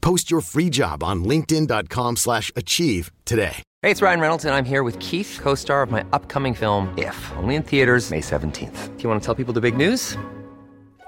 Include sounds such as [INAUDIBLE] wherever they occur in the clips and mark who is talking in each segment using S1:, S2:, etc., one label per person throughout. S1: Post your free job on linkedin.com/achieve slash achieve today.
S2: Hey, it's Ryan Reynolds, and I'm here with Keith, co-star of my upcoming film, If, only in theaters May 17th. Do you want to tell people the big news?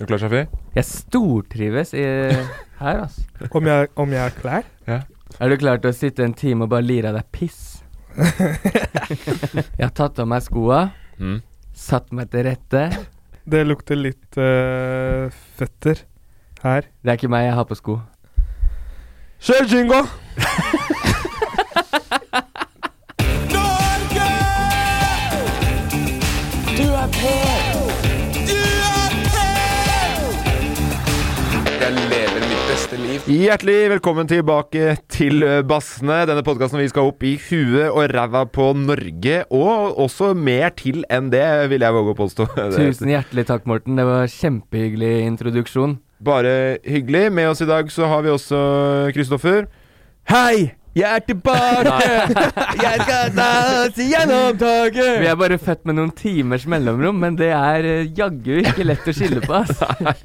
S3: Er du klar, Shafi?
S4: Jeg stortrives i her, altså.
S5: Om jeg, om jeg er klar?
S4: Er du klar til å sitte en time og bare lire av deg
S6: [LAUGHS]
S4: piss? jeg har tatt av meg skoa,
S3: Mm.
S4: satt meg til rette.
S5: Det lukter litt eh, føtter her.
S4: Det er ikke meg jeg har på sko.
S5: Kjør jingo!
S7: er
S3: Jeg lever mitt beste liv.
S6: Hjertelig velkommen tilbake til eh, Bassene. Denne podkasten vi skal opp i huet og ræva på Norge, og også mer til enn det, vil jeg våge å påstå. [LAUGHS] Det-
S4: Tusen hjertelig takk, Morten. Det var kjempehyggelig introduksjon.
S6: Bare hyggelig. Med oss i dag så har vi også Kristoffer. Hei! Jeg er tilbake! jeg skal danse gjennom
S4: Vi
S6: taket!
S4: er bare født med noen timers mellomrom, men det er eh, jaggu ikke lett å skille på,
S6: [LAUGHS]
S4: ass.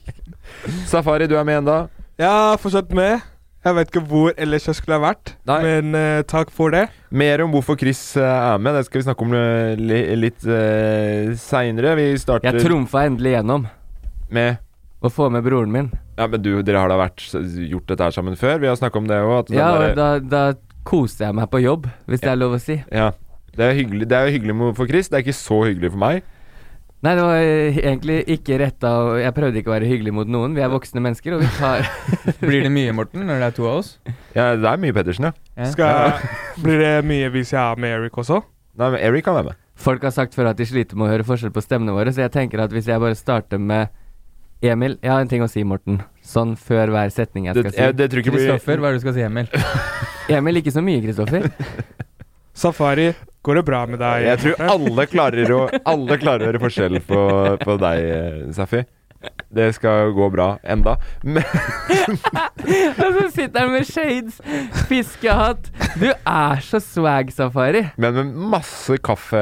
S6: Safari, du er med ennå?
S5: Jeg har fortsatt med. Jeg vet ikke hvor ellers jeg skulle ha vært,
S6: Nei.
S5: men eh, takk for det.
S6: Mer om hvorfor Chris eh, er med, det skal vi snakke om eh, li- litt uh, seinere. Vi starter
S4: Jeg trumfa endelig gjennom
S6: med
S4: å få med broren min.
S6: Ja, men du, dere har da vært, gjort dette her sammen før? Vi har snakka om det òg. at den
S4: Ja,
S6: derre-
S4: og da, da koste jeg meg på jobb, hvis det er lov å si.
S6: ja. Det er hyggelig, det er jo hyggelig med- for Chris, det er ikke så hyggelig for meg.
S4: Nei, det var eh, egentlig ikke retta og Jeg prøvde ikke å være hyggelig mot noen. Vi er voksne mennesker, og vi tar
S3: Blir det mye, Morten, når det er to av oss?
S6: Ja, det er mye Pedersen, ja.
S3: [LAUGHS] Ja.
S5: Skal, blir det mye hvis jeg er med Eric også?
S6: Nei, men Eric kan være med.
S4: Folk har sagt før at de sliter med å høre forskjell på stemmene våre, så jeg tenker at hvis jeg bare starter med Emil, jeg har en ting å si, Morten. Sånn før hver setning jeg
S6: Det,
S4: skal
S6: jeg,
S4: si.
S6: det tror ikke blir
S3: Kristoffer, hva er det du skal si, Emil?
S4: [LAUGHS] Emil, ikke så mye,
S3: [LAUGHS]
S4: Kristoffer.
S5: Safari, går det bra med deg?
S6: Jeg tror alle klarer å, alle klarer å gjøre forskjell på, på deg, eh, Safi. Det skal gå bra enda. Men
S4: Og så sitter han med shades, fiskehatt. Du er så swag, Safari.
S6: men med masse kaffe,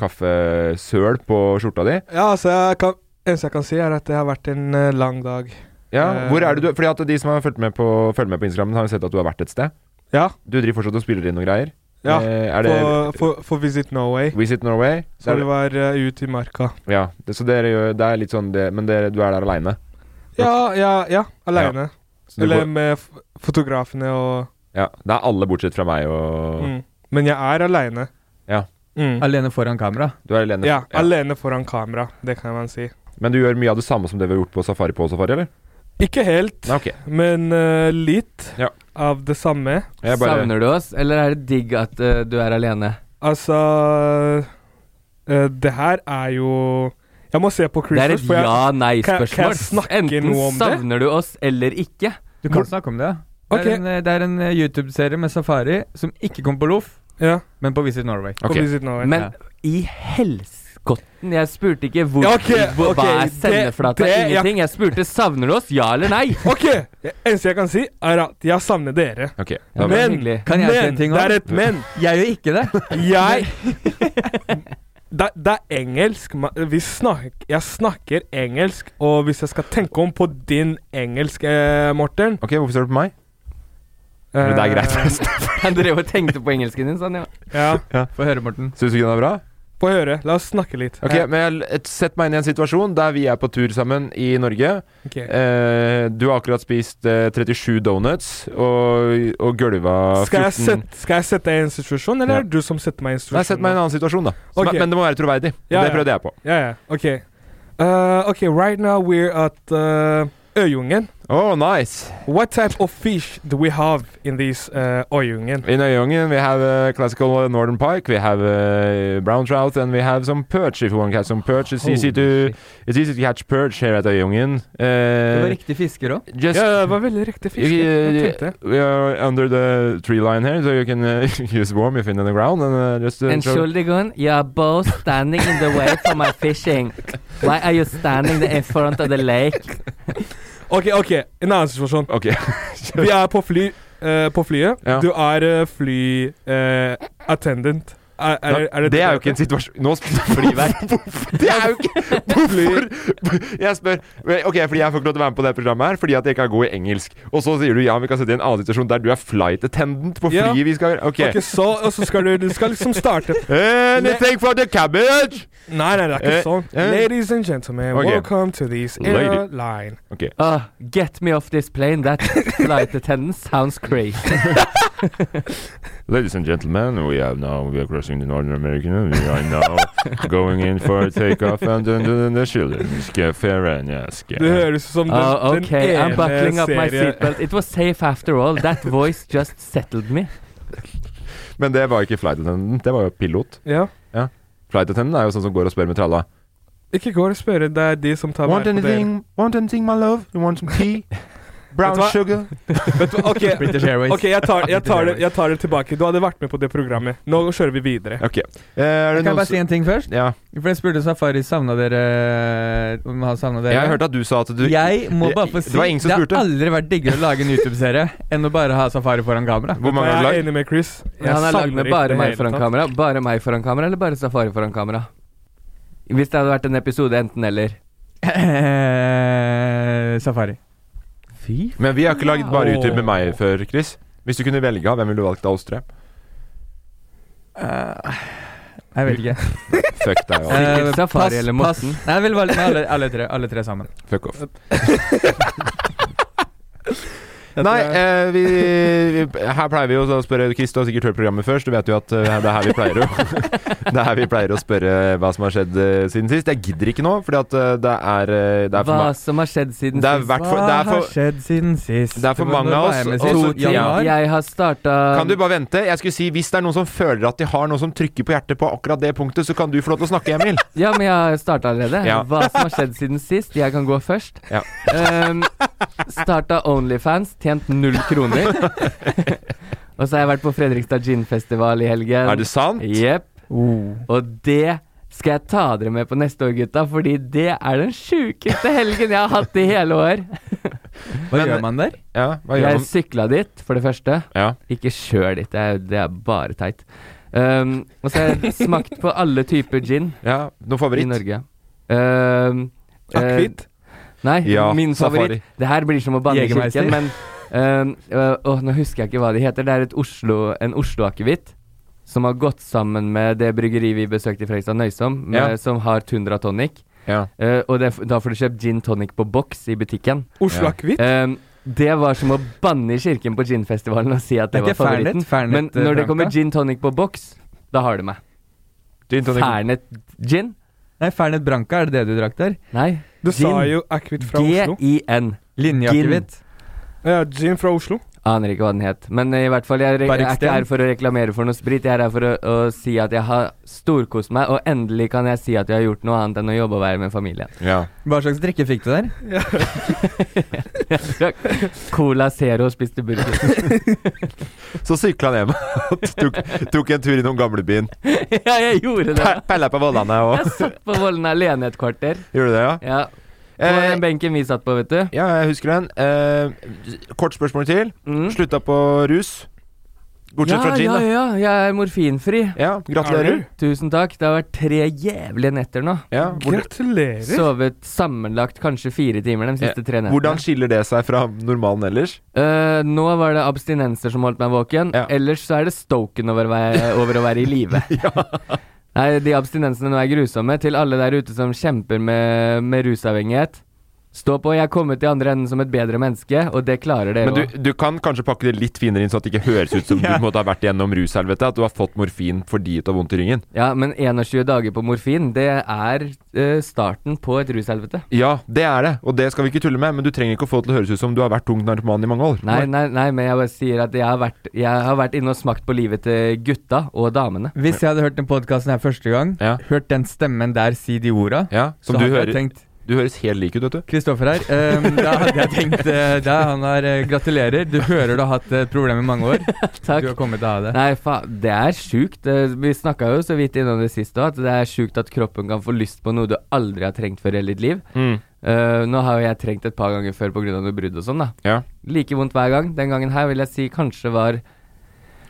S6: kaffesøl på skjorta di.
S5: Ja, altså, jeg kan, eneste jeg kan si, er at det har vært en eh, lang dag.
S6: Ja, hvor er det du Fordi at de som har fulgt med på, følger med på Instagram, har jo sett at du har vært et sted.
S5: Ja.
S6: Du driver fortsatt og spiller inn noen greier.
S5: ja
S6: Eh, er det
S5: for, for, for Visit Norway.
S6: Visit Norway?
S5: Så
S6: Der-
S5: det var eh, ut i marka.
S6: ja, det, så dere gjør Det er litt sånn det, Men dere, du er der aleine?
S5: Ja, ja, ja. Aleine.
S6: Så du
S5: Eller
S6: går,
S5: med f fotografene og
S6: ja, det er alle bortsett fra meg og
S5: Mm. Men jeg er aleine.
S6: Ja.
S5: Mm.
S3: Alene foran kamera.
S6: Du er alene?
S5: ja,
S6: Ja.
S5: alene foran kamera, det kan man si.
S6: Men du gjør mye av det samme som det vi har gjort på safari på safari, eller?
S5: Ikke helt,
S6: Nei, ok.
S5: men eh, litt
S6: Ja.
S5: av det samme.
S6: Jeg bare
S4: Savner du oss, eller er det digg at eh, du er alene?
S5: Altså eh, Det her er jo Jeg må se på
S4: Det er
S5: Christmas,
S4: et
S5: for jeg Kan- kan jeg
S4: ja-nei-spørsmål.
S5: snakke
S4: Enten
S5: noe om det?
S4: savner du oss eller ikke.
S3: Du kan snakke om det. ja.
S5: Ok.
S3: Det er en, eh, det er en eh, YouTube-serie med Safari som ikke kom på Loff,
S5: Ja,
S3: men på Visit Norway.
S5: på
S6: Ok.
S5: Visit Norway.
S4: Men i helskotten Jeg spurte ikke hvor,
S5: Ja, ok,
S4: hvor,
S5: ok,
S4: hva er
S5: det-
S4: sendeflata,
S5: det- jeg-
S4: ingenting. Jeg spurte savner du oss, ja eller
S5: [LAUGHS]
S4: nei.
S5: OK! Det eneste jeg kan si, er at jeg savner dere.
S6: Ok.
S4: Ja,
S6: Da,
S4: men-
S5: men
S4: hyggelig.
S3: Kan jeg si en
S5: men
S3: ting
S5: det
S3: også?
S5: er et men.
S3: Jeg gjør ikke det.
S5: Jeg [LAUGHS] det, det er engelsk. ma- Vi snak, jeg snakker engelsk, og hvis jeg skal tenke om på din engelsk, eh, Morten eh,
S6: Ok, hvorfor ser du på meg? Men det er greit, forresten.
S4: Han drev og tenkte på engelsken din, sånn, ja.
S5: [LAUGHS] Ja,
S4: Få høre, Morten.
S6: Syns du ikke den er bra?
S5: Få høre. La oss snakke litt. Eh,
S6: Ok,
S5: Ja,
S6: men jeg, l- Sett meg inn i en situasjon der vi er på tur sammen i Norge.
S5: ok.
S6: Eh, du har akkurat spist eh, 37 donuts og, og gulva 14
S5: skal, jeg sette, skal jeg sette deg i en situasjon, eller
S6: Ja.
S5: er det du som setter meg i en situasjon?
S6: Nei, sett meg i en annen situasjon, da. Som
S5: Ok.
S6: er, men det må være troverdig.
S5: Ja,
S6: det
S5: ja.
S6: prøvde jeg på.
S5: Ja, ja. Ok. Uh, ok, right now we're at uh, Øyungen.
S6: Oh, nice.
S5: What type of fish do we have in this uh, Øyungen?
S6: In Øyungen, we have uh, classical northern pike, we have uh, brown trout, and we have some perch, if you want to catch some perch. It's easy
S4: Holy
S6: to,
S4: shit.
S6: it's easy to catch perch here at Øyungen.
S5: eh,
S3: Det var
S6: Uh,
S3: riktig fisker òg.
S6: just
S5: Ja, det var veldig riktig fisk.
S6: eh,
S5: Jeg tenkte.
S6: we are under the tree line here, so you can uh, [LAUGHS] use worm if in the ground and uh, just uh,
S4: And
S6: throw-
S4: Schuldigun, you are both standing in the way for my fishing. Why are you standing in front of the lake?
S5: Ok, ok. En annen situasjon.
S6: Ok.
S5: Vi er på, fly, eh, på flyet.
S6: Ja.
S5: Du er eh, fly eh, attendant. Er, er, er, det
S6: det er jo ikke en situasjon Nå spør jeg flyverk. [LAUGHS] Det er jo ikke Hvorfor? Jeg spør Ok, fordi jeg får ikke lov til å være med på det programmet her fordi at jeg ikke er god i engelsk. Og så sier du ja, vi kan sette i en annen situasjon der du er flight attendant på
S5: Ja.
S6: flyet vi skal Ok.
S5: Ok, så, og så skal du, du skal liksom starte
S6: Anything for the cabbage!
S5: Nei, nei, det er ikke
S6: Eh,
S5: sånn.
S6: eh.
S5: Ladies and gentlemen,
S6: Ok.
S5: welcome to this
S6: Lady.
S5: airline.
S6: Ok.
S4: Uh, get me off this plane. That flight attendant sounds crazy.
S6: Ladies and gentlemen, we have now we are crossing the Northern American and we are now [LAUGHS] going in for a takeoff and the, the, the children's cafe and yes.
S5: Det høres ut som den,
S4: Oh, okay.
S5: den
S4: I'm buckling
S5: ene
S4: up my
S5: serien
S4: seatbelt. It was safe after all.
S3: [LAUGHS]
S4: That voice just settled me.
S6: Men det var ikke flight attendant, det var jo pilot.
S5: Ja.
S6: Flight attendant er jo sånn som går og spør med tralla.
S5: Ikke gå og spørre, det er de som tar vare på dere.
S6: want anything, my love? You want [LAUGHS] some tea?
S5: Brown Vet du hva?
S6: sugar? Eh,
S5: Vet du
S6: [LAUGHS]
S5: hva, Ok,
S3: British Airways.
S5: ok, jeg tar, jeg, tar det, jeg tar det tilbake. Du hadde vært med på det programmet. Nå kjører vi videre.
S6: Ok. Eh, er det
S3: Kan jeg
S6: noen
S3: bare si
S6: som
S3: en ting først?
S6: Ja.
S3: For jeg spurte Safari savna dere om han savna dere.
S6: Jeg har hørt at du sa at du
S3: Jeg må bare få
S6: Det
S3: si
S6: var ingen som
S3: det
S6: spurte.
S3: har aldri vært diggere å lage en YouTube-serie enn å bare ha Safari foran kamera.
S6: Hvor mange har du
S5: jeg er
S6: lagd?
S5: enig med Chris. Jeg
S4: Han er lagd
S5: savner
S4: med
S5: ikke
S4: bare
S5: det
S4: meg
S5: hele
S4: foran
S5: tatt.
S4: kamera. Bare meg foran kamera, eller bare Safari foran kamera? Hvis det hadde vært en episode enten-eller.
S3: Eh, Safari.
S4: Fy
S6: Men vi har ikke lagd bare
S5: Åh.
S6: YouTube med meg før, Chris. Hvis du kunne velge, hvem ville du valgt av oss tre?
S3: Eh, jeg vet ikke.
S6: Fuck
S3: [LAUGHS]
S6: deg. altså. og
S3: Eh,
S4: Ikke Safari eller Morten.
S3: Nei, jeg vil valge med alle, alle, tre, alle tre sammen.
S6: Fuck off.
S5: Jeg
S6: Nei,
S5: tror jeg-
S6: eh, vi, vi, her pleier vi jo å spørre Chris, du har sikkert hørt programmet først. Du vet jo at eh, det er her vi pleier å [LAUGHS] Det er her vi pleier å spørre hva som har skjedd eh, siden sist. Jeg gidder ikke nå, fordi at eh, det er, eh, det er for
S4: Hva
S6: meg
S4: som har skjedd siden
S6: Det er
S4: sist.
S6: hvert fall- det
S3: Hva
S6: er for-
S3: har skjedd siden sist?
S6: Det er for mange av oss,
S3: Og
S6: og
S3: så,
S6: så- ja.
S3: januar.
S4: Jeg har starta
S6: Kan du bare vente? Jeg skulle si Hvis det er noen som føler at de har noe som trykker på hjertet på akkurat det punktet, så kan du få lov til å snakke, Emil.
S4: Ja, men jeg har starta allerede.
S6: Ja.
S4: Hva som har skjedd siden sist? Jeg kan gå først.
S6: Ja.
S4: Ehm, starta Onlyfans, tjent null
S6: [LAUGHS]
S4: kroner. Og så har jeg vært på Fredrikstad Ginfestival i helgen.
S6: Er det sant?
S4: Jepp.
S3: Oh.
S4: Og det skal jeg ta dere med på neste år, gutta, fordi det er den sjukeste helgen jeg har hatt i hele år.
S3: Hva
S6: Men-
S3: gjør man der?
S6: Ja, hva gjør
S4: Jeg
S6: man?
S4: sykla dit, for det første.
S6: Ja.
S4: Ikke kjør dit, det er, det er bare teit. Ehm, og så har jeg smakt på alle typer gin
S6: ja. Noen
S4: i
S6: favoritt?
S4: Norge. Ehm, eh,
S5: Akevitt?
S4: Nei,
S6: Ja,
S4: min
S6: safari.
S4: favoritt. Det her blir som å banne i
S3: Jägermeister.
S4: kirken, men øhm, øh, åh, Nå husker jeg ikke hva de heter. Det er et Oslo, en Oslo-akevitt som har gått sammen med det bryggeriet vi besøkte i Fredrikstad, Nøysom, med,
S6: Ja.
S4: som har Tundra Tonic.
S6: Ja.
S4: Eh, og det, da får du kjøpt gin tonic på boks i butikken.
S5: Oslo
S6: Ja.
S5: akevitt?
S4: Ehm, det var som å banne i kirken på ginfestivalen og si at det
S3: Det
S4: var
S3: er ikke Fernet?
S4: favoritten. Men
S3: Fernet eh,
S4: når det kommer
S3: Branca?
S4: gin tonic på boks, da har du meg.
S6: Gin tonic.
S4: Fernet gin?
S3: Nei, Fernet Branca, er det det du drakk der?
S4: Nei.
S5: Du sa
S4: gin.
S5: jo akevitt fra Oslo.
S4: G-i-n.
S3: Linjeakevitt?
S5: Ja, gin fra Oslo.
S4: Aner ikke hva den het. Men eh, i hvert fall, jeg, re- jeg er
S3: Barriksteen?
S4: ikke her for å reklamere for noe sprit. Jeg er her for å, å si at jeg har storkost meg, og endelig kan jeg si at jeg har gjort noe annet enn å jobbe og være med familien.
S6: Ja.
S3: Hva slags drikke fikk du der?
S6: [LAUGHS]
S4: Cola Zero og spiste burger. [LAUGHS]
S6: Så sykla han hjem [LAUGHS] og tok, tok en tur innom gamlebyen.
S4: ja, jeg gjorde [LAUGHS] det.
S6: Pe- Pella på Vollane og
S4: Jeg satt på Vollen alene et kvarter.
S6: [LAUGHS] Gjorde du det, ja?
S4: Ja. På
S6: Eh,
S4: den benken vi satt på, vet du.
S6: ja, jeg husker den. Eh, kort spørsmål til.
S4: Mm.
S6: Slutta på rus. Bortsett fra gin,
S4: ja,
S6: da.
S4: ja, ja, jeg er morfinfri.
S6: Ja, gratulerer.
S4: Tusen takk. Det har vært tre jævlige netter nå.
S6: Ja, hvor,
S5: Gratulerer!
S4: Sovet sammenlagt kanskje fire timer de siste tre nettene.
S6: eh, hvordan skiller det seg fra normalen ellers?
S4: Eh, nå var det abstinenser som holdt meg våken.
S6: Ja.
S4: Ellers så er det stoken over, å være- over å være i
S6: [LAUGHS]
S4: live. Nei, de abstinensene nå er grusomme. Til alle der ute som kjemper med, med rusavhengighet. Stå på, jeg er kommet i andre enden som et bedre menneske, og det klarer dere
S6: Men du,
S4: òg.
S6: du kan kanskje pakke det litt finere inn, sånn at det ikke høres ut
S4: [LAUGHS]
S6: som du på en måte har vært igjennom rushelvete. At du har fått morfin fordi du har vondt i ryggen.
S4: Ja, men 21 dager på morfin, det er eh, starten på et rushelvete.
S6: Ja, det er det, og det skal vi ikke tulle med. Men du trenger ikke å få det til å høres ut som du har vært tung narkoman i mange år.
S4: Nei, nei, nei, men jeg bare sier at jeg har vært, jeg har vært inne og smakt på livet til gutta og damene.
S3: Hvis jeg hadde hørt den podkasten her første gang,
S6: Ja.
S3: hørt den stemmen der si de orda,
S6: Ja, som
S3: så
S6: du
S3: hadde jeg
S6: hører
S3: tenkt
S6: Du høres helt lik ut, vet du.
S3: Kristoffer her. ehm, da hadde jeg tenkt eh, da, Han har eh, Gratulerer. Du hører du har hatt et problem i mange år.
S4: Takk.
S3: Du har kommet til å ha det.
S4: [LAUGHS] Nei, faen, det er sjukt. Eh, Vi snakka jo så vidt innom det siste òg, at det er sjukt at kroppen kan få lyst på noe du aldri har trengt før i hele ditt liv.
S6: Mm.
S4: Eh, nå har jo jeg trengt et par ganger før pga. noe brudd og sånn, da.
S6: Ja.
S4: Like vondt hver gang. Den gangen her vil jeg si kanskje var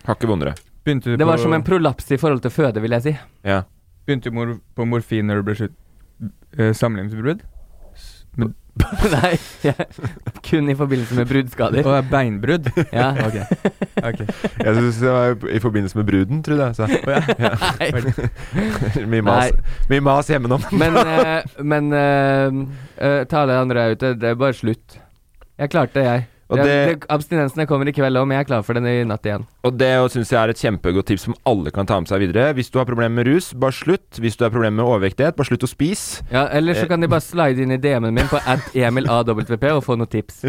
S6: Har ikke vondere.
S3: Begynte du,
S4: Det
S3: på,
S4: var som en prolaps i forhold til føde, vil jeg si. [LAUGHS]
S6: Ja.
S3: begynte du mor på morfin når du ble slutt eh, samlivsbrudd?
S4: Nei, jeg, kun i forbindelse med bruddskader.
S3: Og er beinbrudd?
S4: Ja.
S3: [LAUGHS] Ok. ok.
S6: Jeg syns det var i forbindelse med bruden, trodde jeg. Så.
S4: Nei.
S6: Mye mas, mye mas hjemmenom.
S4: Men, eh, men eh, eh, til alle andre der ute, det er bare slutt. Jeg klarte det, jeg.
S6: Og
S4: Jeg-
S6: det-
S4: det- Abstinensene kommer i kveld òg, men jeg er klar for den i natt igjen.
S6: Og det syns jeg er et kjempegodt tips som alle kan ta med seg videre. Hvis du har problemer med rus, bare slutt. Hvis du har problemer med overvektighet, bare slutt å spise.
S4: Ja, Eller
S5: Eh.
S4: så kan de bare slide inn i DM-en min på at emilavp og få noen tips.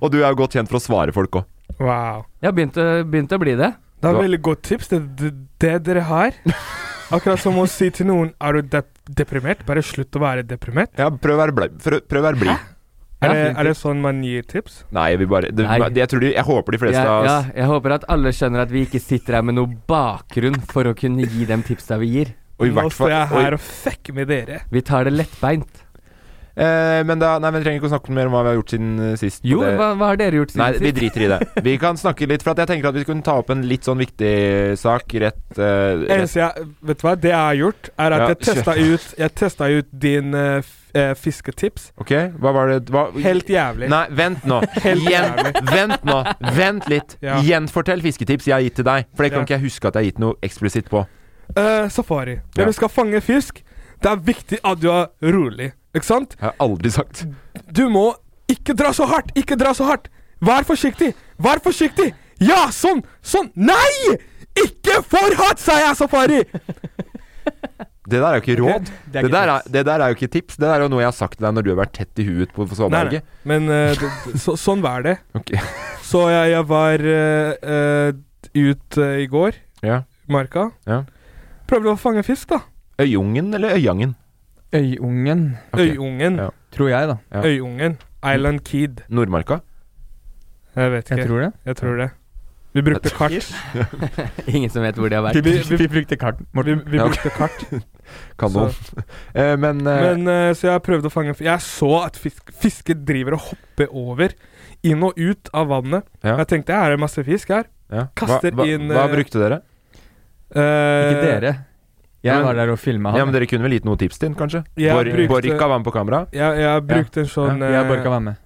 S6: Og du er jo godt kjent for å svare folk òg.
S5: Wow.
S4: Jeg har begynt, å- begynt å bli det.
S5: Det er
S6: Da-
S5: veldig godt tips, det, det, det dere
S6: [LAUGHS]
S5: har. Akkurat som å si til noen Er du dep deprimert? Bare slutt å være deprimert.
S6: Ja, prøv å være blid. Prøv, prøv å være blid.
S4: Ja,
S5: Er, det,
S4: fint
S5: er det sånn man gir tips?
S6: Nei, vi bare det,
S4: Nei.
S6: det- Jeg, tror de, jeg håper de
S4: Jeg,
S6: fleste av
S4: ja,
S6: oss
S4: jeg håper at alle skjønner at vi ikke sitter her med noe bakgrunn for å kunne gi dem tipsa vi gir.
S6: Og i
S5: Nå
S6: hvert fall
S5: står jeg
S6: og i-
S5: her og fucker med dere.
S4: Vi tar det lettbeint.
S6: Eh, men da, nei, men vi trenger ikke å snakke mer om hva vi har gjort siden eh, sist.
S4: Jo,
S6: og det,
S4: hva, hva har dere gjort siden
S6: Nei, vi
S4: sist?
S6: driter i det. Vi kan snakke litt, for at jeg tenker at vi kunne ta opp en litt sånn viktig sak rett, eh, rett
S5: Eneste jeg, vet du hva, det jeg har gjort, er at
S6: Ja,
S5: jeg testa ut, jeg testa ut din eh, f- eh, fisketips.
S6: Ok, hva var det hva?
S5: Helt jævlig.
S6: Nei, vent nå.
S5: [LAUGHS] Helt
S6: Gjen, vent nå. Vent litt.
S5: [LAUGHS] Ja.
S6: Gjenfortell fisketips jeg har gitt til deg. For det kan
S5: Ja.
S6: ikke jeg huske at jeg har gitt noe eksplisitt på.
S5: Eh, safari.
S6: Ja.
S5: Når du skal fange fisk, det er viktig at du er rolig. Ikke sant?
S6: Jeg har aldri sagt.
S5: Du må ikke dra så hardt! Ikke dra så hardt! Vær forsiktig! Vær forsiktig! Ja, sånn! Sånn! Nei! Ikke for hardt, sa jeg, Safari!
S6: Det der er jo ikke [LAUGHS] råd.
S3: det
S6: Det,
S3: er ikke
S6: der,
S3: tips.
S6: er, det der er jo ikke tips. Det der er jo noe jeg har sagt til deg når du har vært tett i huet på på svaberget.
S5: Men eh, det, det, så, sånn var det.
S6: Ok. [LAUGHS]
S5: Så jeg, jeg var eh, eh, ut eh, i går,
S6: Ja.
S5: i marka.
S6: Ja.
S5: Prøvde å fange fisk, da.
S6: Øyungen eller Øyangen?
S3: Øyungen,
S6: Ok.
S5: Øyungen.
S6: Ja.
S3: tror jeg, da.
S6: Ja.
S5: Øyungen. Island Kid.
S6: Nordmarka?
S5: Jeg vet ikke.
S3: Jeg tror det.
S5: jeg tror det. Vi brukte kart.
S4: Ingen som vet hvor de har vært.
S5: Vi, vi,
S3: brukte karten.
S5: vi,
S3: Morten.
S5: vi
S6: Ja, ok.
S5: brukte kart.
S6: Kanon. Eh, men, eh,
S5: Men eh, Så jeg prøvde å fange fisk. Jeg så at fisk, fisker driver og hopper over. Inn og ut av vannet.
S6: Ja.
S5: Jeg tenkte her er det masse fisk her.
S6: ja.
S5: kaster
S6: hva, hva,
S5: inn,
S6: Hva
S5: eh,
S6: brukte dere?
S5: Eh,
S3: Ikke dere.
S6: Ja,
S3: Jeg
S6: men-
S3: var der og filma han.
S6: Ja, men Dere kunne vel gitt noe tips til den, kanskje?
S5: Jeg
S6: Bor
S5: brukte-
S6: Borika var med på kamera.
S5: Jeg, jeg brukte en sånn
S3: jeg og
S5: eh,
S3: Borka var med.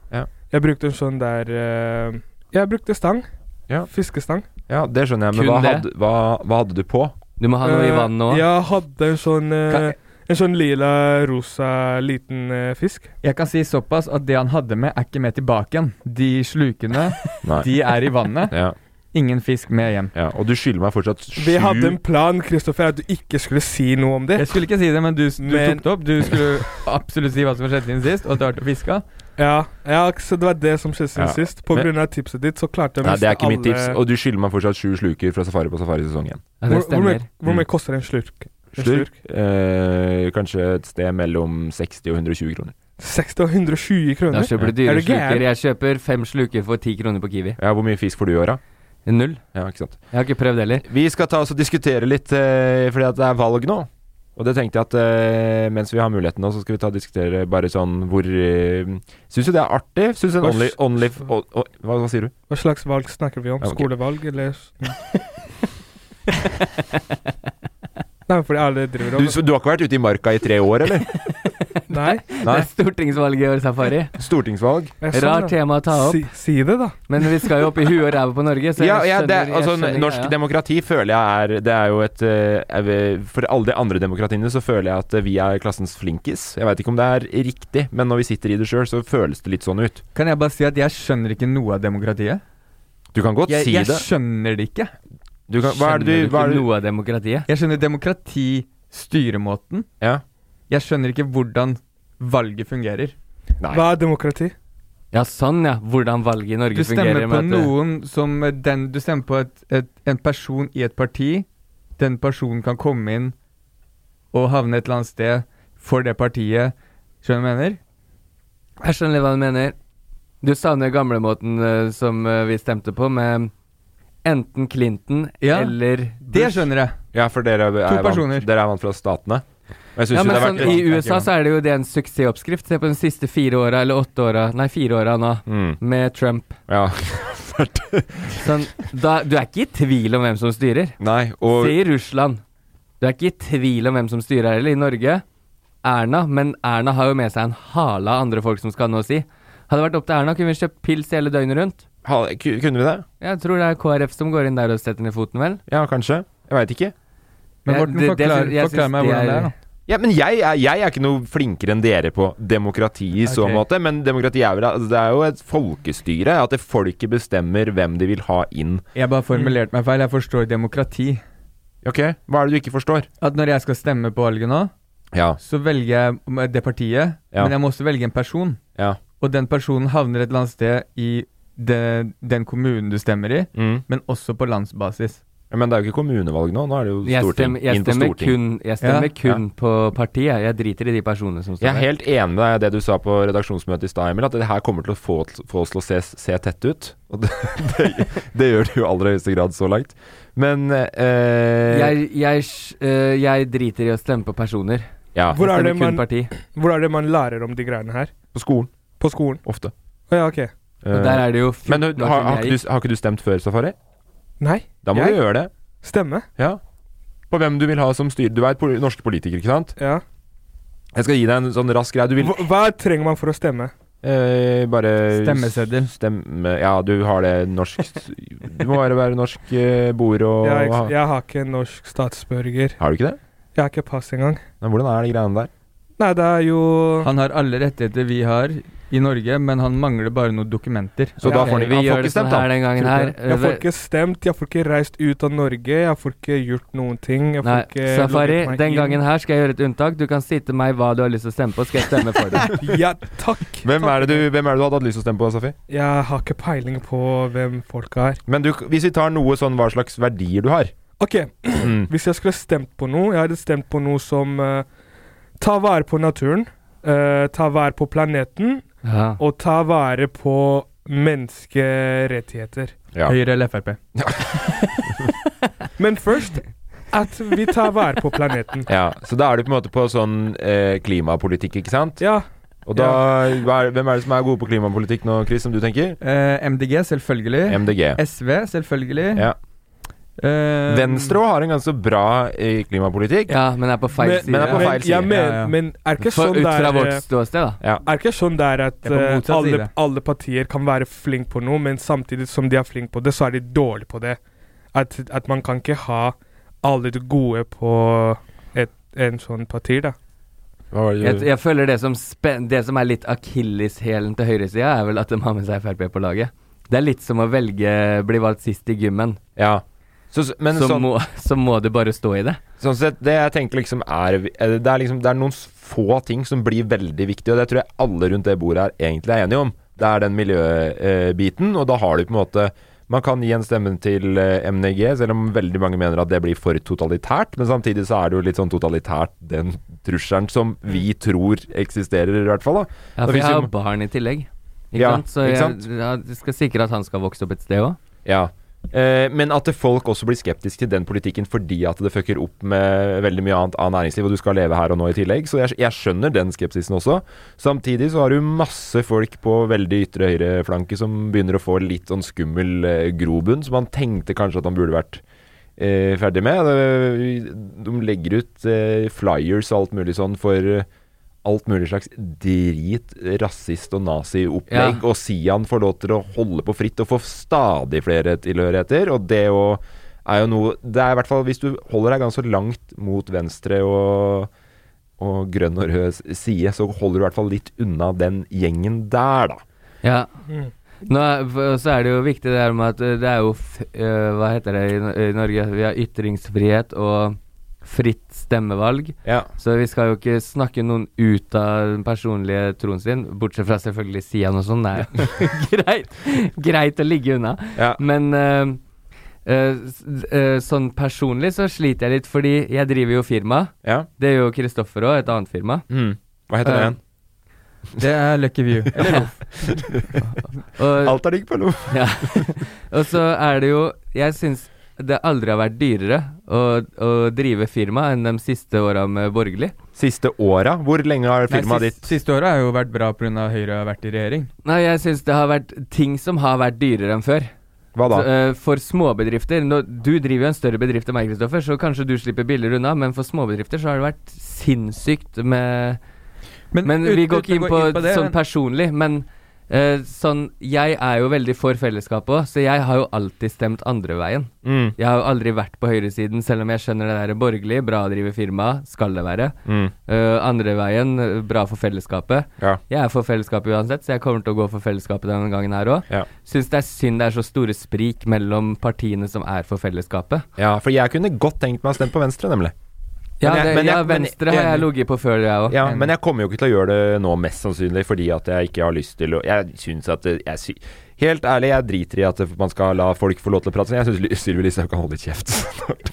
S5: Jeg brukte en sånn der eh, Jeg brukte stang.
S6: Ja.
S5: Fiskestang.
S6: Ja, Det skjønner jeg, men
S4: Kun
S6: hva
S4: det?
S6: hadde, hva, hva hadde du på?
S4: Du må ha noe i
S5: Eh,
S4: vannet òg.
S5: Jeg hadde en sånn eh,
S3: Kan-
S5: En sånn lila-rosa liten eh, fisk.
S3: Jeg kan si såpass at det han hadde med, er ikke med tilbake igjen. De slukene,
S6: Nei.
S3: de er i vannet.
S6: Ja,
S3: Ingen fisk med hjem.
S6: ja. Og du skylder meg fortsatt sju
S5: Vi hadde en plan, Kristoffer, at du ikke skulle si noe om det.
S3: Jeg skulle ikke si det, men du, du
S5: Men-
S3: tok det opp. Du skulle absolutt si hva som skjedde siden sist, og at du har vært og fiska.
S5: Ja, ja, så det var det som skjedde siden
S6: Ja.
S5: sist. På
S6: Men-
S5: grunn av tipset ditt, så klarte jeg
S6: Nei, det
S5: miste
S6: er ikke mitt tips.
S5: alle-
S6: Og du skylder meg fortsatt sju sluker fra Safari på Safari-sesongen.
S4: Ja, det
S5: Hvor, hvor, mye,
S4: stemmer.
S5: hvor mye
S6: Mm.
S5: koster en slurk? En
S6: Slurk? Eh, kanskje et sted mellom 60 og 120 kroner.
S5: 60 og
S4: Da
S5: 120 kroner?
S4: kjøper du
S5: Er
S4: dyre
S5: du gæren?
S4: sluker. Jeg kjøper fem sluker for ti kroner på Kiwi.
S6: Ja, Hvor mye fisk får du i åra?
S4: Null.
S6: Ja, ikke sant.
S4: Jeg har ikke prøvd heller.
S6: Vi skal ta oss og diskutere litt, eh, fordi at det er valg nå. Og det tenkte jeg at eh, mens vi har muligheten nå, så skal vi ta og diskutere bare sånn hvor uh, Syns jo det er artig? Syns en
S5: Hva
S6: only,
S5: s-
S6: only o, o, hva, hva sier du?
S5: Hva slags valg snakker vi om?
S6: Ja, ok.
S5: Skolevalg, eller
S6: [LAUGHS]
S5: [LAUGHS] Nei, fordi alle driver
S6: du?
S5: og
S6: så Du har ikke vært ute i marka i tre
S4: [LAUGHS]
S6: år, eller?
S5: Nei. Sånn,
S4: Det
S6: Nei.
S4: er stortingsvalget i år, Safari.
S6: Stortingsvalg.
S5: jeg sa
S4: Rart
S5: det.
S4: tema å ta opp,
S5: Si, si det, da.
S4: men vi skal jo opp i huet og ræva på Norge, så jeg
S6: Ja, ja det,
S4: skjønner, jeg
S6: altså,
S4: skjønner
S6: norsk
S4: greia.
S6: demokrati føler jeg er Det er jo et eh, er vi- For alle de andre demokratiene så føler jeg at eh, vi er klassens flinkis. Jeg veit ikke om det er riktig, men når vi sitter i det sjøl, så føles det litt sånn ut.
S3: Kan jeg bare si at jeg skjønner ikke noe av demokratiet?
S6: Du kan godt
S3: Jeg,
S6: si
S3: jeg
S6: det.
S3: skjønner det ikke.
S6: Du kan, hva er det
S4: Skjønner
S6: du hva er
S4: ikke
S6: det,
S4: noe av demokratiet?
S3: Jeg skjønner demokratistyremåten.
S6: ja.
S3: Jeg skjønner ikke hvordan valget fungerer.
S6: Nei.
S5: Hva er demokrati?
S4: Ja, sånn ja. Hvordan valget i Norge
S3: Du stemmer
S4: fungerer. med
S3: på
S4: at-
S3: noen som den, Du stemmer på et, et, en person i et parti. Den personen kan komme inn og havne et eller annet sted for det partiet. Skjønner du hva jeg mener?
S4: Jeg skjønner litt hva du mener. Du savner gamlemåten uh, som eh, vi stemte på, med enten Clinton
S3: Ja,
S4: eller
S3: Det skjønner jeg.
S6: ja, for dere er,
S3: personer.
S6: vant, dere er vant fra statene. Og jeg synes
S4: Ja,
S6: jo
S4: men
S6: det har
S4: sånn,
S6: vært
S4: I
S6: litt-
S4: USA så er det jo det en suksessoppskrift. Se på de siste fire åra, eller åtte åra, nei, fire åra nå,
S6: mm,
S4: med Trump.
S6: Ja.
S4: Sånn, da, du er ikke i tvil om hvem som styrer.
S6: Nei, og
S4: Se i Russland. Du er ikke i tvil om hvem som styrer her, eller i Norge. Erna, men Erna har jo med seg en hale av andre folk som skal ha noe å si. Hadde det vært opp til Erna, kunne vi kjøpt pils hele døgnet rundt.
S6: ha, ku- kunne vi det?
S4: Jeg tror det er KrF som går inn der og setter ned foten, vel?
S6: Ja, kanskje? Jeg veit ikke.
S3: Men
S4: Jeg-
S3: Morten,
S4: det- det
S3: forklar,
S4: syns- jeg
S3: forklar
S4: syns
S3: meg
S4: det
S3: hvordan det er,
S4: er-
S3: da.
S6: Ja, men jeg, er- jeg er ikke noe flinkere enn dere på demokrati i så
S3: Ok.
S6: måte. Men demokrati er vel altså, Det er jo et folkestyre. At det folket bestemmer hvem de vil ha inn.
S3: Jeg bare formulerte meg feil. Jeg forstår demokrati.
S6: Ok, Hva er det du ikke forstår?
S3: At når jeg skal stemme på valget nå,
S6: Ja.
S3: så velger jeg m- det partiet,
S6: Ja.
S3: men jeg må også velge en person.
S6: ja.
S3: Og den personen havner et eller annet sted i det, den kommunen du stemmer i,
S6: Mm.
S3: men også på landsbasis.
S6: Ja, Men det er jo ikke kommunevalg nå. Nå er det jo
S4: Jeg
S6: storting.
S4: stemmer, jeg
S6: inn på
S4: stemmer
S6: storting.
S4: kun, jeg stemmer
S3: Ja.
S4: kun på partiet. Jeg driter i de personene som står
S6: Jeg er helt enig med deg i det du sa på redaksjonsmøtet i stad, Emil, at det her kommer til å få, få oss til å se, se tett ut. Og det, [LAUGHS] det, det gjør det jo i aller høyeste grad så langt. Men eh,
S4: Jeg, jeg, s- øh, jeg driter i å stemme på personer.
S6: Ja,
S5: Hvor er,
S4: Stemmer
S5: det
S4: kun
S5: man,
S4: parti.
S5: hvor er det man lærer om de greiene her?
S6: på skolen.
S5: På skolen?
S6: Ofte. Eh,
S5: Å ja, ok.
S4: Og der er det jo
S6: men
S4: 14
S6: har,
S4: år siden
S6: har,
S4: jeg
S6: ikke
S4: gikk.
S6: du, har ikke du stemt før, Safari?
S5: Nei.
S6: Da må
S5: Jeg?
S6: du gjøre det.
S5: Stemme.
S6: Ja. På hvem du vil ha som styrer. Du er et poli norske politiker, ikke sant?
S5: Ja.
S6: Jeg skal gi deg en sånn rask greie. Du vil
S5: Hva, hva trenger man for å stemme?
S6: eh, bare
S3: Stemmeseddel.
S6: Stemme Ja, du har det norsk Du må bare være norsk eh, boer og
S5: Jeg, er ikke- jeg har ikke norsk statsborger.
S6: Har du ikke det?
S5: Jeg har ikke pass engang.
S6: Men hvordan er de greiene der?
S5: Nei, det er jo
S3: Han har alle rettigheter vi har i Norge, men han mangler bare noen dokumenter.
S6: Så
S5: Ja,
S6: da
S5: ok,
S6: får de,
S4: Vi
S6: han
S4: gjør
S6: får
S4: det
S6: ikke
S4: sånn
S6: stemt,
S4: her
S6: da.
S4: den gangen her.
S5: Jeg får
S4: Øh,
S5: ikke stemt, jeg får ikke reist ut av Norge, jeg får ikke gjort noen ting. Jeg får
S4: Nei,
S5: ikke
S4: Safari,
S5: logget eh, meg
S4: den
S5: inn.
S4: gangen her skal jeg gjøre et unntak. Du kan si til meg hva du har lyst til å stemme på, skal jeg stemme for deg.
S5: [LAUGHS] Ja, takk.
S6: [LAUGHS] Hvem
S5: takk.
S6: er, det du, hvem er det du hadde hatt lyst til å stemme på, Safi?
S5: Jeg har ikke peiling på hvem folka er.
S6: Men du, hvis vi tar noe sånn hva slags verdier du har
S5: OK,
S6: Mm.
S5: [CLEARS THROAT] hvis jeg skulle stemt på noe Jeg hadde stemt på noe som eh, Ta vare på naturen, eh, ta vare på planeten,
S4: Ja.
S5: og ta vare på menneskerettigheter.
S6: Ja.
S3: Høyre eller Frp?
S5: Men først at vi tar vare
S4: [LAUGHS]
S5: på planeten.
S6: ja. Så da er du på en måte på sånn eh, klimapolitikk, ikke sant?
S5: Ja,
S6: Og da hva er, Hvem er det som er gode på klimapolitikk nå, Chris, som du tenker?
S3: Eh, MDG, selvfølgelig.
S6: MDG.
S3: SV, selvfølgelig.
S6: Ja.
S3: Eh,
S6: Venstre har en ganske bra eh, klimapolitikk.
S4: ja, men det er på feil
S5: men,
S4: side.
S6: men det er på feil
S5: men,
S6: side.
S5: jeg mener,
S3: Ja, ja.
S5: men er ikke
S4: For,
S5: sånn
S4: ut fra
S5: der
S4: vårt
S5: eh,
S4: ståsted, da.
S5: Er det ikke sånn det er at
S3: Det er på
S5: eh,
S3: motsatt
S5: alle,
S3: side.
S5: alle partier kan være flink på noe, men samtidig som de er flink på det, så er de dårlige på det. At, at man kan ikke ha alle de gode på et, en sånn parti, da.
S6: Hva var det
S4: Jeg,
S6: du-
S4: jeg føler det som, spen det som er litt akilleshælen til høyresida, er vel at de har med seg Frp på laget. Det er litt som å velge bli valgt sist i gymmen.
S6: Ja. Så, s- men
S4: Så,
S6: sånn,
S4: må, så må du bare stå i det.
S6: sånn sett, det jeg tenker liksom er vi- eh, det er, liksom, det er noen s- få ting som blir veldig viktige, og det tror jeg alle rundt det bordet her egentlig er enige om. Det er den miljøbiten, og da har du på en måte Man kan gi en stemme til eh, MNG, selv om veldig mange mener at det blir for totalitært, men samtidig så er det jo litt sånn totalitært den trusselen som vi tror eksisterer, i hvert fall. da.
S4: Ja,
S6: Det
S4: for jeg
S6: finnes jo-
S4: har barn i tillegg. Ikke
S6: Ja,
S4: sant? Så
S6: ikke
S4: jeg,
S6: sant?
S4: ja, jeg skal sikre at han skal vokse opp et sted òg.
S6: Ja. Eh, men at det- folk også blir skeptiske til den politikken fordi at det fucker opp med veldig mye annet av næringsliv, og du skal leve her og nå i tillegg. Så jeg, jeg skjønner den skepsisen også. Samtidig så har du masse folk på veldig ytre høyreflanke som begynner å få litt sånn skummel eh, grobunn, som man tenkte kanskje at man burde vært eh, ferdig med. Det- De legger ut eh, flyers og alt mulig sånn for eh, alt mulig slags drit, rasist og nazi-opplegg,
S4: Ja.
S6: og Sian får lov til å holde på fritt og få stadig flere tilhørigheter. Og det jo er jo noe Det er i hvert fall hvis du holder deg ganske langt mot venstre og og grønn og rød side, så holder du i hvert fall litt unna den gjengen der, da.
S4: Ja. Nå, er- for- så er det jo viktig det her med at eh, det er jo f eh, Hva heter det i, Nor- i Norge? Vi har ytringsfrihet og fritt stemmevalg.
S6: Ja.
S4: Så vi skal jo ikke snakke noen ut av den personlige troen sin, bortsett fra selvfølgelig Sian og sånn. Det er jo [LAUGHS] greit, greit å ligge unna.
S6: Ja.
S4: Men eh, eh, s- eh, sånn personlig så sliter jeg litt, fordi jeg driver jo firma.
S6: ja.
S4: Det gjør jo Kristoffer òg, et annet firma.
S6: Mm. Hva heter det
S4: Eh,
S6: igjen?
S3: Det er Lucky View.
S4: [LAUGHS]
S3: Eller Loff.
S4: Og,
S6: Alt er digg på loff.
S4: ja. [LAUGHS] og så er det jo Jeg syns det aldri har vært dyrere å, å drive firma enn de siste åra med borgerlig.
S6: Siste åra? Hvor lenge har
S3: Nei,
S6: firmaet
S3: sist-
S6: ditt
S3: Siste året har jo vært bra pga. Høyre har vært i regjering.
S4: Nei, jeg syns det har vært ting som har vært dyrere enn før.
S6: Hva da?
S4: Så, eh, for småbedrifter Nå, Du driver jo en større bedrift enn meg, Kristoffer, så kanskje du slipper billigere unna, men for småbedrifter så har det vært sinnssykt med Men
S3: ut-
S4: vi går
S3: uten
S4: ikke
S3: å
S4: inn
S3: gå
S4: på,
S3: det,
S4: sånn
S3: men-
S4: personlig, men eh, sånn Jeg er jo veldig for fellesskapet òg, så jeg har jo alltid stemt andre veien.
S6: Mm.
S4: Jeg har jo aldri vært på høyresiden, selv om jeg skjønner det der er borgerlig, bra å drive firma, skal det være.
S6: Mm.
S4: Eh, andre veien, eh, bra for fellesskapet.
S6: Ja.
S4: Jeg er for fellesskapet uansett, så jeg kommer til å gå for fellesskapet denne gangen her òg.
S6: Ja.
S4: Syns det er synd det er så store sprik mellom partiene som er for fellesskapet.
S6: ja, for jeg kunne godt tenkt meg å stemme på Venstre, nemlig.
S4: Ja,
S6: jeg-
S4: det,
S6: men jeg-
S4: ja
S6: men-
S4: Venstre har jeg ligget på før, jeg òg.
S6: Ja, men jeg kommer jo ikke til å gjøre det nå, mest sannsynlig, fordi at jeg ikke har lyst til å Jeg syns at det- jeg sy Helt ærlig, jeg driter i at man skal la folk få lov til å prate. sånn. Jeg syns Sylvi Listhaug kan holde litt kjeft.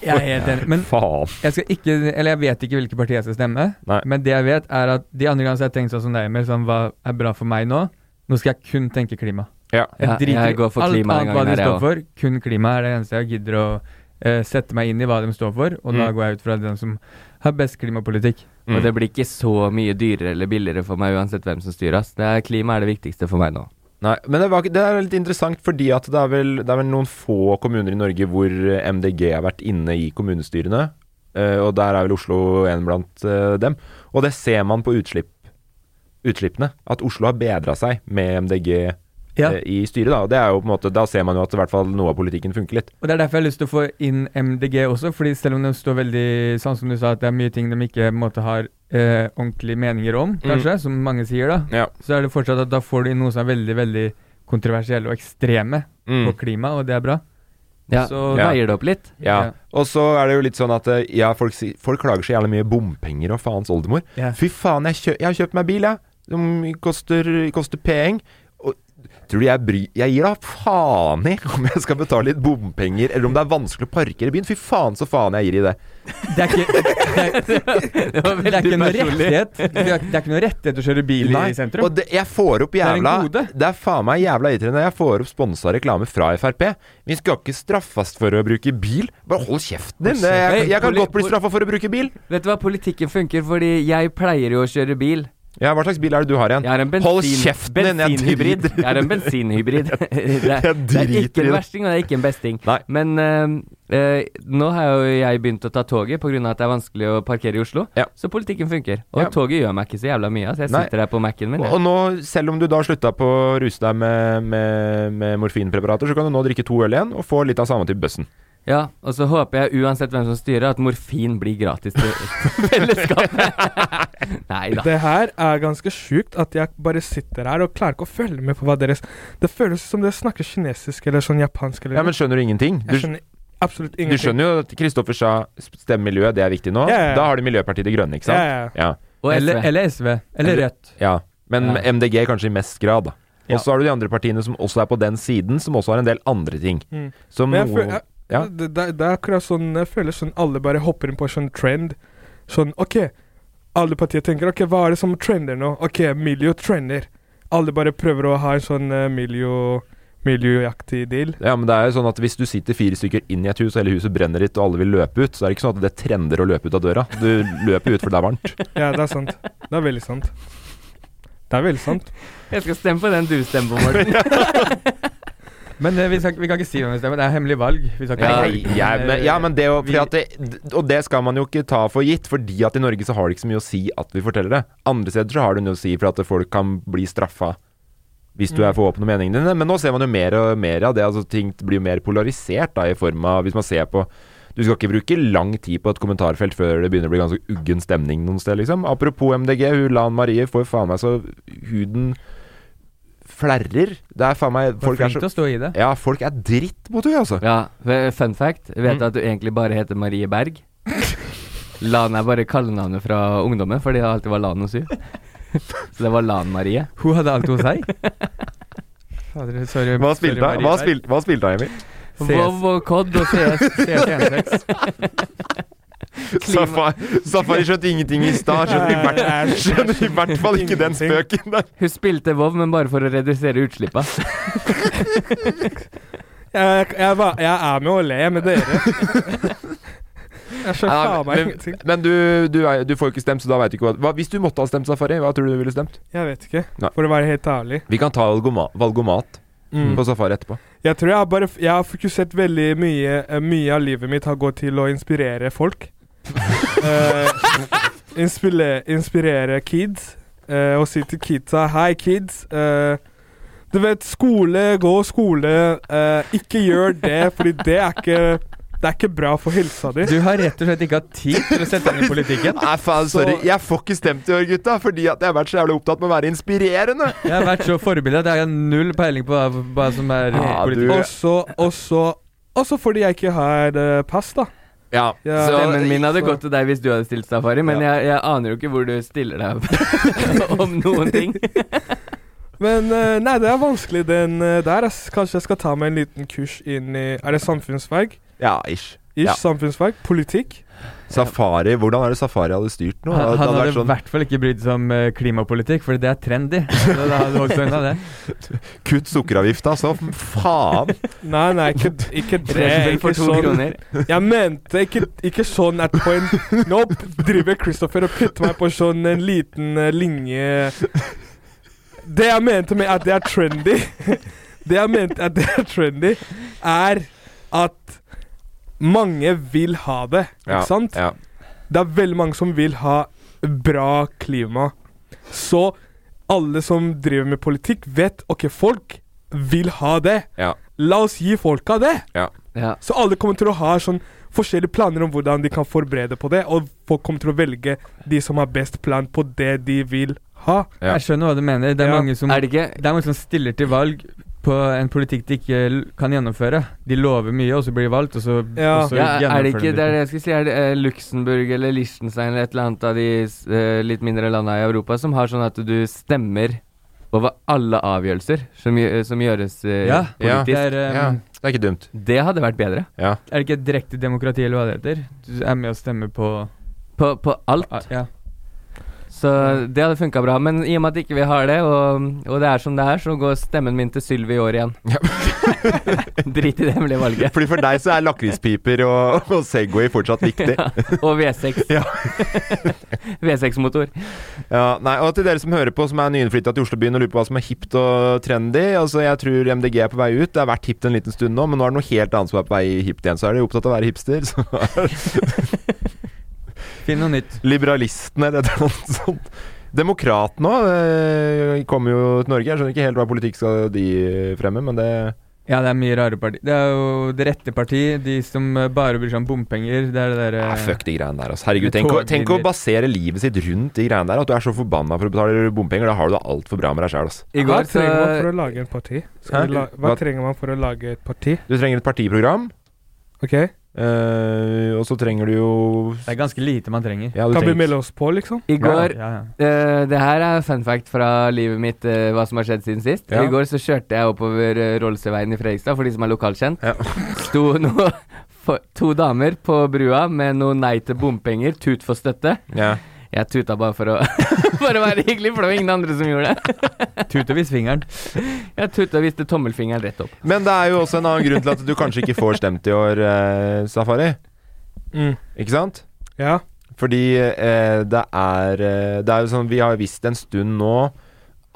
S6: [LAUGHS]
S3: Jeg er helt enig. Men
S6: Faen.
S3: jeg skal ikke Eller jeg vet ikke hvilke partier jeg skal stemme.
S6: Nei.
S3: Men det jeg vet, er at de andre gangene så har jeg tenkt sånn som deg, Emil, sånn hva er bra for meg nå? Nå skal jeg kun tenke klima.
S6: Ja.
S4: Ja,
S3: driter
S4: jeg
S3: i
S4: går for
S3: alt
S4: klima den
S3: annet hva
S4: gangen
S3: de
S4: her, jeg
S3: står for. Kun klima er det eneste jeg gidder å eh, sette meg inn i hva de står for, og da
S6: Mm.
S3: går jeg ut fra den som har best klimapolitikk.
S6: Mm.
S4: Og det blir ikke så mye dyrere eller billigere for meg uansett hvem som styrer. ass. Det er, klima er det viktigste for meg nå.
S6: Nei, men det, var, ikke- det er litt interessant, fordi at det er, vel, det er vel noen få kommuner i Norge hvor eh, MDG har vært inne i kommunestyrene. eh, og der er vel Oslo en blant eh, dem. Og det ser man på utslipp, utslippene. At Oslo har bedra seg med MDG
S3: Ja.
S6: eh, i styret. Da. Og det er jo på en måte, da ser man jo at i hvert fall noe av politikken funker litt.
S3: Og det er derfor jeg har lyst til å få inn MDG også, fordi selv om de står veldig sånn som du sa, at det er mye ting de ikke på en måte, har eh, ordentlige meninger
S4: Mm.
S3: om, kanskje, som mange sier da,
S6: Ja.
S3: så er det fortsatt at da får du inn noe som er veldig, veldig kontroversielle og ekstreme
S4: Mm.
S3: på klima, og det er bra.
S4: Ja,
S3: Så-
S6: Ja.
S4: Veier det opp litt?
S6: Ja.
S3: Ja.
S6: Og så er det jo litt sånn at eh, ja, folk, si- folk klager så jævlig mye bompenger og faens oldemor.
S3: Ja.
S6: Fy faen, jeg, kjø, jeg har kjøpt meg bil, jeg. De koster, koster peng. Og tror du jeg bry... Jeg gir da faen i om jeg skal betale litt bompenger, eller om det er vanskelig å parkere i byen. Fy faen så faen jeg gir i det.
S3: Det er ikke, det er,
S4: [LAUGHS] Det var
S3: det er
S4: veldig
S3: ikke noe
S4: personlig.
S3: rettighet. Det er, det er ikke noe rettighet å kjøre bil
S6: Nei,
S3: i sentrum.
S6: Og det, jeg får opp
S3: er en
S6: jævla Det
S3: gode.
S6: er, faen meg jævla irriterende. Jeg får opp sponsa reklame fra Frp. Vi skal ikke straffes for å bruke bil. Bare hold kjeften din. Det- Jeg, jeg kan
S4: Poli-
S6: godt bli straffa for å bruke bil.
S4: Vet du hva, politikken funker fordi jeg pleier jo å kjøre bil.
S6: Ja, Hva slags bil er det du har igjen?
S4: Jeg er en bensin,
S6: Hold kjeften din, jeg
S4: bensinhybrid.
S6: driter i
S4: Jeg er en
S6: [LAUGHS]
S4: bensinhybrid. [LAUGHS] det, er, det er
S6: driter i
S4: ikke en
S6: det.
S4: versting, og det er ikke en besting.
S6: Nei.
S4: Men eh, eh, nå har jo jeg begynt å ta toget pga. at det er vanskelig å parkere i Oslo.
S6: Ja.
S4: Så politikken funker. Og
S6: Ja.
S4: toget gjør meg ikke så jævla mye. Så jeg
S6: Nei.
S4: sitter her på Mac-en min.
S6: Og
S4: jeg.
S6: og nå, selv om du da slutta på å ruse deg med, med, med morfinpreparater, så kan du nå drikke to øl igjen og få litt av samme til bøssen.
S4: Ja, og så håper jeg uansett hvem som styrer, at morfin blir gratis til [LAUGHS]
S3: [LAUGHS]
S4: fellesskapet. Nei da.
S5: Det her er ganske sjukt at jeg bare sitter her og klarer ikke å følge med på hva deres Det føles som dere snakker kinesisk eller sånn japansk eller
S6: Ja, Men skjønner du ingenting? Du,
S5: Jeg skjønner absolutt
S6: du
S5: ingenting.
S6: skjønner jo at Kristoffer sa stem miljø, det er viktig nå.
S5: Ja, ja, ja.
S6: Da har du Miljøpartiet De Grønne, ikke
S5: Ja,
S6: sant?
S5: ja, ja.
S6: Ja.
S4: Og
S3: Eller,
S4: SV.
S3: eller SV. Eller Rødt.
S6: ja. Men
S4: Ja.
S6: MDG kanskje i mest grad, da. Og så har du de andre partiene som også er på den siden, som også har en del andre ting.
S5: Mm.
S6: Som
S5: Men jeg
S6: noe
S5: føl- jeg-
S6: Ja.
S5: Det, det, det er akkurat sånn Jeg føler sånn alle bare hopper inn på en sånn trend. Sånn OK, alle partier tenker OK, hva er det som trender nå? OK, miljø trender. Alle bare prøver å ha en sånn uh, miljø miljøaktig eh, deal.
S6: Ja, men det er jo sånn at Hvis du sitter fire stykker inn i et hus, og hele huset brenner litt, og alle vil løpe ut, så er det ikke sånn at det trender å løpe ut av døra. Du løper ut for det er varmt.
S5: Ja, det er sant. Det er veldig sant. Det er veldig sant.
S4: Jeg skal stemme på den du stemmer på,
S3: [LAUGHS]
S4: Morten.
S3: Men eh, vi, skal, vi kan ikke si hvem vi stemmer. Det er hemmelig valg. Vi skal ikke
S6: Ja,
S3: si-
S6: jeg, men, ja, men det, å- fordi
S3: Vi-
S6: at det, og det skal man jo ikke ta for gitt, fordi at i Norge så har det ikke så mye å si at vi forteller det. Andre steder så har det noe å si for at folk kan bli straffa hvis
S3: Mm.
S6: du er for åpen om meningene dine. Men nå ser man jo mer og mer av det. Altså, ting blir jo mer polarisert da, i form av Hvis man ser på Du skal ikke bruke lang tid på et kommentarfelt før det begynner å bli ganske uggen stemning noen steder, liksom. Apropos MDG, hun Lan Marie får faen meg så huden flerrer. Det er faen meg
S3: Folk
S6: Folk er
S3: flink til
S6: så
S3: å stå i det.
S6: Ja, folk er dritt mot henne, altså.
S4: Ja, ve- fun fact.
S3: Mm.
S4: Vet du at du egentlig bare heter Marie Berg? Lan er bare kallenavnet fra ungdommen, fordi det alltid var Lan hos henne. Så det var Lan-Marie.
S3: Hun hadde alt
S6: [LAUGHS]
S3: hun sier. Fader, sorry.
S6: Hva
S3: sorry,
S6: spilte han?
S3: Marie
S6: Hva
S3: Berg.
S6: spilte, hva spilte han, Emil?
S3: CS.
S4: Vov og Cod og CS. CS16.
S6: Safari, Safari skjønte ingenting i stad. Skjønner i
S5: Eh,
S6: hvert, skjønner i hvert fall ikke den spøken der.
S4: Hun spilte Vov, men bare for å redusere utslippa.
S5: Jeg, jeg, var- jeg er med å le med
S6: [LAUGHS]
S5: dere. Jeg skjønner
S6: Ja,
S5: faen meg
S6: men
S5: ingenting.
S6: men du, du, er, du får jo ikke stemt, så da veit du ikke hva, hva Hvis du måtte ha stemt Safari, hva tror du du ville stemt?
S5: Jeg vet ikke,
S6: Nei.
S5: for å være helt ærlig.
S6: Vi kan ta valgoma, valgomat
S5: Mm.
S6: på Safari etterpå.
S5: Jeg tror jeg har bare f- Jeg har fokusert veldig mye eh, Mye av livet mitt har gått til å inspirere folk. Eh, inspire, inspirere kids. eh, og si til kidsa Hei, kids. eh, du vet, skole, gå skole. eh, ikke gjør det, fordi det er ikke Det er ikke bra for helsa di.
S3: Du har rett og slett ikke hatt tid til å sette deg inn i politikken.
S6: Nei, faen, sorry.
S5: Så-
S6: Jeg får ikke stemt i år, gutta, fordi at jeg har vært så jævlig opptatt med å være inspirerende.
S3: Jeg har vært så forbilde at jeg har null peiling på hva, hva som er
S6: Ja, du-
S3: politikk.
S5: Og så Og så Og så fordi jeg ikke har eh, pass, da.
S6: Ja,
S5: Ja,
S6: så,
S4: Stemmen min hadde gått til deg hvis du hadde stilt safari, men jeg, jeg aner jo ikke hvor du stiller deg [LAUGHS] om noen ting.
S5: Men eh, nei, det er vanskelig den eh, der. ass. Kanskje jeg skal ta meg en liten kurs inn i Er det samfunnsfag?
S6: ja, ish.
S5: Ish,
S6: Ja.
S5: samfunnsfag? Politikk?
S6: Safari, Hvordan er det Safari hadde styrt nå?
S3: Han,
S6: Det
S3: han
S6: hadde
S3: hadde
S6: vært
S3: i
S6: sånn
S3: hvert fall ikke brydd seg om eh, klimapolitikk, for det er trendy. Så da hadde du holdt seg unna det.
S6: sånn Kutt sukkeravgifta, så [LAUGHS] faen!
S5: Nei, nei, ikke, ikke det.
S4: Racerbil
S5: Ikke
S4: for to
S5: sånn.
S4: kroner.
S5: Jeg mente ikke, ikke sånn at på en Nå driver Christopher og putter meg på sånn en liten eh, linje Det jeg mente med at det er trendy [LAUGHS] Det jeg mente at det er trendy, er at mange vil ha det, ikke sant?
S6: Ja.
S5: Det er veldig mange som vil ha bra klima. Så alle som driver med politikk, vet ok, folk vil ha det.
S6: Ja.
S5: La oss gi folka det.
S4: Ja.
S5: Så alle kommer til å ha sånn forskjellige planer om hvordan de kan forberede på det, og folk kommer til å velge de som har best plan på det de vil ha.
S6: Ja.
S3: Jeg skjønner hva du mener. Det er,
S5: Ja.
S3: mange som,
S4: Er det ikke
S3: det er mange som stiller til valg på en politikk de ikke l- kan gjennomføre. De lover mye, og så blir de valgt, og så,
S5: Ja.
S3: og så
S4: ja, er det ikke,
S3: de
S4: det er det jeg skulle si, er det eh, Luxembourg eller Liechtenstein eller et eller annet av de eh, litt mindre landene i Europa som har sånn at du stemmer over alle avgjørelser som, gjø- som gjøres eh,
S3: Ja.
S4: politisk?
S6: Ja.
S3: Det er, eh,
S6: Ja, det er ikke dumt.
S4: Det hadde vært bedre.
S6: Ja.
S3: er det ikke direkte demokrati, eller hva det heter? Du er med å stemme på ah,
S4: På, på alt.
S3: Ja.
S4: Så det hadde funka bra. Men i og med at ikke vi har det, og, og det er som det er, så går stemmen min til Sylvi i år igjen. [LAUGHS] Drit i det hemmelige valget.
S6: Fordi for deg så er lakrispiper og, og Segway fortsatt viktig.
S4: Og V6. [LAUGHS]
S6: Ja.
S4: V6-motor.
S6: Ja, nei, og til dere som hører på, som er nyinnflytta til Oslobyen og lurer på hva som er hipt og trendy Altså, Jeg tror MDG er på vei ut. Det har vært hipt en liten stund nå, men nå er det noe helt annet som er på vei hipt igjen. Så er de opptatt av å være hipster. Så [LAUGHS] er
S3: Finn noe nytt.
S6: liberalistene eller et eller annet sånt. Demokratene òg eh, kommer jo til Norge. Jeg skjønner ikke helt hva politikk skal de fremme, men det
S3: Ja, det er mye rare parti. Det er jo det rette parti. De som eh, bare bryr seg om bompenger. Det eh, er det derre
S4: Ah,
S6: Nei, fuck de greiene der, altså. Herregud, tenk, å- tenk å basere livet sitt rundt de greiene der. At du er så forbanna for å betale bompenger. Da har du det altfor bra med deg sjæl, altså.
S4: I
S5: Hva
S4: går så
S5: trenger man for å lage et parti?
S6: Hæ?
S5: Skal vi la hva
S6: Hva-
S5: trenger man for å lage et parti?
S6: Du trenger et partiprogram,
S5: Ok?
S6: eh, og så trenger du jo
S3: Det er ganske lite man trenger.
S6: ja, du
S5: Kan vi
S6: trenger-
S5: melde oss på, liksom?
S4: I går
S3: Ja, ja.
S4: Eh, det her er fun fact fra livet mitt, eh, hva som har skjedd siden sist.
S6: Ja.
S4: I går så kjørte jeg oppover uh, Rollsøyveien i Fredrikstad, for de som er lokalkjent.
S6: Ja.
S4: Sto nå [LAUGHS] for, to damer på brua med noe nei til bompenger, tut for støtte.
S6: Ja.
S4: Jeg tuta bare for å, [LAUGHS] for å være hyggelig, for det var ingen andre som gjorde det. [LAUGHS]
S3: Tut og vis fingeren.
S4: Jeg tuta og viste tommelfingeren rett opp.
S6: Men det er jo også en annen grunn til at du kanskje ikke får stemt i år, eh, Safari.
S5: Mm.
S6: Ikke sant?
S5: Ja.
S6: Fordi eh, det er eh, Det er jo sånn Vi har visst en stund nå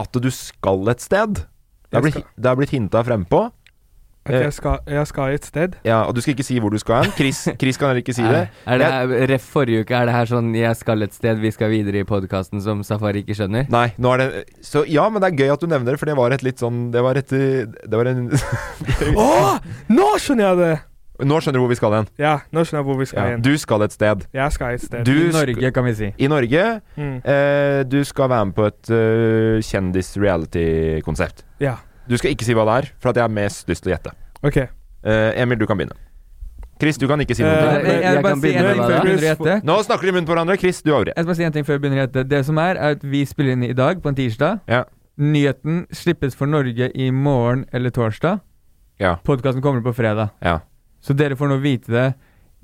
S6: at du skal et sted. Det er
S5: Jeg
S6: blitt,
S5: skal.
S6: det er blitt hinta frempå.
S5: At jeg skal, jeg skal et sted.
S6: Ja, og du skal ikke si hvor du skal hen. Chris, Chris kan heller ikke si det.
S4: Er det her, ref forrige uke, er det her sånn 'jeg skal et sted, vi skal videre' i podkasten som Safari ikke skjønner?
S6: Nei, nå er det Så ja, men det er gøy at du nevner det, for det var et litt sånn Det var et eh, Det var en [LAUGHS]
S5: Å! Nå skjønner jeg det!
S6: Nå skjønner du hvor vi skal hen.
S5: Ja, nå skjønner jeg hvor vi skal
S6: Ja,
S5: hen.
S6: du skal et sted.
S5: Jeg skal et sted.
S6: Du
S3: I
S6: sk-
S3: Norge, kan vi si.
S6: I Norge.
S5: Mm.
S6: Eh, du skal være med på et eh, kjendis-reality-konsept.
S5: Ja.
S6: Du skal ikke si hva det er, for at jeg har mest lyst til å gjette.
S5: Ok.
S6: Eh, Emil, du kan begynne. Chris, du kan ikke si noe.
S5: Eh,
S6: om
S5: men-
S3: Jeg,
S6: det.
S3: jeg, jeg
S4: jeg
S3: bare
S4: kan
S3: si en
S4: begynne
S3: ting
S4: med
S3: før
S4: det.
S3: jeg begynner å gjette.
S6: Nå snakker de i munnen på hverandre. Chris, du har ordet.
S3: Jeg skal bare si en ting før jeg begynner å gjette. Det som er, er at vi spiller inn i dag, på en tirsdag.
S6: Ja.
S3: Nyheten slippes for Norge i morgen eller torsdag.
S6: Ja.
S3: Podkasten kommer på fredag.
S6: Ja.
S3: Så dere får nå vite det.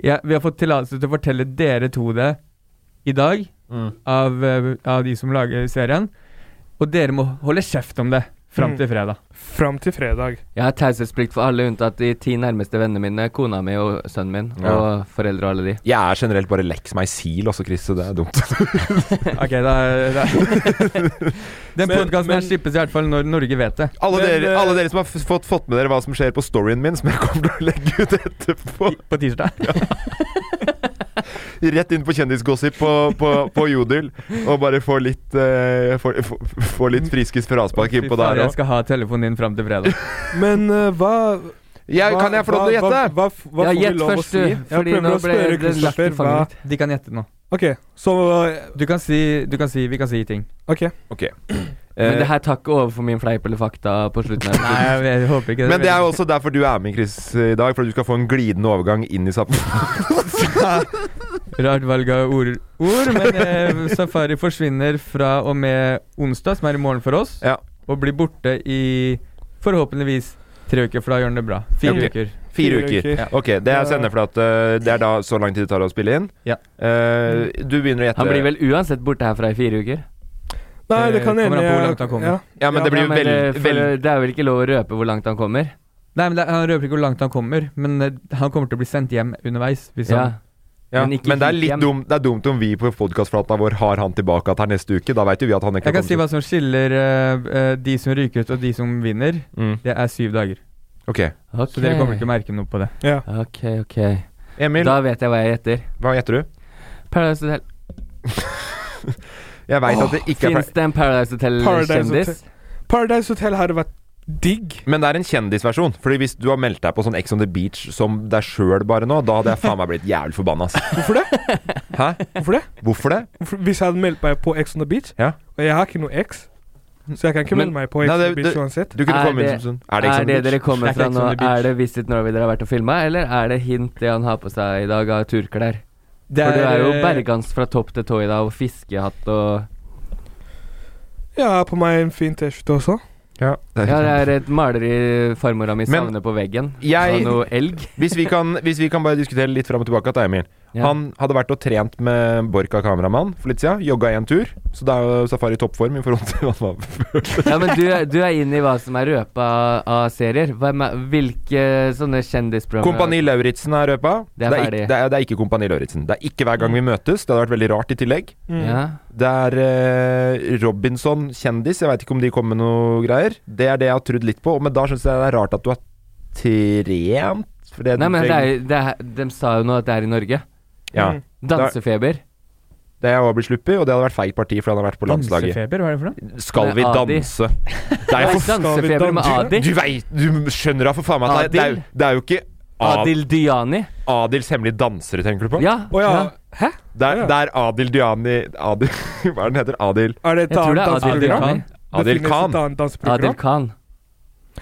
S3: Ja, vi har fått tillatelse til å fortelle dere to det i dag,
S6: Mm.
S3: av, eh, av de som lager serien. Og dere må holde kjeft om det fram
S5: Mm.
S3: til fredag. [LAUGHS]
S5: Fram til fredag.
S4: Jeg har taushetsplikt for alle unntatt de ti nærmeste vennene mine, kona mi og sønnen min,
S6: Ja.
S4: og foreldre og alle de.
S6: Jeg er generelt bare leks meg sil også, Chris, så det er
S5: [LAUGHS]
S6: dumt.
S3: Ok, da, da.
S6: [LAUGHS]
S3: Den
S5: Men-
S3: podkasten
S5: men-
S3: her slippes i hvert fall når Norge vet det.
S6: Alle,
S5: Men,
S6: dere,
S5: eh,
S6: alle dere som har f- fått, fått med dere hva som skjer på storyen min, som jeg kommer til å legge ut etterpå,
S3: På tirsdag.
S6: rett inn på kjendisgossip på, på, på Jodel, og bare få litt, eh, få, få, få litt friskis fra avspark
S3: Fy
S6: innpå
S3: faen,
S6: der
S3: jeg
S6: òg.
S3: skal ha telefonen din fram til fredag.
S5: Men eh, hva, hva
S6: Kan jeg få lov til å
S5: hva-
S6: gjette?
S5: Hva, hva, hva
S4: Ja,
S5: får vi
S4: gjett
S5: lov å
S4: først,
S5: si?
S4: du,
S5: Jeg
S4: fordi
S5: prøver
S4: nå
S5: å spørre
S4: ble det lagt i
S5: Kristoffer hva
S4: fanget
S3: De kan gjette nå.
S5: Ok, så eh,
S3: Du kan si, du kan si Vi kan si ting.
S5: Ok.
S4: Men
S6: Eh,
S4: det her tar ikke over for min fleip eller fakta på slutten. her.
S3: Nei, jeg, jeg håper ikke
S6: Men det er jo også derfor du er med, Chris, i dag. For at du skal få en glidende overgang inn i
S4: [LAUGHS]
S6: sappen.
S3: Rart valg av ord, ord men eh, [LAUGHS] Safari forsvinner fra og med onsdag, som er i morgen for oss,
S6: Ja.
S3: og blir borte i forhåpentligvis tre uker, for da gjør den det bra. Fire
S6: Ok.
S3: uker.
S6: Fire uker.
S5: uker.
S6: Ok, det er sender for at eh, det er da så lang tid det tar å spille inn.
S3: Ja.
S6: Eh, du begynner å gjette.
S4: Han blir vel uansett borte herfra i fire uker?
S5: Nei, det kan
S3: Det
S5: hende
S3: kommer an på hvor langt han
S5: jeg
S3: kommer.
S5: ja.
S6: Ja, men det blir
S4: Ja,
S6: jo
S4: men, eh,
S6: veldig
S4: for
S6: veld...
S4: Det er vel ikke lov å røpe hvor langt han kommer?
S3: Nei, men det, Han røper ikke hvor langt han kommer, men eh, han kommer til å bli sendt hjem underveis. Hvis
S4: Ja.
S3: han,
S6: ja.
S4: men
S6: Men,
S4: ikke
S6: det er
S4: hit
S6: litt
S4: hjem.
S6: dumt, det er dumt om vi på podcastflata vår har han tilbake at her neste uke. Da veit jo vi at han ikke
S3: jeg kan si hva som skiller eh, eh, de som ryker ut, og de som vinner.
S6: Mm.
S3: Det er syv dager.
S6: Ok.
S4: Ok.
S3: Så dere kommer ikke til å merke noe på det.
S5: ja.
S4: Ok, ok.
S6: Emil,
S4: Da vet jeg hva jeg gjetter.
S6: hva gjetter du?
S4: Paradise Hotel.
S6: Jeg veit at det ikke er
S4: Fins det en Paradise
S5: Paradise Hotel.
S4: Hotel-kjendis?
S5: Paradise Hotel hadde vært digg.
S6: men det er en kjendisversjon. Fordi hvis du har meldt deg på sånn Ex on the Beach som deg sjøl bare nå, da hadde jeg faen meg blitt jævlig
S4: [LAUGHS]
S6: forbanna. ass.
S5: Hvorfor
S3: [LAUGHS]
S5: det?
S6: Hæ?
S5: Hvorfor det?
S6: Hvorfor det?
S5: For Hvis jeg hadde meldt meg på Ex on the Beach
S6: Ja.
S5: Og jeg har ikke noe X, så jeg kan ikke
S4: Men-
S5: melde meg på Ex
S6: Nei,
S5: on
S6: det-
S5: the Beach
S6: det-
S5: uansett.
S6: Du kunne
S4: Er
S6: komme inn
S4: det-
S6: som sånn
S4: Er
S6: [LAUGHS] Er det sånn Ex on the
S4: det dere
S6: Beach?
S4: kommer
S3: Det er
S4: fra
S3: ikke
S4: nå,
S3: Ex on the Beach.
S4: er det Visit Norway dere har vært og filma, eller er det hint det han har på seg i dag av turklær?
S3: Det
S4: For du er jo
S3: eh,
S4: bergans fra topp til tå i dag, og fiskehatt og
S5: Ja, jeg har på meg en fin T-skjorte også.
S6: Ja.
S4: Ja, det er et maleri farmora mi
S6: Men-
S4: savner på veggen.
S6: Jeg-
S4: Og noe elg.
S6: Hvis vi, kan, hvis vi kan bare diskutere litt fram og tilbake da, Emil.
S4: Ja.
S6: [LAUGHS] Han hadde vært og trent med Borka kameramann for litt siden. Jogga én tur. Så det er jo Safari i toppform i forhold til hva han var
S4: Ja, men du, er- du er inn i hva som er røpa av- av serier. Hvem er, hvilke sånne kjendisprogrammer
S6: Kompani Lauritzen er røpa.
S4: Det er
S6: ikke,
S4: ferdig.
S6: det, er, det er ikke Kompani Lauritzen. Det er ikke hver gang vi møtes. Det hadde vært veldig rart i tillegg.
S4: Ja.
S6: Det er eh, Robinson kjendis. Jeg veit ikke om de kom med noe greier. Det er det jeg har trudd litt på. Men da syns jeg det er rart at du har trent. For det
S4: Nei, men det er, det er, de sa jo nå at det er i Norge.
S6: Ja.
S4: Dansefeber.
S6: Det er jo blitt sluppig, og det hadde vært feigt parti, for han har vært på landslaget.
S3: Dansefeber, hva er det for noe?
S6: Skal vi
S4: Med Adi.
S6: danse? Det er
S4: Nei,
S6: jo for
S4: Dansefeber med Adi.
S6: Du veit Du skjønner da for faen meg at det er, det, er, jo- det er jo ikke Adil.
S4: Adil Diani.
S6: Adils hemmelige dansere, tenker du på?
S4: Ja.
S5: Å ja.
S4: ja.
S5: Hæ?
S6: Det, er, det er Adil Diani Adil, [LAUGHS] Hva er den heter? Adil
S5: Er det et
S4: Jeg tror det
S5: annet
S4: er Adil
S5: danseprogram?
S4: Khan.
S5: Det
S6: Adil
S5: finnes
S6: Khan.
S5: et annet
S4: Adil
S5: danseprogram.
S4: Khan.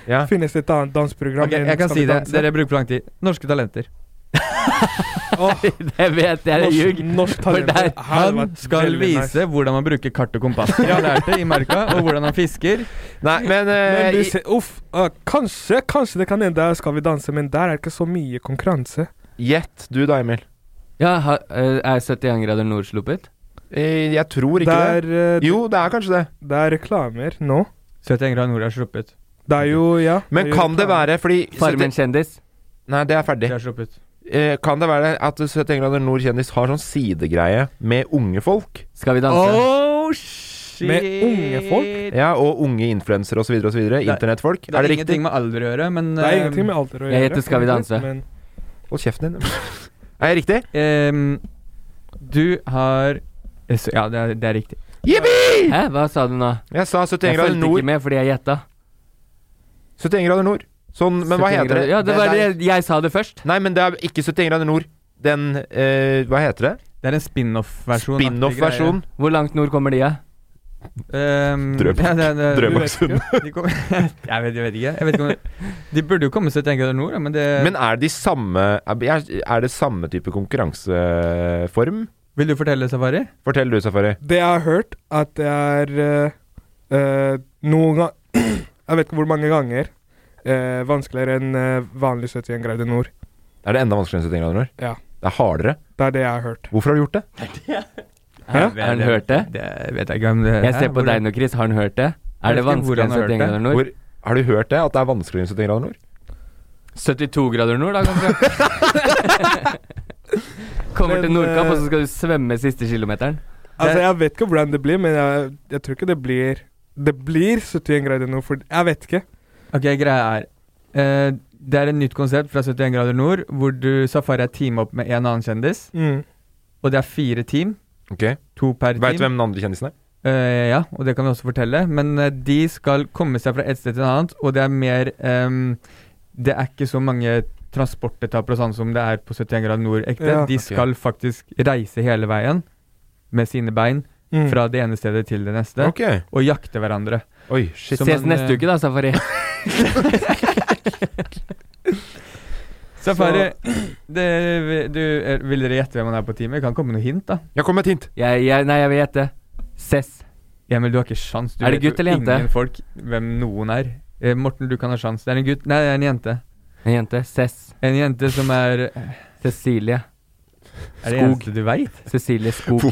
S6: Ja.
S5: Finnes det et annet danseprogram?
S3: Ok, jeg kan si det. Dere bruker for lang tid. Norske talenter.
S4: Det vet jeg, det er
S5: Norsk,
S4: ljug.
S5: norsk
S4: For der-
S5: talent.
S3: Han skal vise hvordan man bruker kart og kompass. Det Han lærte i merka, og hvordan han fisker.
S6: Nei, men, eh,
S5: Men du
S6: i-
S5: ser, uff, øh, kanskje, kanskje det kan hende der skal vi danse, men der er det ikke så mye konkurranse.
S6: gjett du da, Emil.
S4: Ja, ha, eh, er 71 grader nord sluppet?
S6: Eh, Jeg tror
S5: Det
S6: ikke det.
S5: er, eh,
S6: Jo, det er kanskje det.
S5: det er reklamer nå.
S3: 71 grader nord er sluppet.
S5: Det er jo Ja.
S6: Men
S5: det er jo
S6: kan det
S5: reklamer.
S6: være fordi
S4: Farmen kjendis.
S6: Nei, det er ferdig.
S3: Det er sluppet.
S6: Eh, Kan det være at 71 grader nord kjendis har sånn sidegreie med unge folk?
S4: Skal vi danse?
S3: shit!
S5: Med unge folk?
S6: Ja, og unge influensere osv. osv.
S3: er-
S6: Internettfolk.
S3: Det er,
S6: Er det riktig?
S3: ingenting med alder å gjøre, men
S5: Det er ingenting med alder å gjøre.
S4: Jeg heter Skal vi danse.
S5: Men
S6: Hold kjeften din. Er jeg riktig?
S3: ehm, Du har eh, så- Ja, det er, det er riktig.
S6: Jippi!
S4: Hæ, hva sa du nå?
S6: Jeg sa 71
S4: Jeg
S6: grader
S4: fulgte ikke
S6: nord.
S4: med fordi jeg gjetta.
S6: 71 grader nord. Sånn, men hva
S4: 71
S6: heter det?
S4: grader- Ja, det var det jeg sa det først.
S6: Nei, men det er ikke 71 grader nord. Den eh, Hva heter det?
S3: Det er en spin-off-versjon.
S6: Spin-off-versjon.
S4: Hvor langt nord kommer de, ja?
S3: Um,
S6: Drøbak. Drøbaksund.
S3: De kom, [LAUGHS] jeg, vet, jeg vet ikke. Jeg vet ikke om, de burde jo komme 71 grader nord, da, men det
S6: Men er det de samme Er er det samme type konkurranseform?
S3: Vil du fortelle, Safari?
S6: Fortell du, Safari.
S5: det jeg har hørt, at det er eh, eh, noen ganger [CLEARS THROAT] Jeg vet ikke hvor mange ganger eh, vanskeligere enn eh, vanlig 71 grader nord.
S6: Er det enda vanskeligere enn 71 grader nord?
S5: Ja.
S6: Det er hardere.
S5: Det er det jeg har hørt.
S6: Hvorfor har du gjort det?
S5: Hæ?
S4: Har han hørt det?
S3: Det vet jeg ikke om det
S4: Jeg ser på
S3: Hvordan-
S4: deg nå, Chris. Har han hørt det? Er
S3: Jeg
S4: det
S3: vet ikke hvor
S4: vanskeligere enn
S3: han har
S4: 71
S3: hørt det.
S4: grader nord?
S6: Hvor, har du hørt det? At det er vanskeligere enn 71 grader nord?
S4: 72 grader nord, da, kanskje? Kommer til
S5: Men,
S4: Nordkapp,
S5: eh,
S4: og så skal du svømme siste kilometeren?
S5: Altså, jeg vet ikke hvordan det blir, men jeg, jeg tror ikke det blir Det blir 71 grader nord, for jeg vet ikke.
S3: Ok, greia er eh, Det er et nytt konsept fra 71 grader nord, hvor du Safari er team opp med en annen kjendis.
S5: Mm.
S3: Og det er fire team.
S6: Ok
S3: To per team.
S6: Veit du hvem den andre kjendisen er?
S3: Eh, ja, og det kan vi også fortelle. Men eh, de skal komme seg fra et sted til et annet, og det er mer ehm, Det er ikke så mange transportetapper og sånn som det er på 71 grader nord ekte.
S5: Ja.
S3: de
S6: Ok.
S3: skal faktisk reise hele veien med sine bein
S5: Mm.
S3: fra det ene stedet til det neste,
S6: Ok.
S3: og jakte hverandre.
S6: Oi, shit.
S3: Så
S4: Ses
S3: man,
S4: neste
S3: eh,
S4: uke, da, Safari.
S3: Safari, [CLEARS THROAT] det, du, eh, vil dere gjette hvem han er på teamet? Kan komme noe hint, da.
S6: Jeg kom med et hint.
S4: Jeg, jeg, nei, jeg vil gjette. Ses.
S3: Emil, du har ikke sjans. Du
S4: Er det
S3: vet jo
S4: gutt eller jente?
S3: Ingen folk hvem noen er. Eh, Morten, du kan ha sjans. Det er en gutt. Nei, det er en jente.
S4: En jente. Ses.
S3: En jente som er
S4: Cecilie.
S3: Er det
S4: Skog.
S3: eneste du veit?
S4: Cecilie Skog.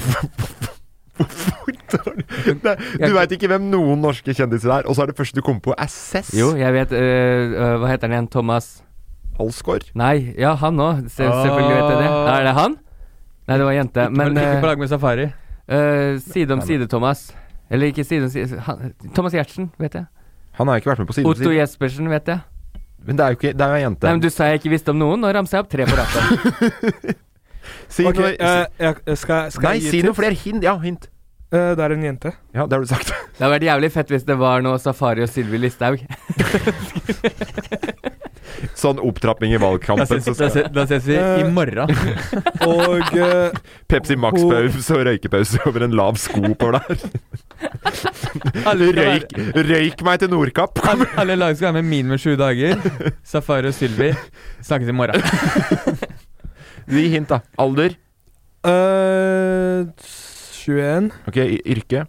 S6: Du veit ikke hvem noen norske kjendiser er, og så er det første du kommer på, er Cess
S4: Jo, jeg vet øh, øh, Hva heter han igjen? Thomas
S6: Alsgaard.
S4: Nei, ja, han òg. Se, selvfølgelig vet jeg det.
S3: Åh.
S4: Er det han? Nei, det var en jente. Men
S3: Men ikke på
S4: øh,
S3: lag med Safari.
S4: øh, side om side, Thomas. Eller ikke side om side han, Thomas Giertsen, vet jeg.
S6: Han har jo ikke vært med på siden
S4: Otto
S6: sin.
S4: Jespersen, vet jeg.
S6: Men det er jo ikke Det er jo ei jente.
S4: Nei, men Du sa jeg ikke visste om noen. Nå ramser jeg opp tre på rappen.
S6: Si
S5: Ok,
S6: noe
S5: eh, jeg, jeg skal, skal
S6: Nei,
S5: jeg gi
S6: si noe
S5: tips?
S6: flere hint. Ja, hint.
S5: Eh, det er en jente.
S6: Ja, det har du sagt. [LAUGHS]
S4: Det hadde vært jævlig fett hvis det var noe Safari og Sylvi Listhaug.
S6: Sånn opptrapping i
S3: Da
S6: valgkampen.
S3: ses,
S6: Så skal
S3: vi
S5: Eh,
S3: i morgen. [LAUGHS]
S5: Og eh,
S6: Pepsi Max-pause og røykepause over en lav sko oppover der.
S3: Alle, skal
S6: Røyk,
S3: være-
S6: røyk meg til Nordkapp!
S3: alle, alle lag skal være med minimum sju dager. Safari og Sylvi snakkes i [LAUGHS] morgen.
S6: Gi hint, da. Alder.
S5: eh, 21
S6: Ok, y- yrke.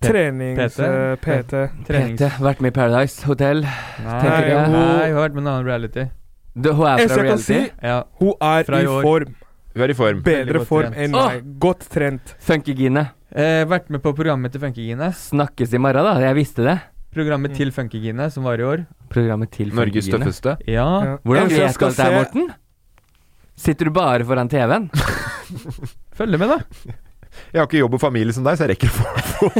S5: Trenings...
S3: PT?
S5: eh, PT.
S3: Trenings...
S4: Pete, vært med i Paradise Hotel.
S3: Nei,
S4: tenker jeg.
S3: hun Nei, hun har vært med en annen reality.
S4: Du, hun er
S5: Eneste
S4: fra
S5: jeg kan si,
S4: reality.
S3: Ja.
S5: hun er
S3: Fra
S5: i
S3: i år.
S5: form.
S6: Hun er i form.
S3: Veldig
S5: Bedre
S3: godt
S5: form
S3: trent.
S5: enn meg. Godt trent.
S4: Funkygine.
S3: Eh, vært med på programmet til Funkygine.
S4: Snakkes i morgen, da. Jeg visste det.
S3: Programmet til Funkygine, som var i år.
S4: Programmet til
S6: Norges
S4: Funkygine.
S6: tøffeste.
S3: Ja.
S5: Ja.
S4: Hvordan
S5: Eneste
S4: vet
S5: jeg
S4: du alt
S5: skal
S4: det her,
S5: se-
S4: Morten? Sitter du bare foran TV-en?
S3: Følg med, da.
S6: Jeg har ikke jobb og familie som deg, så jeg rekker å få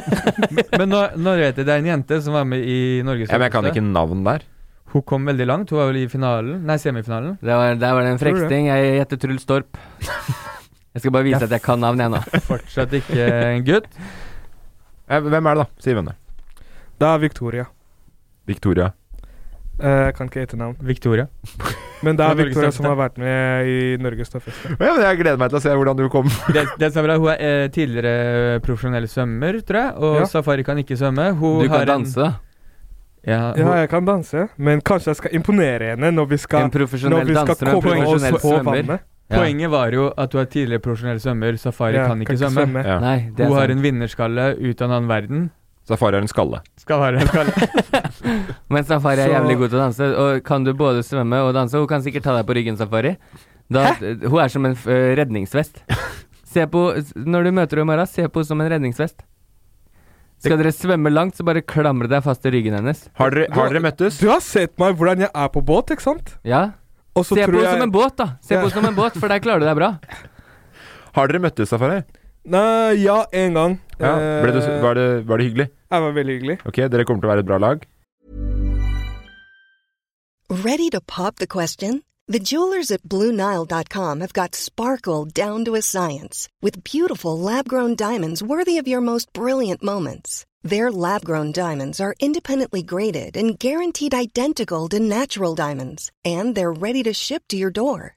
S3: Men nå, nå vet jeg det er en jente som var med i Norges
S6: ja, Men jeg kan ikke navn der.
S3: Hun kom veldig langt. Hun var vel i finalen Nei, semifinalen.
S4: Det var, der var det en
S5: Tror du det?
S4: freksting. Jeg gjetter Truls Torp. Jeg skal bare vise
S3: Ja.
S4: at jeg kan navnet ennå.
S3: Fortsatt ikke en gutt.
S6: Eh, Hvem er det, da? Si hvem det er.
S5: Det er Victoria.
S6: Victoria.
S5: Eh, jeg kan ikke etternavn.
S3: Victoria.
S5: Men det
S3: Fra
S5: er
S3: Norges
S5: Victoria
S3: tøffeste.
S5: som har vært med i Norges tøffeste.
S6: Ja, men jeg gleder meg til å se hvordan du
S5: [LAUGHS]
S6: kom.
S3: Det, det som er bra, Hun er eh, tidligere profesjonell svømmer, tror jeg. Og
S5: Ja.
S3: Safari kan ikke svømme. Hun
S4: Du
S3: har
S4: kan danse, da.
S3: En, ja, hun,
S5: Ja, jeg kan danse, men kanskje jeg skal imponere henne når vi
S4: En
S5: skal, når
S4: profesjonell
S5: vi skal
S4: danser og en
S5: komme oss
S4: profesjonell
S5: på
S4: svømmer.
S5: vannet.
S4: Ja.
S3: Poenget var jo at hun er tidligere profesjonell svømmer. Safari
S5: Ja,
S3: kan ikke svømme.
S6: Ja.
S4: Nei, det
S3: Hun har
S4: er sant.
S3: en vinnerskalle ut av en annen verden.
S6: Safari er en skalle.
S3: Skal være en skalle.
S4: Men Safari er
S5: Så-
S4: jævlig god til å danse. Og kan du både svømme og danse? Hun kan sikkert ta deg på ryggen, Safari. Da, Hun er som en f- øh, eh, redningsvest. Se på, s- når du møter henne i morgen, se på henne som en redningsvest. Skal dere svømme langt, så bare klamre deg fast i ryggen hennes.
S6: Har dere, har dere møttes?
S5: Du har sett meg hvordan jeg er på båt, ikke sant?
S4: Ja?
S5: Og så
S4: Se på
S5: tror
S4: henne
S5: jeg
S4: som en båt, da! Se på henne som en båt, for der klarer du deg [LAUGHS] bra.
S6: Har dere møttes, Safari?
S5: Nei, ja, en gang.
S6: Ja.
S5: Eh,
S6: Ble det, var, det, var det hyggelig?
S5: Jeg var veldig hyggelig.
S6: Ok, dere kommer til å være et bra lag?
S8: Ready to pop the question? The [LAUGHS] jewelers at BlueNile.com have got sparkle down to a science with beautiful lab grown diamonds worthy of your most brilliant moments. Their lab grown diamonds are independently graded and guaranteed identical to natural diamonds, and they're ready to ship to your door.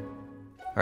S2: All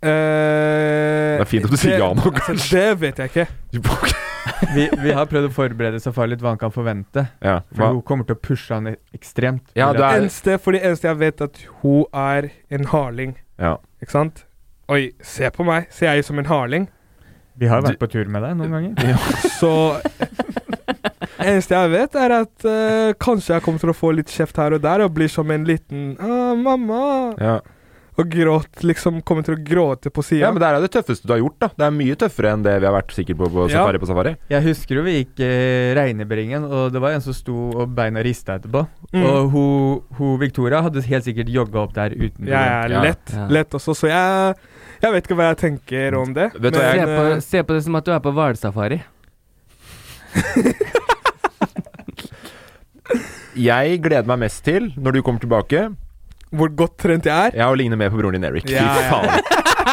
S5: Eh,
S6: Det er fint at du sier ja nå,
S5: altså, Det vet jeg ikke.
S3: Vi, vi har prøvd å forberede Safari litt hva han kan forvente.
S6: [LAUGHS] Ja,
S3: For
S6: hva?
S3: hun kommer til å pushe han ekstremt.
S6: Ja,
S3: Vil jeg-
S6: Er det-
S5: Eneste, for det eneste jeg vet, at hun er en harling.
S6: Ja.
S5: Ikke sant? Oi, se på meg. Ser jeg ut som en harling?
S3: Vi har jo vært på tur med deg noen ganger.
S5: Så
S6: [LAUGHS]
S5: eh, Eneste jeg vet, er at eh, kanskje jeg kommer til å få litt kjeft her og der og blir som en liten ah, 'Mamma!'
S6: Ja.
S5: Og gråt, liksom kommer til å gråte på sida.
S6: ja, men det er jo det tøffeste du har gjort, da. Det er mye tøffere enn det vi har vært sikker på på
S5: Ja.
S6: safari på safari.
S3: Jeg husker jo vi gikk eh, Regnebringen, og det var en som sto og beina rista etterpå.
S5: Mm.
S3: Og hun, hun Victoria hadde helt sikkert jogga opp der uten
S5: Jeg
S3: problem.
S5: er
S6: Ja.
S5: lett,
S4: Ja.
S5: lett også, så jeg, jeg vet ikke hva jeg tenker om det.
S6: Vet du hva
S4: Se
S6: jeg-
S5: eh,
S4: på, se på det som at du er på hvalsafari.
S6: Jeg gleder meg mest til, når du kommer tilbake,
S5: eh, hvor godt trent jeg er
S6: jeg å ligne mer på broren din Erik. Fy
S5: Ja, ja.
S6: faen.
S5: [LAUGHS]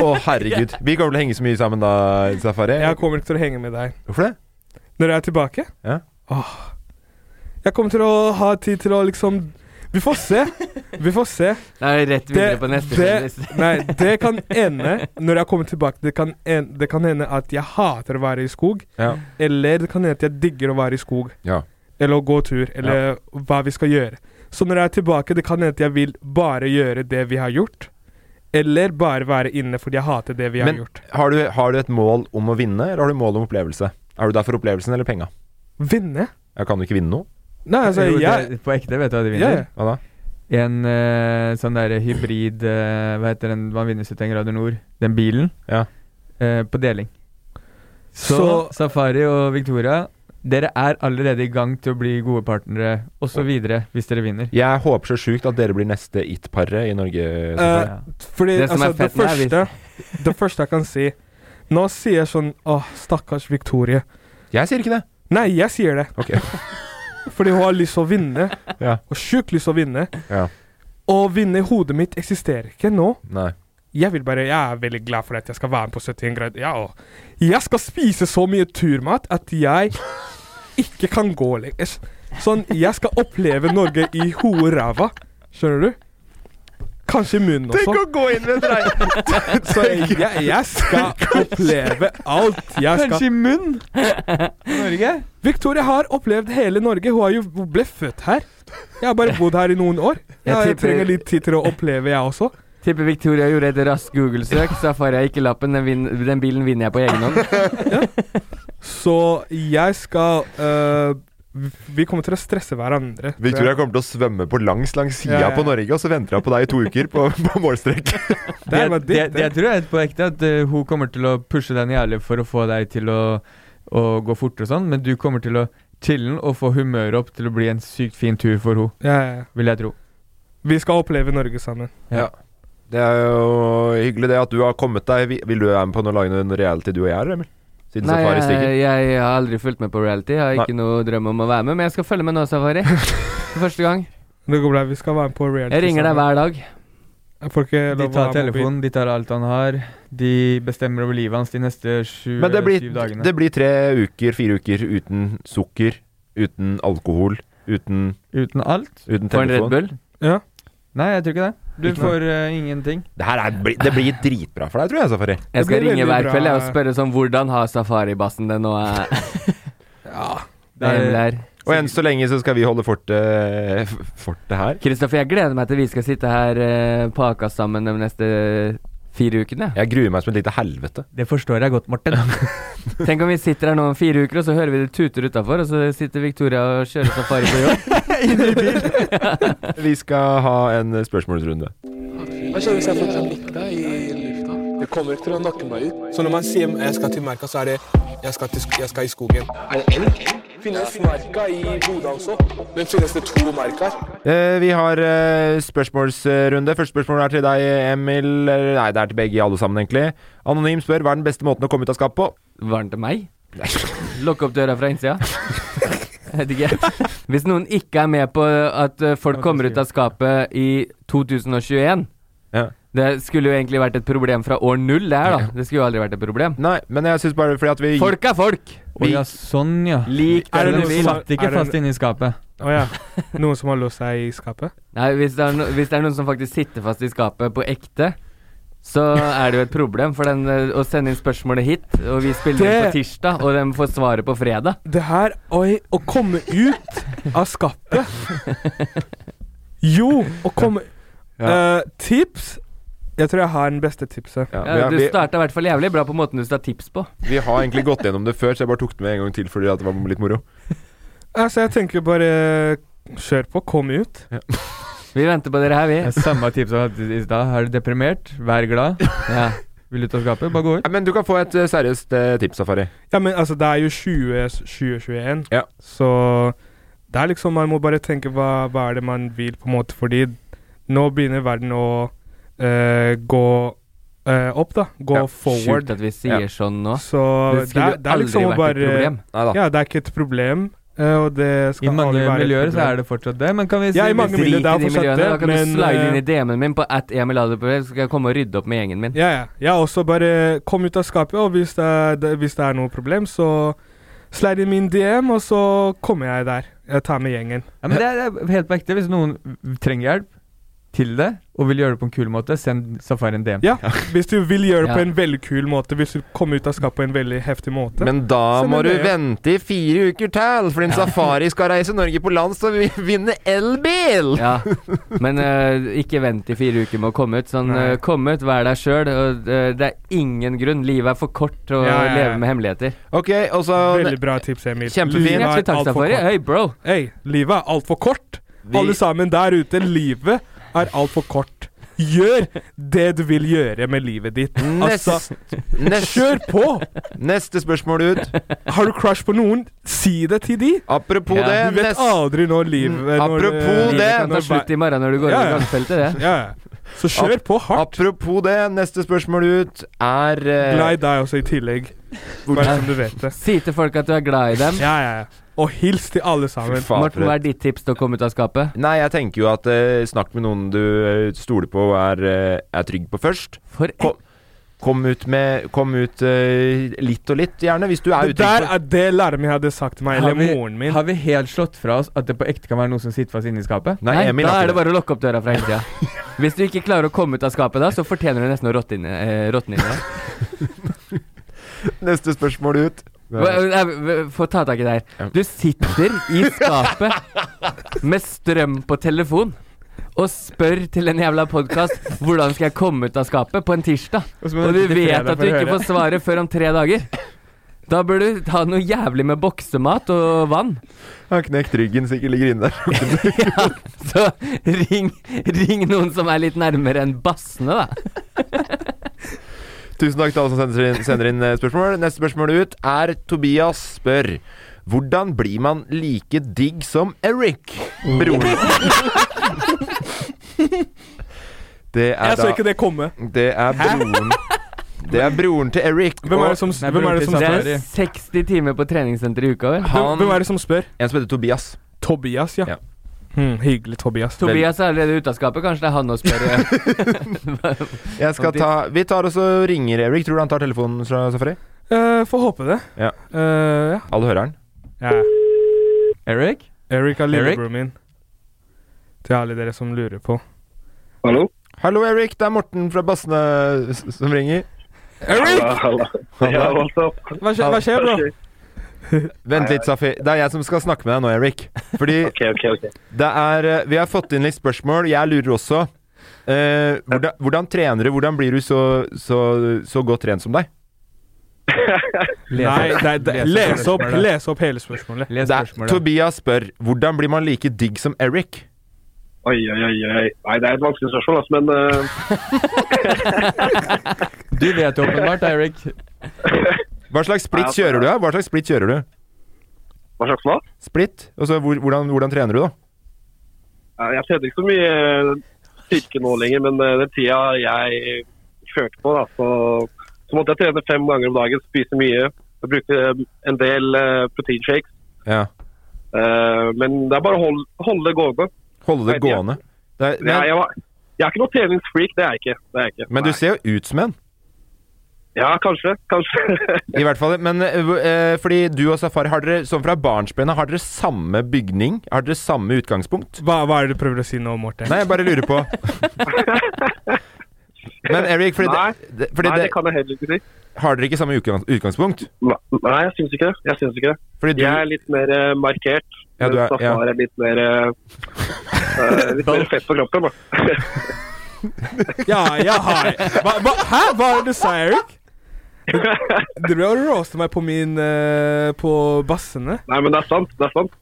S6: Å, herregud. Vi kommer til å henge så mye sammen da, Safari.
S5: Jeg kommer ikke til å henge med deg
S6: Hvorfor det?
S5: når jeg er tilbake.
S6: Ja.
S5: Åh. Jeg kommer til å ha tid til å liksom Vi får se. Vi får se.
S4: Det er rett videre på neste.
S5: det, nei, det kan ende Når jeg kommer tilbake, det kan, en, det kan hende at jeg hater å være i skog.
S6: Ja.
S5: Eller det kan hende at jeg digger å være i skog.
S6: ja.
S5: Eller å gå tur. Eller hva vi skal gjøre. Så når jeg er tilbake, det kan hende at jeg vil bare gjøre det vi har gjort. Eller bare være inne fordi jeg hater det vi har
S6: Men
S5: gjort.
S6: har du, har du et mål om å vinne, eller har du mål om opplevelse? Er du der for opplevelsen eller penga?
S5: Vinne?
S6: Ja, kan du ikke vinne noe?
S5: Nei, altså,
S3: jo,
S5: jeg
S3: det, på ekte, vet du hva de
S5: Ja,
S3: vinner?
S5: ja.
S6: Hva da?
S3: En eh, sånn der hybrid eh, Hva heter den man vinner 71 grader nord? Den bilen?
S6: Ja.
S3: Eh, på deling. Så,
S5: Så-
S3: Safari og Victoria, dere er allerede i gang til å bli gode partnere osv. hvis dere vinner.
S6: Jeg håper så sjukt at dere blir neste it-paret i Norge.
S5: Eh,
S6: Safari.
S3: Ja.
S5: Fordi
S4: Det som
S5: altså,
S4: er fett
S5: det
S4: med er
S5: første Det første jeg kan si Nå sier jeg sånn Åh, stakkars Victoria.
S6: jeg sier ikke det.
S5: Nei, jeg sier det.
S6: Ok.
S5: Fordi hun har lyst til å vinne.
S6: Ja.
S5: Og sjukt lyst til å vinne.
S6: Ja.
S5: Å vinne i hodet mitt eksisterer ikke nå. [LAUGHS]
S6: Nei.
S5: Jeg vil bare, jeg er veldig glad for at jeg skal være med på 71 grader. Ja, og jeg skal spise så mye turmat at jeg ikke kan gå lenger. Sånn, jeg skal oppleve Norge i hoerava. Skjønner du? Kanskje i munnen også.
S6: Tenk å gå inn med dreie...
S5: [LAUGHS] Så jeg, jeg, jeg skal oppleve alt. Jeg skal
S3: Kanskje i munn? Norge?
S5: Victoria har opplevd hele Norge. Hun, har jo, hun ble født her. Jeg har bare bodd her i noen år.
S4: Jeg
S5: Jeg, jeg
S4: tipper-
S5: trenger litt tid til å oppleve, jeg også.
S4: Tipper Victoria gjorde et raskt Google-søk. Safari har ikke lappen. Den, vin den bilen vinner jeg på egen
S5: [LAUGHS]
S4: hånd.
S5: Så jeg skal øh, Vi kommer til å stresse hverandre. tror jeg.
S6: Victoria kommer til å svømme på langs langs sida
S5: Ja, ja.
S6: på Norge, og så venter hun på deg i to uker på, [LAUGHS] på målstrek.
S5: Det var
S3: Det, det,
S5: ditt,
S3: det
S5: det.
S3: tror jeg er på ekte, at eh, hun kommer til å pushe deg jævlig for å få deg til å, å gå fortere og sånn, men du kommer til å chille'n og få humøret opp til å bli en sykt fin tur for henne,
S5: Ja, ja, ja.
S3: vil jeg tro.
S5: Vi skal oppleve Norge sammen.
S6: Det er jo hyggelig det at du har kommet deg Vi- Vil du være med på å lage noen reality, du og jeg, eller, Emil? Siden
S4: Nei,
S6: Safari
S4: jeg,
S6: stikker.
S4: jeg har aldri fulgt med på reality. Jeg har ikke noe drøm om å være med, men jeg skal følge med nå, Safari. For første gang.
S5: Det går bra, vi skal være med på reality.
S4: Jeg ringer deg hver dag.
S5: Jeg får ikke
S3: De
S5: lov å ha
S3: tar
S5: mobil.
S3: telefonen, de tar alt han har. De bestemmer over livet hans de neste sju
S6: Men det
S3: eller
S6: blir,
S3: syv dagene.
S6: det blir tre uker, fire uker uten sukker, uten alkohol, uten,
S3: Uten alt?
S6: uten
S4: Får en Red
S6: telefon.
S4: Bull.
S5: Ja.
S3: Nei, jeg tror ikke det. Du
S6: Ikke noe.
S3: får eh, ingenting.
S6: Det her er, bli- det blir dritbra for deg, tror jeg, Safari.
S4: Jeg skal
S5: blir
S4: ringe
S5: veldig
S4: hver
S5: bra.
S4: kveld jeg, og spørre sånn Hvordan har safaribassen det nå? eh,
S3: Det er-
S4: Emil her?
S6: Og enn så lenge så skal vi holde fortet f- fortet her.
S4: Kristoffer, jeg gleder meg til vi skal sitte her eh, på Aka sammen de neste fire ukene.
S6: Jeg gruer meg som et lite helvete.
S3: Det forstår jeg godt, [LAUGHS] Martin.
S4: Tenk om vi sitter her nå om fire uker, og så hører vi det tuter utafor, og så sitter Victoria og kjører safari på jobb.
S6: Vi skal ha en spørsmålsrunde.
S9: Så når man sier jeg skal til merka, så er det jeg skal, til, sk- jeg skal i skogen. Er det elg? Finnes merka i Bodø også, men finnes det to merker?
S6: Eh, vi har eh, spørsmålsrunde. Første spørsmål er til deg, Emil. Eller, Nei, det er til begge i alle sammen, egentlig. Anonym spør hva er den beste måten å komme ut av skapet på?
S4: Var den til meg? Lukke opp døra fra innsida? Jeg vet ikke. Hvis noen ikke er med på at eh, folk kommer ut av skapet i 2021
S6: Ja.
S4: Det skulle jo egentlig vært et problem fra år null, det her, da. Det skulle jo aldri vært et problem.
S6: Nei, men jeg syns bare fordi at vi
S4: Folk er folk!
S3: Å ja, sånn ja.
S4: Lik
S5: Er det
S4: den du
S5: noe
S4: vil.
S5: som-
S3: Satt ikke
S5: Er det-
S3: fast inne i skapet.
S5: Å ja. Noen som har låst seg i skapet?
S4: Nei, hvis det, er no hvis det er noen som faktisk sitter fast i skapet på ekte, så er det jo et problem. For den, eh, å sende inn spørsmålet hit, og vi spiller inn
S5: Det-
S4: på tirsdag, og de får svaret på fredag
S5: Det her Oi, å komme ut av
S3: [LAUGHS]
S5: skapet Jo, å komme Eh, Tips? Jeg tror jeg har den beste tipset.
S6: ja,
S4: ja, Du
S6: vi, vi,
S4: starta i hvert fall jævlig bra på måten du sa tips på.
S6: vi har egentlig gått gjennom det før, så jeg bare tok det med en gang til fordi at det var litt moro.
S5: Altså, jeg tenker bare Kjør på, kom ut.
S4: Vi venter på dere her, vi.
S3: Det er Samme tips som jeg hadde i stad. Er du deprimert, vær
S5: [LAUGHS]
S3: glad.
S4: Ja.
S3: Vil ut av skapet, bare gå ut.
S6: Ja, Men du kan få et eh, seriøst eh, tips, Safari.
S5: Ja, men altså, det er jo 20 2021,
S6: Ja.
S5: så det er liksom Man må bare tenke hva, hva er det man vil, på en måte, fordi nå begynner verden å eh, gå eh, opp, da. Gå
S6: Ja,
S4: Sjukt
S5: forward.
S4: at vi sier
S6: Ja.
S4: sånn nå.
S5: Så
S4: Det
S5: det
S4: skulle
S5: er, det er
S4: aldri
S5: liksom å
S4: vært et
S5: bare
S4: problem.
S6: Nei da.
S5: Ja, det er ikke et problem, eh, og det skal
S3: I mange
S5: aldri være et
S3: miljøer så
S5: problem.
S3: er det fortsatt det, men kan vi si
S5: Ja, i mange
S3: hvis-
S5: miljøer. det er
S4: Drit i de
S5: fortsatt
S4: miljøene. Da
S5: det,
S4: kan
S5: men,
S4: du slide inn i
S5: eh,
S4: DM-en min på at Emil Adelbø, så skal jeg komme og rydde opp med gjengen min.
S5: Ja, ja. Jeg har også bare kom ut av skapet, og hvis det er, det, hvis det er noe problem, så slide inn min DM, og så kommer jeg der. Jeg tar med gjengen.
S3: Ja, men det er, det er helt på ekte. Hvis noen trenger hjelp til det, og vil gjøre det på en kul måte, send Safari en DM.
S5: Ja,
S6: [LAUGHS]
S5: hvis du vil gjøre det
S4: Ja.
S5: på en veldig kul måte, hvis du kommer ut av skapet på en veldig heftig måte.
S6: Men da
S5: Så
S6: må
S5: men
S6: du
S5: det-
S6: vente i fire uker til, fordi en safari skal reise Norge på land så vi vinner elbil!
S4: Ja. [LAUGHS] Men eh, ikke vent i fire uker med å komme ut. Sånn,
S5: Nei.
S4: eh, kom ut, vær deg sjøl. det er ingen grunn. Livet er for kort til å
S5: Ja, ja, ja.
S4: leve med hemmeligheter.
S6: Ok, og så
S5: veldig bra tips, Emil.
S6: Kjempefint.
S5: Livet
S4: Hjertelig
S5: er
S4: takk,
S5: altfor
S4: Safari.
S5: kort.
S4: Hei, bro.
S5: Hey, livet er altfor kort. Alle sammen der ute, livet er altfor kort. Gjør det du vil gjøre med livet ditt.
S6: neste,
S5: Altså,
S6: neste,
S5: kjør på!
S6: neste spørsmål ut.
S5: Har du crush på noen, si det til de.
S6: Apropos
S4: Ja.
S6: det
S5: Du vet
S6: neste-
S5: aldri når livet når,
S6: Mm. Apropos
S5: eh,
S6: det,
S4: Livet kan ta
S5: når
S4: slutt i morgen når du går
S5: Ja,
S4: over
S5: ja.
S4: gangfeltet, det.
S5: Ja, ja. Så kjør på hardt.
S6: Apropos det, neste spørsmål ut er eh,
S5: Glad i deg også i tillegg. Bare som du vet det.
S4: Si til folk at du er glad i dem.
S5: Ja, ja, ja. Og hils til alle sammen.
S6: Fy faen,
S4: Morten,
S6: for
S4: hva
S6: et-
S4: er ditt tips til å komme ut av skapet?
S6: Nei, jeg tenker jo at eh, snakk med noen du eh, stoler på og er, eh, er trygg på først.
S4: For
S6: Kom. Kom ut med Kom ut eh, litt og litt, gjerne, hvis du er
S5: Det
S6: ute
S5: der er det læreren min hadde sagt til meg,
S3: Har
S5: eller
S3: vi,
S5: moren min.
S3: har vi helt slått fra oss at det på ekte kan være noen som sitter fast inni skapet?
S4: Nei, da er det bare å lukke opp døra fra
S5: [LAUGHS]
S4: innsida. Hvis du ikke klarer å komme ut av skapet da, så fortjener du nesten å råtne inni eh, råtne inni deg.
S6: Neste spørsmål ut.
S4: Hva- eh, v- Få ta tak i det her. Du sitter i skapet med strøm på telefon og spør til en jævla podkast hvordan skal jeg komme ut av skapet på en tirsdag,
S3: Og så må du
S4: og du
S3: vente til
S4: vet
S3: fredag
S4: at du
S3: for å
S4: ikke
S3: høre.
S4: får svaret før om tre dager. Da bør du ha noe jævlig med boksemat og vann.
S6: Han har knekt ryggen, sikkert ligger inne der.
S4: ja, så ring, ring noen som er litt nærmere enn bassene, da.
S6: Tusen takk til alle som sender inn, sender inn eh, spørsmål. Neste spørsmål ut er Tobias spør Hvordan blir man like digg som Eric, broren? Det er
S5: Jeg så
S6: da-
S5: ikke det komme.
S6: Det er broren Det er broren til Eric.
S5: Hvem er det som- hvem er det som spør?
S4: Det er 60 timer på treningssenter i uka, vel?
S5: Hvem er det som spør?
S6: En som heter Tobias.
S5: Tobias, ja.
S6: Ja.
S5: Hmm, hyggelig, Tobias.
S4: Tobias er allerede ute av skapet, kanskje det er han å spørre.
S6: Jeg skal ta Vi tar oss og ringer Eric. Tror du han tar telefonen, Sa- Safari?
S5: Eh, Får håpe det.
S6: Ja.
S5: Eh, ja.
S6: Alle hører han?
S5: ja.
S3: Eric?
S5: Eric er
S6: Eric?
S5: lillebroren min. Til alle dere som lurer på.
S6: Hallo? Hallo, Eric. Det er Morten fra Bassene s- som ringer.
S5: Eric!
S6: Ja,
S5: Hva skjer, hva skjer bro?
S6: Vent litt, Safi. Det er jeg som skal snakke med deg nå, Eric.
S10: [LAUGHS]
S6: Fordi det er eh, Vi har fått inn litt spørsmål. Jeg lurer også. Eh, hvordan, hvordan trener du? Hvordan blir du så, så, så godt trent som deg?
S5: Nei, det, er- det, les, opp, les opp hele spørsmålet.
S3: Les
S6: Det er, Tobias spør hvordan blir man like digg som Eric?
S10: Oi, oi, oi. oi. Nei, det er et vanskelig spørsmål, altså, men eh,
S3: Du vet jo åpenbart, Eric.
S6: Hva slags splitt kjører du? da? Hva slags splitt kjører du?
S10: altså, hva slags hva?
S6: Splitt? Altså, hvor, hvordan, hvordan trener du, da?
S10: Eh, Jeg trener ikke så mye eh, styrke nå lenger, men eh, den tida jeg kjørte på, da, så, så måtte jeg trene fem ganger om dagen, spise mye. Jeg brukte eh, en del eh, proteinshakes.
S6: Ja.
S10: Eh, men det er bare å holde, holde det gående.
S6: Holde det
S10: Nei, jeg-
S6: gående? Det er,
S10: Nei, jeg, var- jeg er ikke noe treningsfreak, det er jeg ikke. Det er jeg ikke.
S6: men du ser jo ut som en.
S10: Ja, kanskje. Kanskje.
S6: I hvert fall. Men eh, hvor- eh, fordi du og Safari, har dere, sånn fra barnsbeina, har dere samme bygning? Har dere samme utgangspunkt?
S5: [LAUGHS] Hva, hva er det du prøver å si nå, Morten?
S6: Nei, jeg bare lurer
S10: [LAUGHS]
S6: på. Men Eric, fordi
S10: Nei,
S6: det, det, fordi
S10: nei,
S6: det,
S10: det kan jeg heller ikke si.
S6: har dere ikke samme utgangs- utgangspunkt?
S10: Nei, jeg syns ikke det. Jeg syns ikke det.
S6: Fordi du-
S10: Jeg er litt mer eh, markert.
S6: Ja, du er- ja.
S10: mens Safar er litt mer eh, eh, Litt
S5: [LAUGHS]
S10: mer fett på kroppen, da.
S5: Ja, ja, hei. Hva, hva, hæ? Hva er det du sa, Eric? Du ble og roaste meg på min eh, På bassene.
S10: Nei, men det er sant. Det er sant.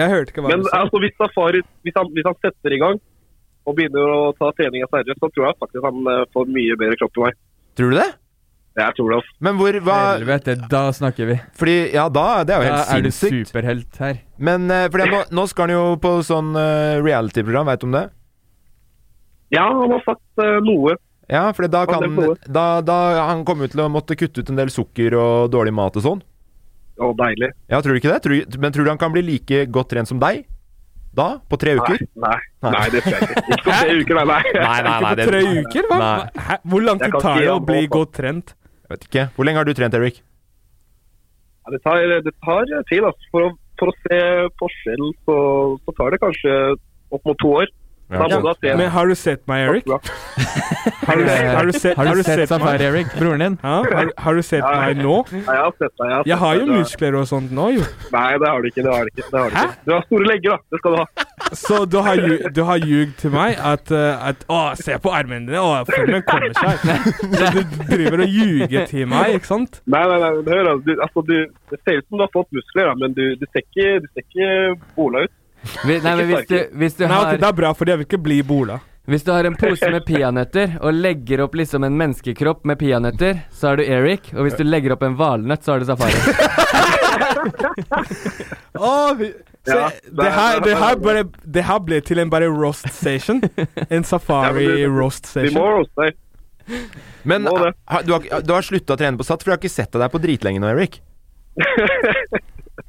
S5: Jeg hørte ikke hva
S10: Men
S5: du sa.
S10: altså, hvis Safari hvis han, hvis han setter i gang og begynner å ta treninga seriøst, så tror jeg faktisk han eh, får mye bedre kropp enn meg.
S6: Tror du det?
S10: Jeg tror det. altså.
S6: Men hvor hva,
S3: Helvete, da snakker vi.
S6: Fordi Ja, da Det er jo helt
S3: Da er du
S6: sinnssykt.
S3: superhelt her.
S6: Men eh, fordi nå, nå skal han jo på sånn eh, reality-program, veit du om det?
S10: Ja, han har sagt eh, noe.
S6: Ja, for da
S10: Ja, det
S6: kan
S10: får
S6: da, da, Han kommer jo til å måtte kutte ut en del sukker og dårlig mat og sånn.
S10: Å, deilig.
S6: Ja, tror du ikke det? Tror, men tror du han kan bli like godt trent som deg? Da? På tre
S10: Nei,
S6: uker?
S10: nei, nei, det tror jeg ikke. Ikke på tre uker, nei. nei.
S5: Ikke på tre uker? Hva?
S6: Nei.
S5: Hæ? Hvor lang
S10: Jeg
S5: tid
S10: kan
S5: tar
S10: si
S5: det å
S10: han
S5: bli
S10: på-
S5: godt trent?
S6: Jeg vet ikke. Hvor lenge har du trent, Eric?
S10: Ja, Det tar, det tar tid. Altså. For, å, for å se forskjell, så, så tar det kanskje opp mot to år.
S6: Ja,
S10: Da må du ha tre.
S5: Men har du sett meg, Eric?
S10: Ja.
S5: [LAUGHS] Har du, har du sett,
S3: Har du sett
S5: meg?
S3: Safari, Eric? Broren din?
S5: Hæ? Har, har du sett
S10: Ja.
S5: meg nå?
S10: Ja, jeg har sett deg. Jeg har, sett
S5: Jeg har
S10: deg.
S5: jo
S10: Du er-
S5: muskler og sånt nå, jo.
S10: Nei, det har du ikke. det har Du ikke, det har du ikke. Du har store legger, da. Det skal du ha.
S5: Så du har, ju- du har ljugd til meg at, eh, at Å, se på armene dine! Å, formen kommer seg! Så du driver og ljuger til meg, ikke sant?
S10: Nei, nei, nei, men hør, altså, du, altså, du, det ser ut som du har fått muskler, da, men du, du ser ikke, du ser ikke bola ut.
S4: Vi- Nei, men hvis du, hvis du
S5: Nei, ok,
S4: har
S5: det er bra, for jeg vil ikke bli bola.
S4: Hvis du har en pose med peanøtter og legger opp liksom en menneskekropp med peanøtter, så er du Eric. Og hvis du legger opp en valnøtt, så er du
S6: [LAUGHS]
S4: Safari.
S5: Å, vi- se,
S10: Ja,
S5: det, her, det, her ble, det her ble til en bare roast station.
S3: [LAUGHS]
S5: En safari
S10: Ja, men du-
S5: roast
S10: Vi må
S5: station.
S10: roaste deg.
S6: Men
S10: Må det. [LAUGHS]
S6: ha, du har, du har slutta å trene på SAT, for jeg har ikke sett deg der på dritlenge nå, Eric.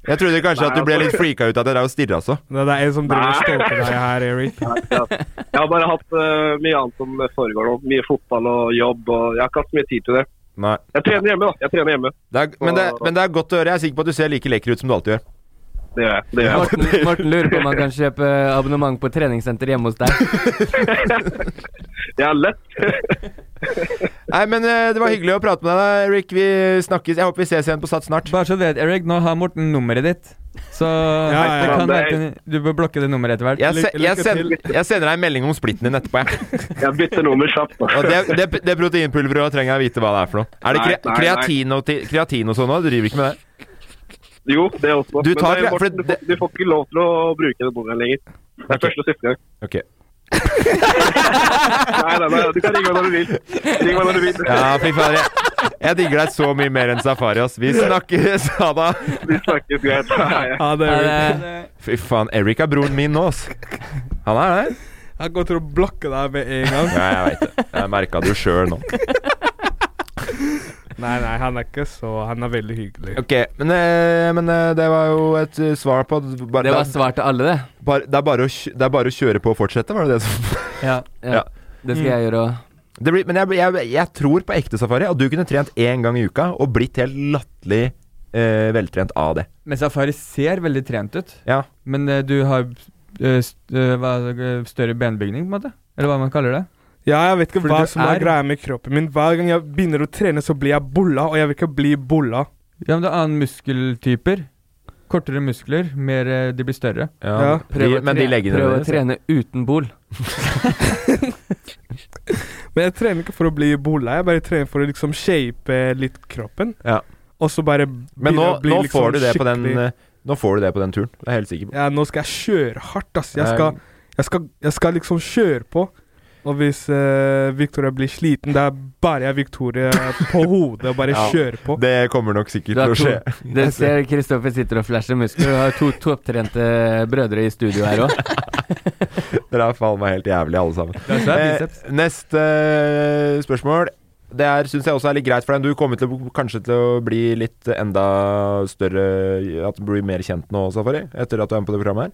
S6: Jeg trodde kanskje at du
S10: altså-
S6: ble litt freaka ut av det der og stirra så.
S5: Det er en som driver og
S6: Nei.
S5: stalker deg her, Eric.
S10: Jeg har bare hatt eh, mye annet som foregår nå. Mye fotball og jobb, og jeg har ikke hatt så mye tid til det.
S6: Nei.
S10: Jeg trener hjemme, da. Jeg trener hjemme.
S6: Det er, men, det, men det er godt å høre. Jeg er sikker på at du ser like lekker ut som du alltid gjør.
S10: Det gjør jeg. Det gjør
S4: Morten, Morten lurer på om han kan kjøpe abonnement på treningssenter hjemme hos deg.
S10: Jeg er lett.
S6: Nei, men eh, det var hyggelig å prate med deg, Rick. Vi snakkes. Jeg håper vi ses igjen på Sats snart.
S3: Bare så du vet, Erik, nå har Morten nummeret ditt. Så
S6: ja,
S3: det
S6: ja.
S3: kan
S6: Det er-
S3: være Du bør blokke det nummeret etter hvert.
S6: Jeg, se, jeg, send, jeg sender deg en melding om splitten din
S10: [LAUGHS]
S6: etterpå, jeg.
S10: Jeg bytter nummer kjapt. da.
S6: Og det, det, det proteinpulveret trenger jeg vite hva det er for noe. Er det
S10: Nei,
S6: kre,
S10: nei, nei.
S6: kreatin, og, ti- kreatin og sånn òg? Du driver ikke med det?
S10: Jo, det også.
S6: Du tar
S10: men det,
S6: kre- for
S10: Morten, du, får, du får ikke lov til å bruke det nummeret lenger. Det er første og siste gang.
S6: Ok.
S10: Nei, nei, nei, du kan ringe meg når du vil. Ring meg når
S6: [LAUGHS]
S10: du vil.
S6: Ja, fy fader. Jeg, jeg digger deg så mye mer enn Safari, ass. Vi [LAUGHS] snakkes, ha det.
S10: Vi snakkes greit.
S5: Ha det, Eric.
S6: Fy faen, Eric er broren min nå, ass. Han er det.
S5: Jeg går til å blokke deg med en gang.
S6: Ja, jeg veit det. Jeg merka det jo sjøl nå.
S5: Nei, nei, han er ikke så Han er veldig hyggelig.
S6: Ok, men, eh, men eh, det var jo et eh, svar på bare,
S4: Det var svar til alle, det.
S6: Bare, det, er bare å, kj- det er bare å kjøre på og fortsette, var det det som
S4: Ja, ja. Det skal jeg gjøre òg.
S6: Det blir, men jeg, jeg, jeg tror på ekte safari at du kunne trent én gang i uka og blitt helt latterlig eh, veltrent av det.
S3: Men Safari ser veldig trent ut.
S6: Ja.
S3: Men eh, du har eh, st eh, hva, er det, eh, større benbygning, på en måte? Eller hva man kaller det?
S5: Ja, jeg vet ikke
S3: Fordi
S5: hva
S3: du
S5: som er,
S3: er-
S5: greia med kroppen min. Hver gang jeg begynner å trene, så blir jeg bolla, og jeg vil ikke bli bolla.
S3: Ja, men det er annen muskeltyper. Kortere muskler, mer eh, de blir større.
S6: Ja, Ja. Prøv å De- men de tre- legger ned prøv å det, så. trene
S4: uten bol.
S5: Men jeg trener ikke for å bli bolla, jeg bare trener for å liksom shape litt kroppen.
S6: Ja.
S5: Og så bare
S6: Men nå,
S5: begynne å bli
S6: nå,
S5: liksom
S6: får du det på den,
S5: skikkelig-
S6: eh, nå får du det på den turen. Det er jeg helt sikker på.
S5: Ja, nå skal jeg kjøre hardt, ass. Jeg
S6: Ja.
S5: skal, jeg skal, jeg skal liksom kjøre på. Og hvis eh, Victoria blir sliten, da bærer jeg Victoria
S6: [LAUGHS]
S5: på hodet og bare
S6: Ja.
S5: kjører på.
S6: Det kommer nok sikkert
S4: Du har
S6: til å
S4: to,
S6: skje. [LAUGHS]
S4: [LAUGHS] det ser Kristoffer sitter og flasher muskler. Du har to topptrente brødre i studio her
S6: [LAUGHS]
S4: òg.
S6: Dere er faen meg helt jævlig, alle
S4: er
S6: sammen.
S4: svært
S6: Eh, neste eh, spørsmål. Det er, synes jeg også er litt greit for deg. Du kommer til å, kanskje til å bli litt enda større At du blir mer kjent nå, Safari, etter at du er med på det programmet her.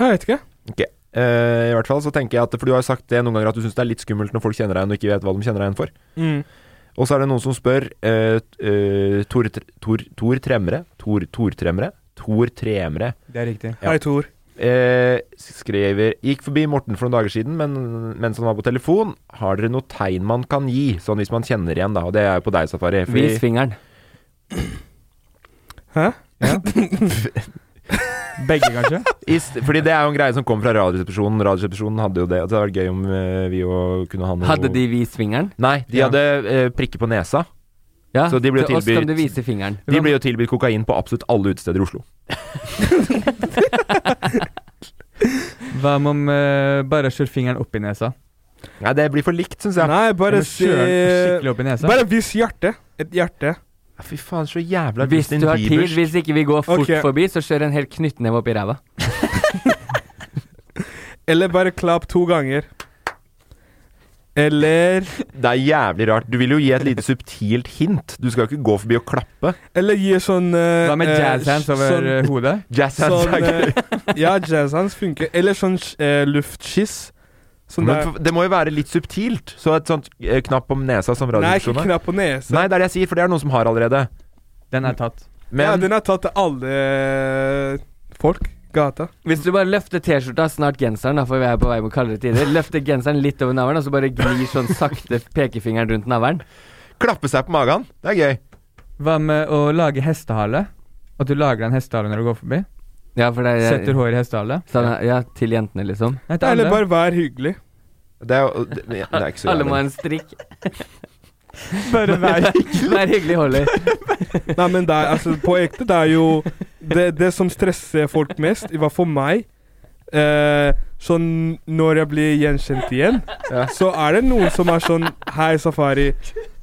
S5: Jeg vet ikke.
S6: Ok. Eh, I hvert fall så tenker jeg at For du har jo sagt det noen ganger at du syns det er litt skummelt når folk kjenner deg igjen og ikke vet hva de kjenner deg igjen for.
S5: Mm.
S6: Og så er det noen som spør eh, t- eh, Tor, Tr- Tor, Tor Tremre Tor, Tor Tremre Tor Tremre
S3: Det er riktig.
S6: Ja.
S5: Hei, Tor.
S6: eh, skriver Gikk forbi Morten for noen dager siden men, mens han var på telefon. Har dere noe tegn man kan gi, sånn hvis man kjenner igjen, da? Og det er jo på deg, Safari. fordi-
S4: Vis fingeren.
S5: Hæ?
S3: Begge, kanskje?
S6: I st- fordi det er jo en greie som kommer fra Radioresepsjonen. Radioresepsjonen hadde jo det. Det hadde vært gøy om eh, vi jo kunne ha noe
S4: Hadde de vis fingeren?
S6: Nei, de
S4: Ja.
S6: hadde eh, prikker på nesa.
S4: Ja,
S6: så de ble jo
S4: til oss kan
S6: tilbudt-
S4: du vise fingeren.
S6: De ble jo tilbudt kokain på absolutt alle utesteder i Oslo.
S3: Hva med om eh, bare kjør fingeren opp i nesa?
S6: Nei, det blir for likt, syns jeg.
S5: Nei, bare
S3: Eller
S5: si
S3: kjør den skikkelig opp i nesa.
S5: Bare vis hjerte. Et hjerte.
S6: Ja, Fy faen, så jævla
S4: Hvis
S6: Justin
S4: du har tid,
S6: Biebersk.
S4: hvis ikke vi går fort
S5: Ok.
S4: forbi, så kjør en hel knyttneve opp i ræva.
S5: Eller bare klapp to ganger. Eller
S6: Det er jævlig rart. Du vil jo gi et lite subtilt hint. Du skal jo ikke gå forbi og klappe.
S5: Eller gi sånn eh,
S3: Hva med
S5: eh,
S3: jazz hands
S5: sånn-
S3: over eh, hodet?
S6: Jazz hands
S5: Sånn,
S6: er gøy.
S5: eh, ja, jazz hands funker. Eller sånn eh, luftskiss. Sånn
S6: Men
S5: der.
S6: for- det må jo være litt subtilt. Så et sånt eh, knapp om nesa som
S5: Nei, ikke
S3: sånn,
S6: radioresepsjonen.
S5: knapp på nesa.
S6: Nei, det er det jeg sier, for det er noen som har allerede.
S3: Den er tatt.
S5: ja,
S6: Men
S5: den er tatt til alle folk. Gata.
S4: Hvis du bare løfter T-skjorta, snart genseren, da, for vi er på vei mot kaldere tider. Løfter genseren litt over navlen, og så bare glir sånn sakte pekefingeren rundt navlen.
S6: klappe seg på magen, det er gøy.
S3: Hva med å lage hestehale? At du lager deg en hestehale når du går forbi?
S4: Ja, for det er
S3: Setter håret i hestehale?
S4: sånn, ja, til jentene, liksom.
S3: Nei, til
S5: Eller
S3: alle.
S5: bare vær hyggelig.
S6: Det er, jo- det, det er ikke så
S4: Alle må ha
S6: jævlig.
S4: en strikk.
S3: Bare vær
S4: Vær hyggelig,
S6: [LAUGHS]
S4: Holly.
S5: Nei, men det er, altså, på ekte, det er jo det, det som stresser folk mest, i hvert fall meg eh, Sånn når jeg blir gjenkjent igjen,
S6: Ja.
S5: så er det noen som er sånn Hei, Safari.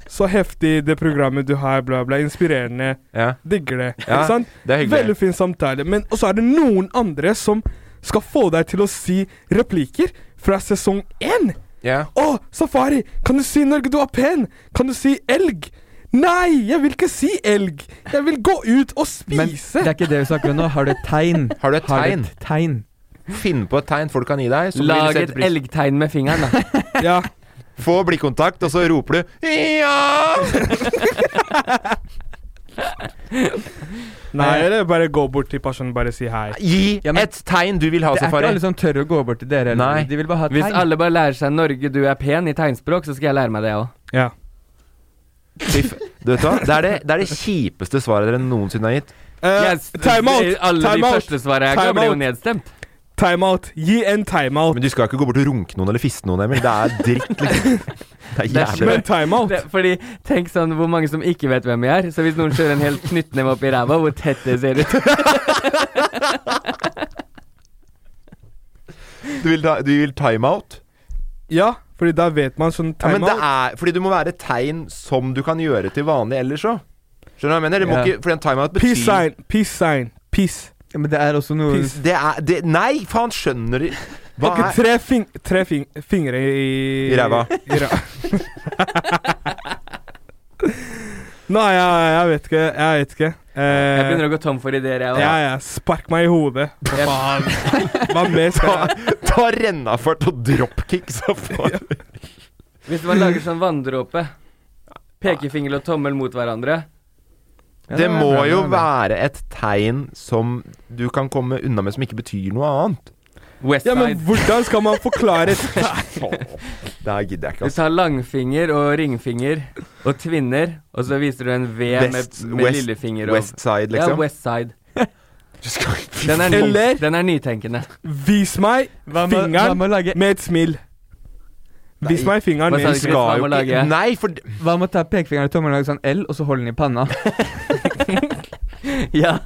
S5: Så heftig det programmet du har, bla, bla. Inspirerende.
S6: Ja.
S5: Digger det.
S6: Ja,
S5: ikke sant?
S6: det er hyggelig.
S5: Veldig fin samtale. Men og så er det noen andre som skal få deg til å si replikker fra sesong én.
S6: Ja.
S5: Å, Safari! Kan du si Norge, du er pen? Kan du si elg? Nei, jeg vil ikke si elg! Jeg vil gå ut og
S3: Men
S5: spise!
S3: det er ikke det vi snakker om nå. Har du et tegn?
S6: Har du et tegn?
S3: et tegn?
S6: Finn på et tegn folk kan gi deg.
S4: Lag et elgtegn med fingeren, da.
S5: [LAUGHS] ja.
S6: Få blikkontakt, og så roper du
S5: Nei, eller bare gå bort til personen bare si hei.
S6: Gi et tegn du vil ha,
S3: Det er ikke
S6: Safari.
S3: alle som tør å gå bort til dere.
S6: Nei.
S3: Eller? De vil bare ha et
S4: Hvis
S3: tegn.
S4: alle bare lærer seg 'Norge, du er pen' i tegnspråk, så skal jeg lære meg det òg.
S5: Ja.
S6: Fy f- Du vet hva? Det er det, det er det kjipeste svaret dere noensinne har gitt.
S4: Yes,
S5: Eh, time out!
S4: Alle
S5: time
S4: de
S5: out!
S4: første svarene jeg ga,
S5: Time
S4: ble jo
S5: out!
S4: nedstemt.
S5: Time out! Gi en time out!
S6: Men du skal ikke gå bort og runke noen eller fiste noen, Emil. Det er dritt, liksom. Det er jævlig
S5: Men time out!
S4: Det, fordi, tenk sånn hvor mange som ikke vet hvem jeg er. Så hvis noen kjører en hel knyttneve opp i ræva, hvor tett det ser ut.
S6: Du vil, ta- du vil timeout?
S5: Ja, fordi da vet man sånn
S6: Ja, men
S5: time
S6: det
S5: out.
S6: er Fordi du må være et tegn som du kan gjøre til vanlig ellers òg. Skjønner du hva jeg mener? Det må
S3: Ja.
S6: ikke Fordi en timeout betyr
S5: Peace sign, peace sign, peace.
S3: Ja, Men det er også noe
S5: Peace.
S6: Det er det, Nei, faen, skjønner du Hva
S5: Ok,
S6: er
S5: tre, fing tre fing fingre i
S6: I ræva.
S5: i ræva. Nei, jeg, jeg vet ikke. Jeg vet ikke.
S4: Jeg
S5: Eh,
S4: begynner å gå tom for ideer, jeg
S5: ja,
S4: òg.
S5: ja. Spark meg i hodet. Hva faen? Hva mer skal jeg
S6: Ta, ta rennafart og dropkick, så faen.
S4: Hvis man lager sånn vanndråpe, pekefinger og tommel mot hverandre
S6: Det må jo være et tegn som du kan komme unna med, som ikke betyr noe annet.
S5: Ja,
S4: Westside.
S5: men hvordan skal man
S4: [LAUGHS]
S5: forklare et
S6: Det her gidder jeg ikke,
S4: Du
S6: altså.
S4: tar langfinger og ringfinger og tvinner, og så viser du en V
S6: West-
S4: med, med
S6: West-
S4: lillefinger og
S6: Westside, liksom?
S4: Ja,
S5: [LAUGHS]
S4: Westside. Den er, ny,
S5: Eller-
S4: den er
S5: [LAUGHS]
S4: nytenkende.
S5: Vis meg
S3: Hva med- hva
S5: fingeren
S3: med å lage
S5: med et smil. Vis meg
S4: Hva
S5: fingeren med
S4: sa
S5: et
S4: du,
S5: smil.
S4: Chris? Hva må lage?
S6: Nei, for d-
S3: Hva med å ta pekefingeren i tommelen og lage sånn L, og så holde den i [LAUGHS] panna?
S4: Ja,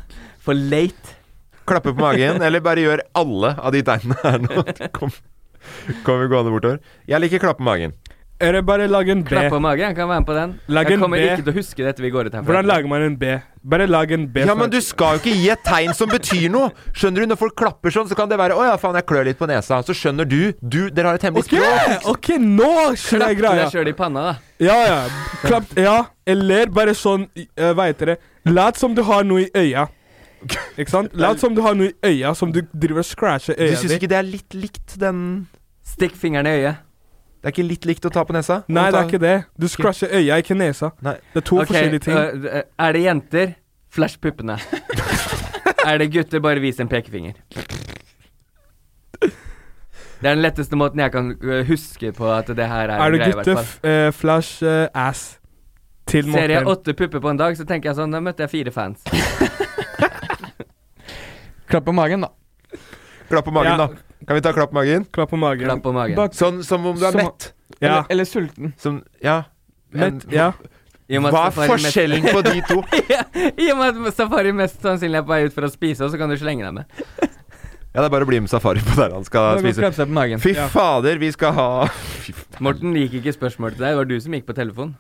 S4: for late.
S6: klappe på magen, eller bare gjør alle av de tegnene her
S5: [LAUGHS]
S6: nå. Kom, kom vi gående bortover. Jeg liker klappe på magen.
S5: Eller bare lag en B.
S4: Klapp på magen, jeg kan være med på den.
S5: Lag
S4: jeg
S5: en
S4: kommer
S5: B.
S4: ikke til å huske det etter vi går ut herfra.
S5: Hvordan lager man en B? Bare lag en B.
S6: Ja,
S5: for-
S6: men du skal jo ikke gi et tegn som betyr noe! Skjønner du, når folk klapper sånn, så kan det være 'Å ja, faen, jeg klør litt på nesa'. Så skjønner du Du, dere har et hemmelig
S5: OK,
S6: språk.
S5: ok, nå skjønner jeg
S4: Klapp
S5: greia.
S4: deg sjøl i panna, da.
S5: Ja, ja. Klapp Ja. Eller bare sånn uh, Hva heter det? Lat som du har noe i øya. Ikke sant? Lat som du har noe i øya som du driver og scratcher
S6: Du
S5: øya
S6: syns ikke det er litt likt, den
S4: Stikk fingeren i øyet.
S6: Det er ikke litt likt å ta på nesa?
S5: Nei, det er ikke det. Du scratcher øya, ikke nesa.
S6: Nei.
S5: Det er to
S4: Ok,
S5: forskjellige ting.
S4: øh, øh, er det jenter, flash
S5: [LAUGHS]
S4: puppene. er det gutter, bare vis en pekefinger. Det er den letteste måten jeg kan øh, huske på at det her er,
S5: er
S4: en
S5: du
S4: greie, i hvert
S5: gutte,
S4: fall.
S5: f eh, flash eh, ass til
S4: Ser jeg
S5: Morten.
S4: åtte pupper på en dag, så tenker jeg sånn Da møtte jeg fire fans.
S3: Klapp på magen, da.
S6: Klapp på magen,
S5: Ja.
S6: da. Kan vi ta klapp på magen?
S5: Klapp på magen.
S4: Klapp på magen.
S3: Bak,
S6: Sånn som om du er
S3: Som-
S6: mett.
S5: Ja.
S3: eller, eller sulten.
S6: Som Ja.
S5: Mett, ja.
S4: I og med at
S6: Hva er
S4: Safari mest-
S6: forskjellen på de
S5: [LAUGHS]
S6: to?
S4: [LAUGHS] I og med at Safari mest sannsynlig er på vei ut for å spise, og så kan du slenge deg med.
S6: Ja, det er bare å bli med Safari på der han skal
S3: Man kan
S6: spise.
S3: klappe seg på magen.
S6: Fy fader, vi skal ha Fy faen.
S4: Morten liker ikke spørsmålet til deg, det var du som gikk på telefon.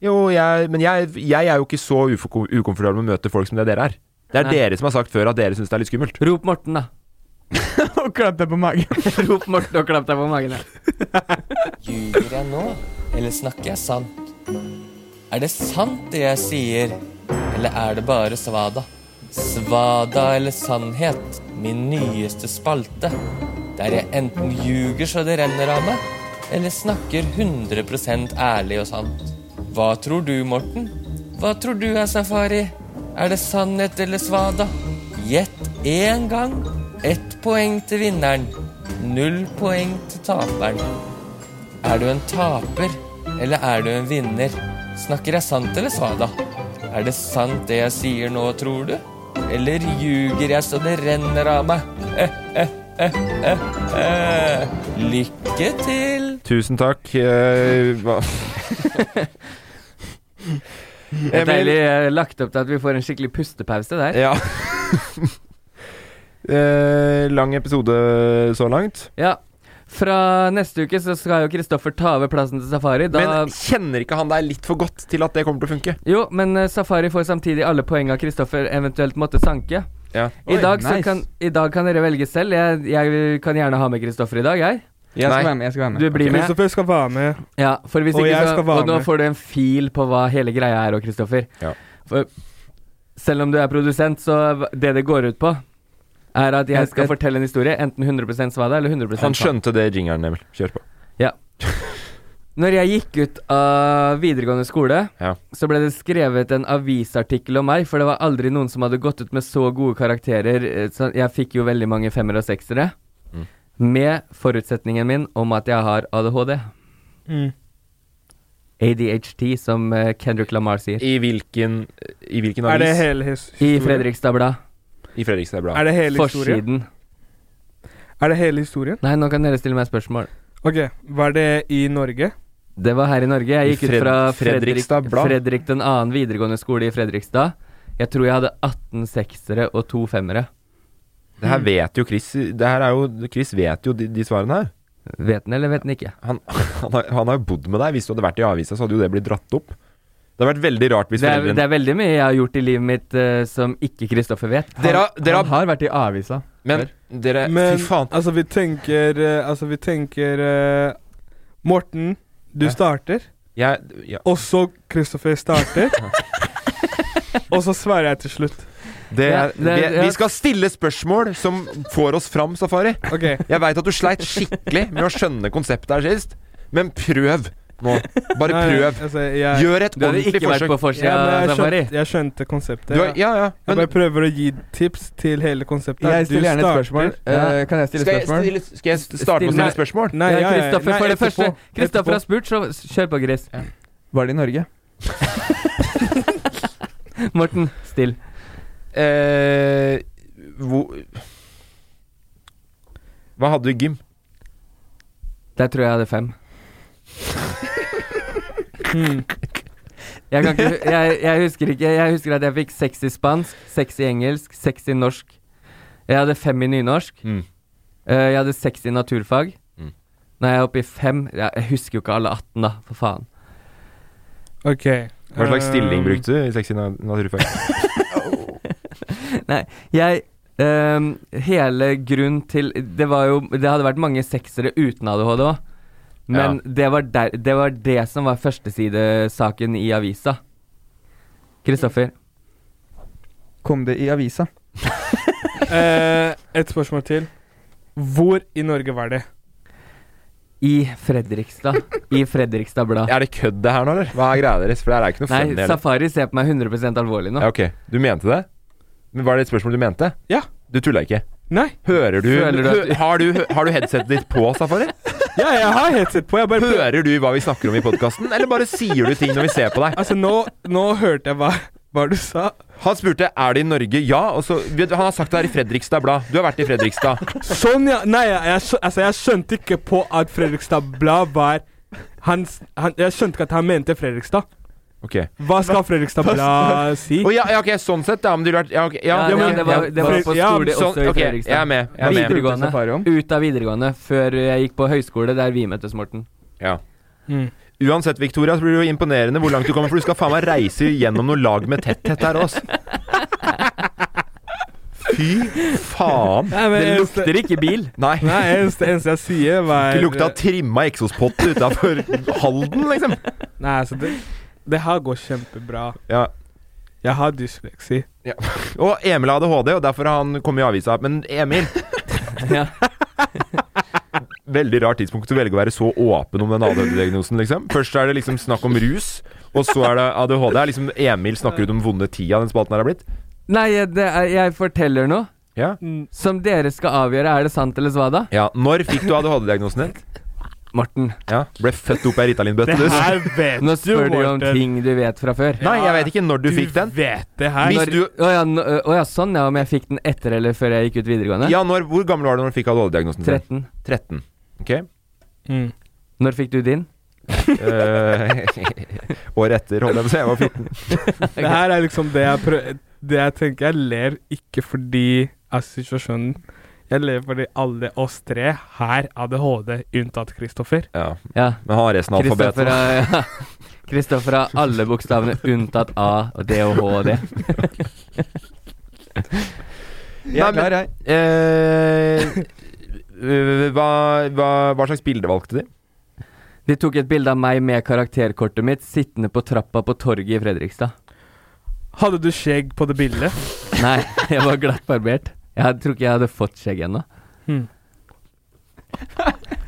S6: Jo, jeg, men jeg, jeg er jo ikke så ufo- ukomfortabel med å møte folk som det dere er. Det er
S4: Nei.
S6: dere som har sagt før at dere syns det er litt skummelt.
S4: Rop Morten, da.
S3: Og [LAUGHS] klapp deg på magen.
S4: Rop Morten og klapp deg på magen. da.
S11: Ljuger jeg nå, eller snakker jeg sant? Er det sant det jeg sier, eller er det bare svada? Svada eller sannhet, min nyeste spalte, der jeg enten ljuger så det renner av meg, eller snakker 100 ærlig og sant. Hva tror du, Morten? Hva tror du er safari? Er det sannhet eller svada? Gjett én gang. Ett poeng til vinneren. Null poeng til taperen. Er du en taper, eller er du en vinner? Snakker jeg sant eller svada? Er det sant det jeg sier nå, tror du? Eller ljuger jeg så det renner av meg? Eh, eh, eh, eh, eh. Lykke til!
S6: Tusen takk. eh, hva-
S4: Det er deilig eh, lagt opp til at vi får en skikkelig pustepause der.
S6: Ja. Eh, lang episode så langt.
S4: Ja. Fra neste uke så skal jo Kristoffer ta over plassen til Safari. Da
S6: Men kjenner ikke han deg litt for godt til at det kommer til å funke?
S4: Jo, men eh, Safari får samtidig alle poenga Kristoffer eventuelt måtte sanke.
S6: Ja.
S4: I,
S3: Oi,
S4: dag så
S3: nice.
S4: kan, I dag kan dere velge selv. Jeg, jeg kan gjerne ha med Kristoffer i dag, jeg.
S3: Jeg skal være med, jeg skal være med.
S4: Du blir med.
S5: Kristoffer skal være med.
S4: Ja, for hvis
S5: og
S4: ikke
S5: jeg
S4: så,
S5: skal være
S4: og nå
S5: med.
S4: får du en fil på hva hele greia er òg, Kristoffer. For selv om du er produsent, så det det går ut på, er at jeg
S6: Et-
S4: skal
S6: et-
S4: fortelle en historie, enten 100 svada eller 100
S6: Han
S4: sant.
S6: skjønte det i jingeren, Emil. Kjør på.
S4: Ja. Når jeg gikk ut av videregående skole, så ble det skrevet en avisartikkel om meg, for det var aldri noen som hadde gått ut med så gode karakterer. eh, Så jeg fikk jo veldig mange femmer og seksere.
S6: Mm.
S4: Med forutsetningen min om at jeg har ADHD.
S5: Mm.
S4: ADHD, som eh, Kendrick Lamar sier.
S6: I hvilken, i hvilken
S5: Er det avis? hele his-
S4: I
S5: historien?
S4: Fredrikstad Blad.
S6: I Fredrikstad Blad.
S5: Er det hele historien?
S4: Forsiden.
S5: Er det hele historien?
S4: Nei, nå kan dere stille meg spørsmål.
S5: Ok, var det i Norge?
S4: Det var her i Norge. Jeg
S5: I
S4: gikk ut
S5: Fred-
S4: fra Fredrik,
S5: Fredrikstad Blad.
S4: Fredrik den annen videregående skole i Fredrikstad. Jeg tror jeg hadde 18 seksere og to femmere.
S6: Det her vet jo Chris det her er jo, Chris vet jo de, de svarene her.
S4: Vet han eller vet han ikke?
S6: Han, har, han har jo bodd med deg. Hvis du hadde vært i avisa, så hadde jo det blitt dratt opp. Det hadde vært veldig rart hvis
S4: Det er,
S6: foreldrene
S4: det er veldig mye jeg har gjort i livet mitt eh, som ikke Kristoffer vet.
S6: Dere har- dere har-
S4: vært i avisa.
S6: Men dere
S5: Men
S6: Eh, Fy faen.
S5: altså, vi tenker eh, Altså, vi tenker eh, Morten, du
S6: Ja.
S5: starter.
S6: Jeg, ja.
S5: Og så Kristoffer starter. og så svarer jeg til slutt.
S6: Det er, vi, vi skal stille spørsmål som får oss fram, Safari. Jeg veit at du sleit skikkelig med å skjønne konseptet her sist, men prøv nå. Bare
S5: Nei,
S6: prøv.
S5: altså, jeg-
S6: Gjør et ordentlig forsøk.
S5: Ja, men jeg skjønte, jeg skjønte konseptet.
S6: Du har- ja, ja,
S5: jeg
S6: men-
S5: bare prøver å gi tips til hele konseptet.
S3: Jeg stiller
S5: Du
S3: gjerne et
S5: starter.
S3: spørsmål. Eh, kan jeg stille Skal jeg spørsmål? stille- skal jeg starte med å stille
S5: Nei,
S3: spørsmål?
S5: Nei,
S3: Ja,
S5: ja, ja,
S3: Kristoffer,
S5: nei,
S3: for det
S5: etterpå.
S3: første,
S4: Kristoffer har
S5: Etterpå.
S4: spurt, så s- kjør på, Chris.
S3: Var det i Norge?
S4: Morten, still.
S6: Eh, hvor Hva hadde du i gym?
S4: Der tror jeg jeg hadde fem. Jeg, kan ikke, jeg, jeg husker ikke Jeg husker at jeg fikk seks i spansk, seks i engelsk, seks i norsk. Jeg hadde fem i nynorsk.
S6: Mm.
S4: Eh, jeg hadde seks i naturfag.
S6: Mm.
S4: Nå er jeg oppe i fem. Jeg, jeg husker jo ikke alle 18, da, for faen.
S5: Ok. eh,
S6: Hva slags stilling
S4: Um,
S6: brukte du i sexy na- naturfag?
S4: [LAUGHS] Nei, jeg ehm, Hele grunn til Det var jo Det hadde vært mange seksere uten ADHD òg. Men det, var der, det var det som var førstesidesaken i avisa. Kristoffer.
S3: Kom det i avisa?
S5: Eh, et spørsmål til. Hvor i Norge var det?
S4: I Fredrikstad. I Fredrikstad Blad.
S6: Er det kødd det her nå, eller? Hva er greia deres? For det her er ikke noe
S4: Nei,
S6: funny, eller?
S4: Safari ser på meg 100 alvorlig nå.
S6: Ja, ok, du mente det? Men Var det et spørsmål du mente?
S5: Ja
S6: Du tulla ikke?
S5: Nei
S6: Hører du,
S4: Føler du at-
S6: hø- har du Har du headsetet ditt på, Safari?
S5: Ja, jeg har headset på. Jeg bare
S6: Hører du hva vi snakker om i podkasten, eller bare sier du ting når vi ser på deg?
S5: Altså, nå, hørte jeg hva, du sa.
S6: Han spurte er det i Norge, ja, og så vet du, Han har sagt det her i Fredrikstad Blad. Du har vært i Fredrikstad.
S5: Sånn, ja. Nei, jeg, jeg, skjø- altså, jeg skjønte ikke på at Fredrikstad Blad var hans, han, Jeg skjønte ikke at han mente Fredrikstad.
S6: Ok.
S5: Hva skal Fredrikstad Blad si?
S6: Å, ja, ja, ok, sånn sett, ja. Men du har vært Ja, ok. Ja,
S4: Ja,
S6: ja,
S4: ja,
S6: men-
S4: det var, det var
S6: ja,
S4: på skole
S6: ja,
S4: også
S6: sånn,
S4: i
S6: ok,
S4: Fredrikstad.
S6: Jeg er med. Jeg er med.
S4: Videregående. Ut av videregående, før jeg gikk på høyskole, der vi møttes,
S6: [LAUGHS]
S4: Morten.
S6: Ja. Uansett, Victoria, så blir det jo imponerende hvor langt du kommer, for du skal faen meg reise gjennom noe lag med tetthet her også. Fy faen.
S5: Nei, men
S6: det
S5: jeg-
S6: lukter
S4: ikke bil.
S6: Nei.
S5: Nei, eneste, eneste jeg sier, var
S6: Ikke lukta trimma eksospotte utafor Halden, liksom.
S5: Nei, altså, det, det her går kjempebra.
S6: Ja.
S5: Jeg har dysleksi.
S6: Ja. Og Emil har ADHD, og derfor har han kommet i avisa. Men Emil
S4: Ja.
S6: Veldig rart tidspunkt å velge å være så åpen om den ADHD-diagnosen, liksom. Først er det liksom snakk om rus, og så er det ADHD. Er liksom Emil snakker ut om vonde tida den spalten her har blitt.
S4: Nei, jeg- det er, jeg forteller noe
S6: Ja.
S4: som dere skal avgjøre. Er det sant eller svada?
S6: Ja, Når fikk du ADHD-diagnosen din?
S4: Morten.
S6: Ja, Ble født opp i ei Ritalin-bøtte, du.
S4: Nå spør du om ting du vet fra før.
S6: Nei, jeg vet ikke når du, fikk den.
S5: Vet det
S6: Hvis
S4: Når,
S6: du
S4: å, ja, nå- å ja, sånn ja. Om jeg fikk den etter eller før jeg gikk ut videregående?
S6: Ja, når, Hvor gammel var du når du fikk ADHD-diagnosen?
S4: 13.
S6: 13. Ok.
S4: Når fikk du din?
S6: Eh, [LAUGHS] Året etter, holdt jeg på å si. Jeg var 14.
S5: Det her er liksom det jeg prøver Det jeg tenker Jeg ler ikke fordi av situasjonen. Jeg ler fordi alle oss tre her ADHD, unntatt Kristoffer.
S6: Ja.
S4: Ja.
S6: Men han har resten av alfabetet.
S4: Kristoffer har- [LAUGHS] ja. Kristoffer har alle bokstavene unntatt A, og D og H og D.
S6: Nei, men, eh, øh, hva, hva, hva slags bilde valgte de?
S4: De tok et bilde av meg med karakterkortet mitt sittende på trappa på torget i Fredrikstad.
S5: Hadde du skjegg på det bildet?
S4: Nei, [LAUGHS] jeg var glatt barbert. Jeg had- tror ikke jeg hadde fått skjegg ennå.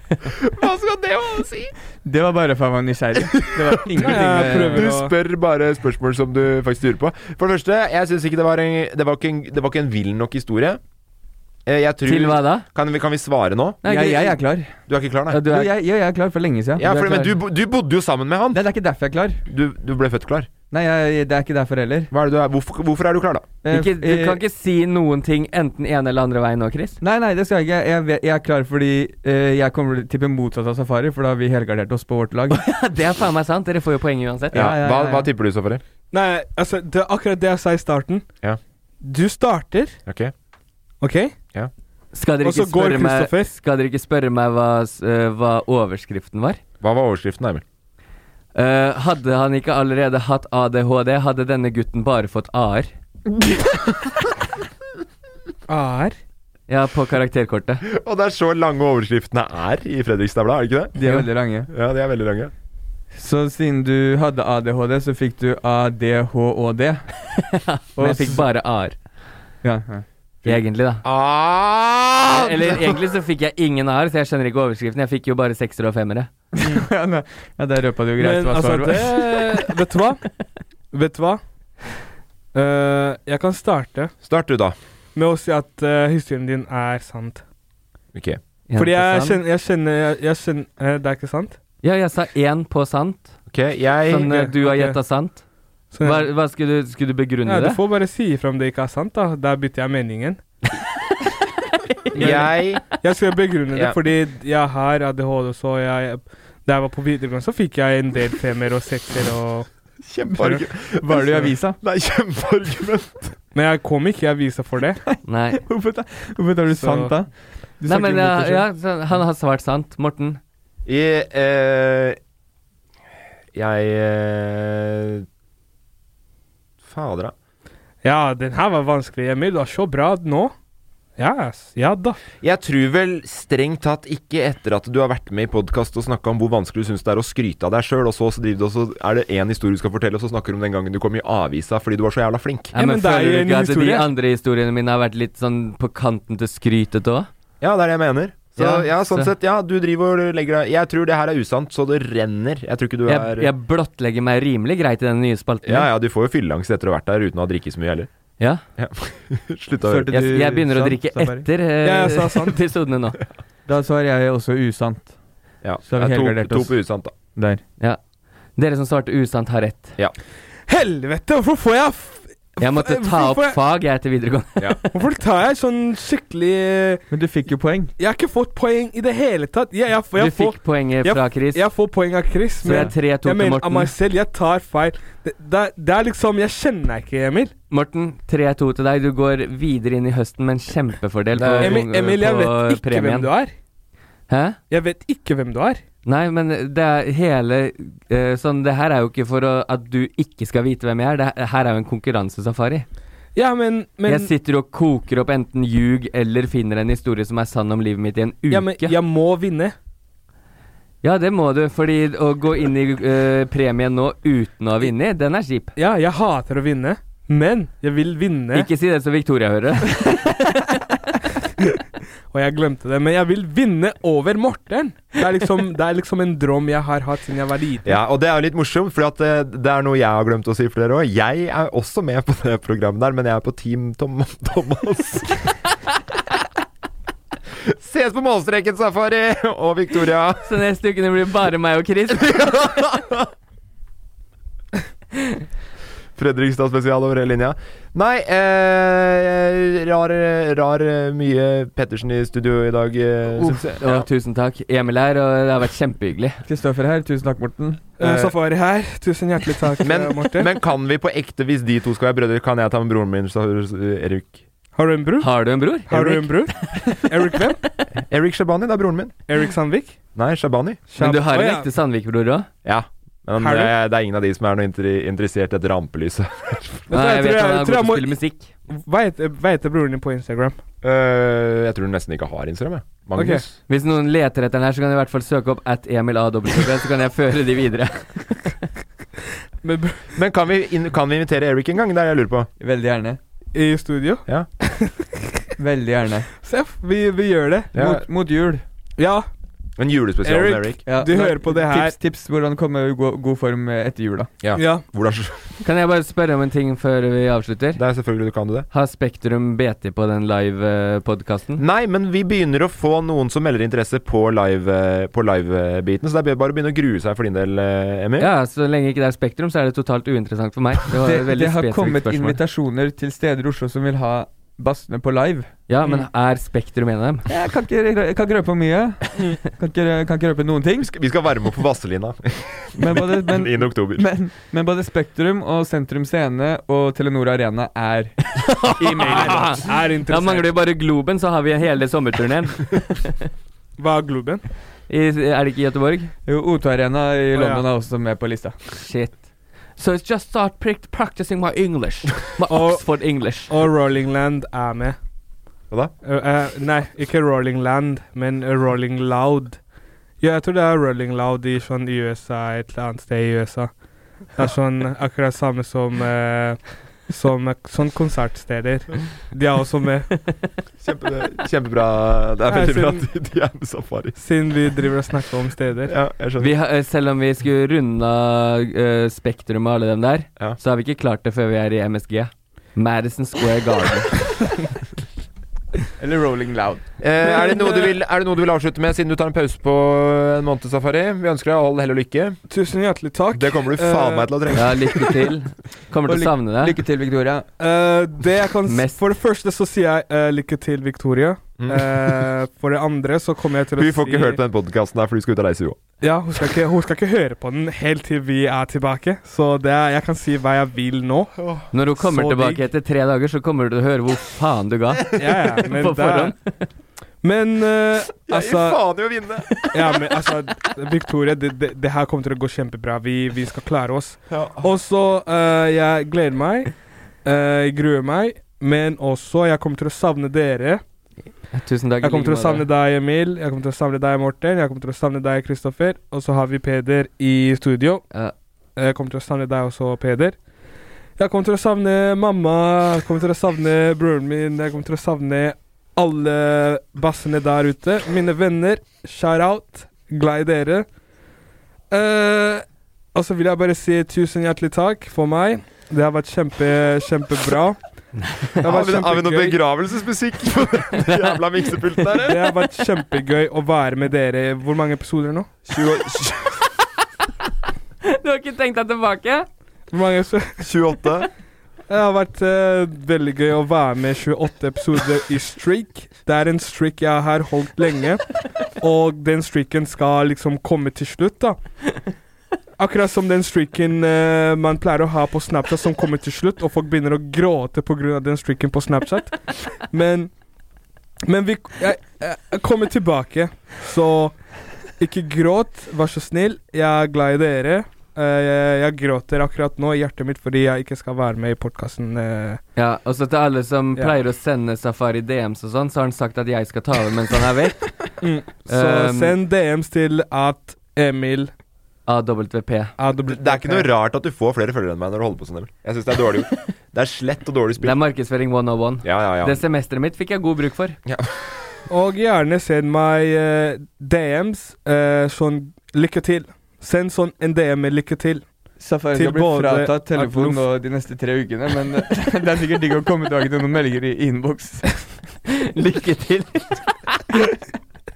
S6: Hva skal det ha å si?
S3: Det var bare for jeg var nysgjerrig. Det var ingenting
S6: Eh,
S3: med-
S6: Du spør bare spørsmål som du faktisk lurer på. For det første, jeg syns ikke det var en, det var ikke en, det var ikke en vill nok historie. Eh, Jeg tror,
S4: Til hva da?
S6: Kan vi, kan vi svare nå?
S3: Nei, jeg, jeg er klar.
S6: Du er ikke klar, nei?
S3: Ja, du er... jeg, jeg er klar for lenge siden.
S6: ja,
S3: er
S6: for, men
S3: klar.
S6: du, bo- du bodde jo sammen med han.
S3: Nei, det er ikke derfor jeg er klar.
S6: Du, du ble født klar.
S3: Nei, jeg, det er ikke derfor heller. Eh,
S6: Hva er det du er? Hvorfor, hvorfor er du klar, da?
S4: Ikke,
S6: eh,
S4: du kan ikke si noen ting enten ene eller andre veien nå, Chris.
S3: Nei, nei, det skal jeg ikke. Jeg, vet- jeg er klar fordi eh, jeg kommer til å tippe motsatt av Safari, for da har vi helgardert oss på vårt
S4: [LAUGHS]
S3: lag.
S4: Det er faen meg sant. Dere får jo poeng uansett.
S3: Ja, ja, ja, Hva- ja. hva
S6: tipper du, Safari?
S5: Nei, altså, det er akkurat det jeg sa i starten.
S6: Ja.
S5: Du starter,
S6: Ok.
S5: OK?
S6: Ja.
S4: Skal dere,
S5: Og så
S4: ikke spørre
S5: går
S4: meg,
S5: Kristoffer.
S4: skal dere ikke spørre meg hva, s- eh, hva overskriften var? Eh,
S6: Hva var overskriften, Emil?
S4: hadde han ikke allerede hatt ADHD, hadde denne gutten bare fått AR.
S5: [LAUGHS] AR?
S4: Ja, på karakterkortet.
S6: Og det er så lange overskriftene er i Fredrikstad Blad, er det ikke det?
S3: De er veldig lange.
S6: Ja, de er veldig lange.
S3: Så siden du hadde ADHD, så fikk du ADHD.
S4: [LAUGHS] Men jeg fikk bare AR.
S3: Ja, ja.
S4: Egentlig, da.
S6: Ah!
S4: Eller egentlig så fikk jeg ingen AR, så jeg skjønner ikke overskriften. Jeg fikk jo bare seksere og femmere.
S3: ja, nei. ja, der røpa du
S5: Men
S3: greit hva
S5: altså,
S3: svaret var. [LAUGHS]
S5: det Vet du hva? Vet du hva? Eh, jeg kan starte
S6: Start du, da.
S5: med å si at eh, historien din er sant.
S6: Ok.
S5: Fordi jeg kjenner, jeg kjenner, jeg, jeg kjenner eh, Det er ikke sant?
S4: Ja, jeg sa én på sant.
S6: Ok, jeg
S4: Sånn eh,
S5: Ok,
S4: du har
S5: ok.
S4: gjetta sant. Hva, hva skulle, du, skulle du begrunne
S5: Ja, du
S4: det?
S5: får bare si ifra om det ikke er sant, da. Der bytter jeg meningen.
S6: Jeg
S5: Jeg skal begrunne det,
S6: Ja.
S5: fordi jeg har ADHD, så jeg Da jeg var på videregående, så fikk jeg en del femmer og sekser og
S6: Kjempeargument.
S3: Var det i avisa?
S6: Nei, kjempeargument.
S5: Men jeg kom ikke i avisa for det.
S4: Nei.
S3: Hvorfor tar- hvorfor tar du
S5: Så-
S3: sant, da? Du
S4: Nei,
S3: snakker
S4: men
S3: mot
S4: ja,
S3: deg selv.
S4: ja, så Han har svart sant. Morten.
S6: Jeg eh, Jeg eh, Fader, da.
S5: Ja, den her var vanskelig, Emil. Du er så bra nå. Ja, ass. ja da.
S6: Jeg tror vel strengt tatt ikke etter at du har vært med i podkast og snakka om hvor vanskelig du syns det er å skryte av deg sjøl, og så, så, driver du, og så er det én historie du skal fortelle, og så snakker du om den gangen du kom i avisa fordi du var så jævla flink.
S4: Ja, men Føler du ikke at de andre historiene mine har vært litt sånn på kanten til skrytete òg?
S6: Ja, det er det jeg mener. Så ja,
S4: Ja,
S6: sånn
S4: så-
S6: sett, ja, du driver og legger deg Jeg tror det her er usant, så det renner. Jeg tror ikke du
S4: Jeg,
S6: er
S4: jeg blottlegger meg rimelig greit i den nye spalten.
S6: Ja, ja, du får jo fylleangst etter å ha vært der uten å ha drikket så mye heller.
S4: Ja.
S6: [LAUGHS] Slutt å høre.
S3: Førte
S4: Jeg, jeg begynner å
S3: sant,
S4: drikke
S3: Safari?
S4: etter eh,
S3: Ja, jeg sa sant.
S4: [LAUGHS] episodene nå.
S3: Da svarer jeg også usant.
S6: Ja.
S3: Så har vi
S6: Ja, to,
S3: helgardert
S6: to
S3: oss.
S6: på usant, da.
S3: Der.
S4: Ja. Dere som svarte usant, har rett.
S6: Ja.
S5: Helvete, hvorfor får jeg f
S4: Jeg måtte ta opp
S5: Hvorfor-
S4: fag jeg til videregående.
S5: Hvorfor tar jeg sånn skikkelig eh,
S3: Men du fikk jo poeng.
S5: Jeg har ikke fått poeng i det hele tatt. Jeg, jeg, jeg,
S4: Du
S5: får-
S4: fikk poenget
S5: jeg-
S4: fra Chris.
S5: Jeg får poeng av Chris,
S4: Så det er 3-2 til
S5: jeg mener av
S4: Morten.
S5: meg selv. Jeg tar feil. Det, det, er- det er liksom Jeg kjenner deg ikke, Emil.
S4: Morten, 3-2 til deg. Du går videre inn i høsten med en kjempefordel på,
S5: Emil, Emil jeg
S4: på
S5: vet ikke
S4: premien.
S5: hvem du er.
S4: Hæ?
S5: Jeg vet ikke hvem du er.
S4: Nei, men det er hele eh, Sånn, det her er jo ikke for å, at du ikke skal vite hvem jeg er. Det her- her er jo en konkurransesafari.
S5: Ja, men, men
S4: Jeg sitter og koker opp enten ljug eller finner en historie som er sann om livet mitt i en uke.
S5: ja, men jeg må vinne.
S4: Ja, det må du, fordi å gå inn i eh, premien nå uten å ha vunnet, den er kjip.
S5: Ja, jeg hater å vinne, men jeg vil vinne.
S4: Ikke si det så Victoria hører.
S5: [LAUGHS]
S4: det.
S5: Og jeg glemte det, men jeg vil vinne over Morten. Det er liksom, det er liksom en drøm jeg har hatt siden jeg var liten.
S6: Ja, og det er jo litt morsomt, for at eh, det er noe jeg har glemt å si for dere òg. Jeg er også med på det programmet der, men jeg er på Team Tom [LAUGHS] Thomas. Ses på målstreken, Safari og Victoria.
S4: Så neste uke det blir bare meg og
S5: [LAUGHS]
S4: Chris.
S6: Fredrikstad spesial over hele linja. Nei, eh, rar, rar eh, mye Pettersen i studio i dag, eh,
S4: Uff,
S6: syns jeg.
S4: å, tusen takk. Emil her, og det har vært kjempehyggelig.
S3: Kristoffer her, tusen takk, Morten.
S5: Eh, Safari her, tusen hjertelig takk,
S6: Men,
S5: eh, Morten.
S6: men kan vi på ekte, hvis de to skal være brødre, kan jeg ta med broren min, sa Erik?
S5: har du en bror?
S4: Har du en bror?
S5: Har du en bror? Erik hvem?
S4: [LAUGHS]
S6: Erik Shabani, det er broren min.
S5: Erik Sandvik?
S6: Nei, Shabani.
S4: Men du har
S5: Å,
S4: en
S5: ja.
S4: ekte Sandvik-bror òg?
S6: Ja. Men
S5: Har du?
S6: eh, det er ingen av de som er noe inter interessert i et rampelyset.
S5: Vet du hva,
S4: Nei, jeg vet han
S5: tror jeg-
S4: har
S5: tror
S4: gått
S5: jeg
S4: og
S5: må-
S4: spiller musikk.
S5: Hva heter, hva heter broren din på Instagram?
S6: [LAUGHS] Eh, jeg tror du nesten ikke har Instagram, jeg. Magnus.
S4: Hvis noen leter etter den her, så kan de i hvert fall søke opp at Emil A. W, så
S3: [LAUGHS]
S4: kan jeg føre de videre.
S6: Men, kan, vi inn- kan vi invitere Eric en gang? Det er det jeg lurer på.
S3: Veldig gjerne.
S5: I studio?
S6: Ja.
S3: Veldig gjerne.
S5: Se, vi, vi gjør det.
S3: Ja. Mot, mot jul.
S5: Ja.
S6: En julespesial med Eric.
S3: Ja.
S5: du hører på det her.
S3: Tips, tips hvordan komme i god, god form eh, etter jula.
S5: Ja.
S4: Kan jeg bare spørre om en ting før vi avslutter?
S6: Det er selvfølgelig du kan [LAUGHS] det.
S4: Har Spektrum BT på den eh, live-podkasten?
S6: Nei, men vi begynner å få noen som melder interesse på live- eh, på live-biten, så det er bare å begynne å grue seg for din del, eh, Emil.
S4: Ja, så lenge ikke det er Spektrum, så er det totalt uinteressant for meg. Det var
S3: Det,
S4: et
S3: det
S4: veldig
S3: har kommet
S4: spesifikt spørsmål.
S3: invitasjoner til steder i Oslo som vil ha Bassene på live.
S4: Ja, men er Spektrum en av dem?
S3: Jeg kan ikke, rø- kan ikke røpe for mye. Kan ikke, rø- kan ikke røpe noen ting.
S6: Vi skal varme opp på Vasselina [LAUGHS]
S3: Men både, men,
S6: innen oktober.
S3: men, men både Spektrum og Sentrum Scene og Telenor Arena er i mailen.
S4: Er [LAUGHS] Da mangler vi bare Globen, så har vi hele sommerturneen.
S5: Hva er Globen?
S4: I, er det ikke i Göteborg?
S3: Jo, O2 Arena i
S4: Å, ja.
S3: London er også med på lista.
S4: Shit. So it's just start prick- practicing my English. My Oxford English.
S5: Og Rolling Land er med.
S6: Hva da?
S5: nei, ikke Rolling Land, men eh, Rolling Loud. Ja, jeg tror det er Rolling Loud i sånn USA, et eller annet sted i USA. Det er sånn akkurat samme som eh, som eh, sånn konsertsteder. De er også med.
S6: Kjempe, kjempebra. Det er
S5: Nei,
S6: veldig bra
S5: siden-
S6: at de- de er med Safari.
S5: Siden vi driver og snakker om steder.
S6: Ja, jeg skjønner.
S4: Vi har, eh, selv om vi skulle runde av eh, Spektrum og alle dem der, så har vi ikke klart det før vi er i MSG. Madison Square Garden.
S3: Eller Rolling Loud.
S6: Eh, er, det noe du vil, er det noe du vil avslutte med, siden du tar en pause på eh, en måned, Safari? Vi ønsker deg all hell og lykke. Eh,
S5: Tusen hjertelig takk.
S6: Det kommer du faen meg til å trenge.
S4: ja, lykke til. Kommer til å savne deg.
S3: Lykke til, Victoria.
S5: Eh, det jeg kan s- For det første så sier jeg eh, lykke til, Victoria. Eh, for det andre så kommer jeg til å
S6: Hun Mm. får
S5: si
S6: ikke hørt på den podkasten her, for du skal ut av reise, hun òg.
S5: Ja, hun skal, ikke, hun skal ikke høre på den helt til vi er tilbake. Så det er, jeg kan si hva jeg vil nå.
S4: Når hun kommer
S5: Så
S4: tilbake
S5: digg.
S4: etter tre dager, så kommer du til å høre hvor faen du ga.
S5: Ja, ja, men
S4: På
S5: det er-
S4: forhånd.
S5: Men eh,
S3: Oh,
S5: altså
S6: i å vinne!
S5: ja, men altså, Victoria, det, det, det her kommer til å gå kjempebra. Vi, vi skal klare oss.
S6: Ja.
S5: Og så eh, Jeg gleder meg. eh, jeg gruer meg. Men også, jeg kommer til å savne dere.
S4: Tusen takk.
S5: Jeg kommer til å
S4: like
S5: savne
S4: måte.
S5: deg, Emil. Jeg kommer til å savne deg, Morten. Jeg kommer til å savne deg, Kristoffer. Og så har vi Peder i studio. Jeg kommer til å savne deg også, Peder. Jeg kommer til å savne mamma. Jeg kommer til å savne broren min. Jeg kommer til å savne alle bassene der ute. Mine venner. Shout out. Glad i dere. Eh, og så vil jeg bare si tusen hjertelig takk for meg. Det har vært kjempe,
S6: [LAUGHS]
S5: kjempebra. Det har
S6: Har
S5: vært
S6: vi, har vi noe
S5: kjempegøy.
S6: begravelsesmusikk [LAUGHS] på den jævla miksepulten her?
S5: Det har vært kjempegøy å være med dere. Hvor mange episoder nå?
S6: 20,
S4: Du har ikke tenkt deg tilbake?
S5: Hvor mange episoder?
S6: 28.
S5: Det har vært eh, veldig gøy å være med 28 episoder i streak. Det er en streak jeg har holdt lenge, og den streaken skal liksom komme til slutt, da. Akkurat som den streaken eh, man pleier å ha på Snapchat som kommer til slutt, og folk begynner å gråte pga. den streaken på Snapchat. Men Men vi jeg, jeg kommer tilbake, så ikke gråt, vær så snill. Jeg er glad i dere. Eh, jeg, jeg gråter akkurat nå i hjertet mitt fordi jeg ikke skal være med i eh. podkasten.
S4: Ja, og så til alle som
S5: Ja.
S4: pleier å sende Safari DMs og sånn, så har han sagt at jeg skal ta over mens han er vekk.
S3: Mm.
S5: så
S6: Ehm.
S4: Um,
S5: send DMs til at Emil
S4: AWP.
S6: Det er ikke noe rart at du får flere følgere enn meg når du holder på sånn, Emil. Jeg synes det er dårlig gjort. Det er slett og dårlig
S4: Det er
S6: spill.
S4: markedsføring 101.
S6: Ja, ja, ja.
S4: Det semesteret mitt fikk jeg god bruk for.
S5: Og gjerne send meg eh, DMs eh, sånn 'lykke til'. Send sånn en DM med 'lykke til'.
S3: Safari
S5: Til
S3: skal bli
S5: både
S3: fratatt telefon
S5: Ablof-
S3: nå de neste tre ukene, men [LAUGHS] eh, det er sikkert digg å komme tilbake til noen meldinger i innboks.
S4: Lykke til. [LAUGHS]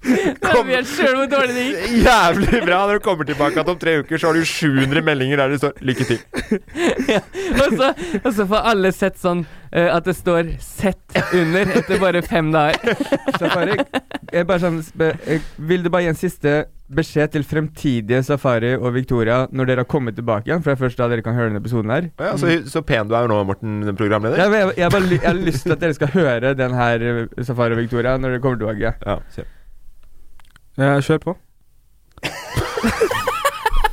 S4: Jeg vet selv hvor dårlig det gikk.
S6: Jævlig bra når du kommer tilbake at om tre uker så har du 700 meldinger der det står 'lykke til'.
S4: Og så, og så får alle sett sånn eh, at det står 'sett under' etter bare fem dager.
S3: Safari, [LAUGHS] jeg bare sånn, sp- jeg vil du bare gi en siste beskjed til fremtidige Safari og Victoria når dere har kommet tilbake igjen? For det er først da dere kan høre denne episoden her.
S6: Ja, så, så pen du er nå, Morten, den programleder.
S3: Jeg, jeg, jeg, bare, ly- jeg har lyst til at dere skal høre den her eh, Safari og Victoria når dere kommer tilbake.
S6: Ja, kjør.
S5: Ja, kjør på.
S3: [LAUGHS]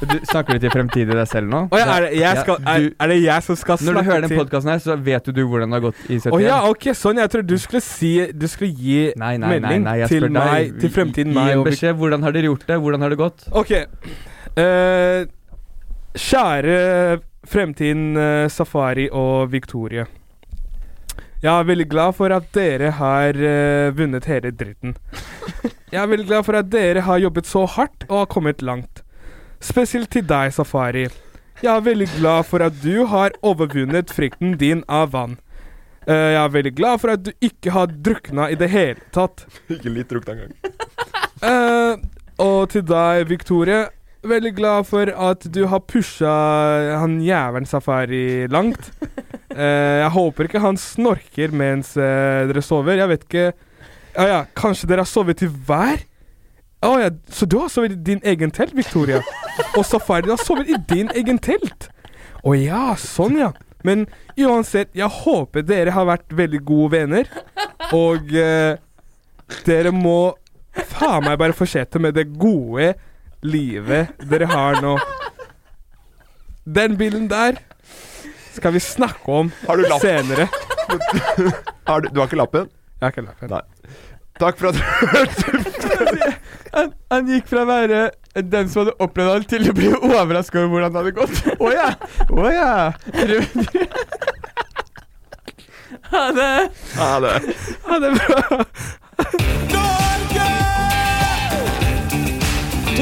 S3: Du, snakker du til fremtidig deg selv nå?
S5: Å ja, er, det jeg skal, er,
S3: du-
S5: er det jeg som skal
S3: når
S5: snakke
S3: du hører den
S5: til
S3: podkasten her, så vet du hvordan det har gått i 71.
S5: Å ja, ok, sånn. Jeg trodde du skulle si Du skulle gi
S3: nei, nei,
S5: melding
S3: nei, jeg
S5: til
S3: spør deg.
S5: meg, til fremtiden
S3: Gi
S5: meg.
S3: en
S5: og vi-
S3: beskjed. Hvordan har dere gjort det? Hvordan har det gått?
S5: Ok. Eh, kjære Fremtiden, eh, Safari og Victoria. Jeg er veldig glad for at dere har eh, vunnet hele dritten. Jeg er veldig glad for at dere har jobbet så hardt og har kommet langt. Spesielt til deg, Safari. Jeg er veldig glad for at du har overvunnet frykten din av vann. Eh, jeg er veldig glad for at du ikke har drukna i det hele tatt.
S6: Ikke litt drukna engang.
S5: Eh, og til deg, Victoria. Veldig glad for at du har pusha han jævelen Safari langt. Eh, jeg håper ikke han snorker mens eh, dere sover. Jeg vet ikke Ja ja, kanskje dere har sovet i hver? Å ja, så du har sovet i din egen telt, Victoria? Og Safari har sovet i din egen telt? Å ja, sånn ja. Men uansett, jeg håper dere har vært veldig gode venner. Og eh, dere må faen meg bare fortsette med det gode livet dere har nå. Den bilen der skal vi snakke om
S6: Har du lapp?
S5: senere.
S6: Har du, du har ikke lappen?
S5: Jeg har ikke lappen.
S6: Nei. Takk for at du
S3: Han, han gikk fra å være den som hadde opplevd alt, til å bli overraska over hvordan det hadde gått. Å ja! Å ja!
S4: Ha det!
S6: Ha det.
S5: Ha det bra.
S12: Du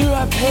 S12: er på! Du er på!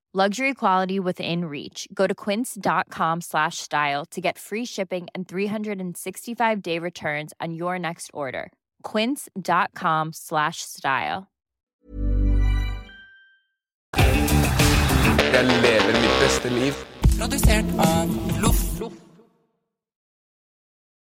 S13: Luxury quality within reach. Go to quince.com slash style to get free shipping and 365 day returns on your next order. Quince.com slash style.
S9: Jeg lever mitt beste liv.
S12: Produsert av Loff.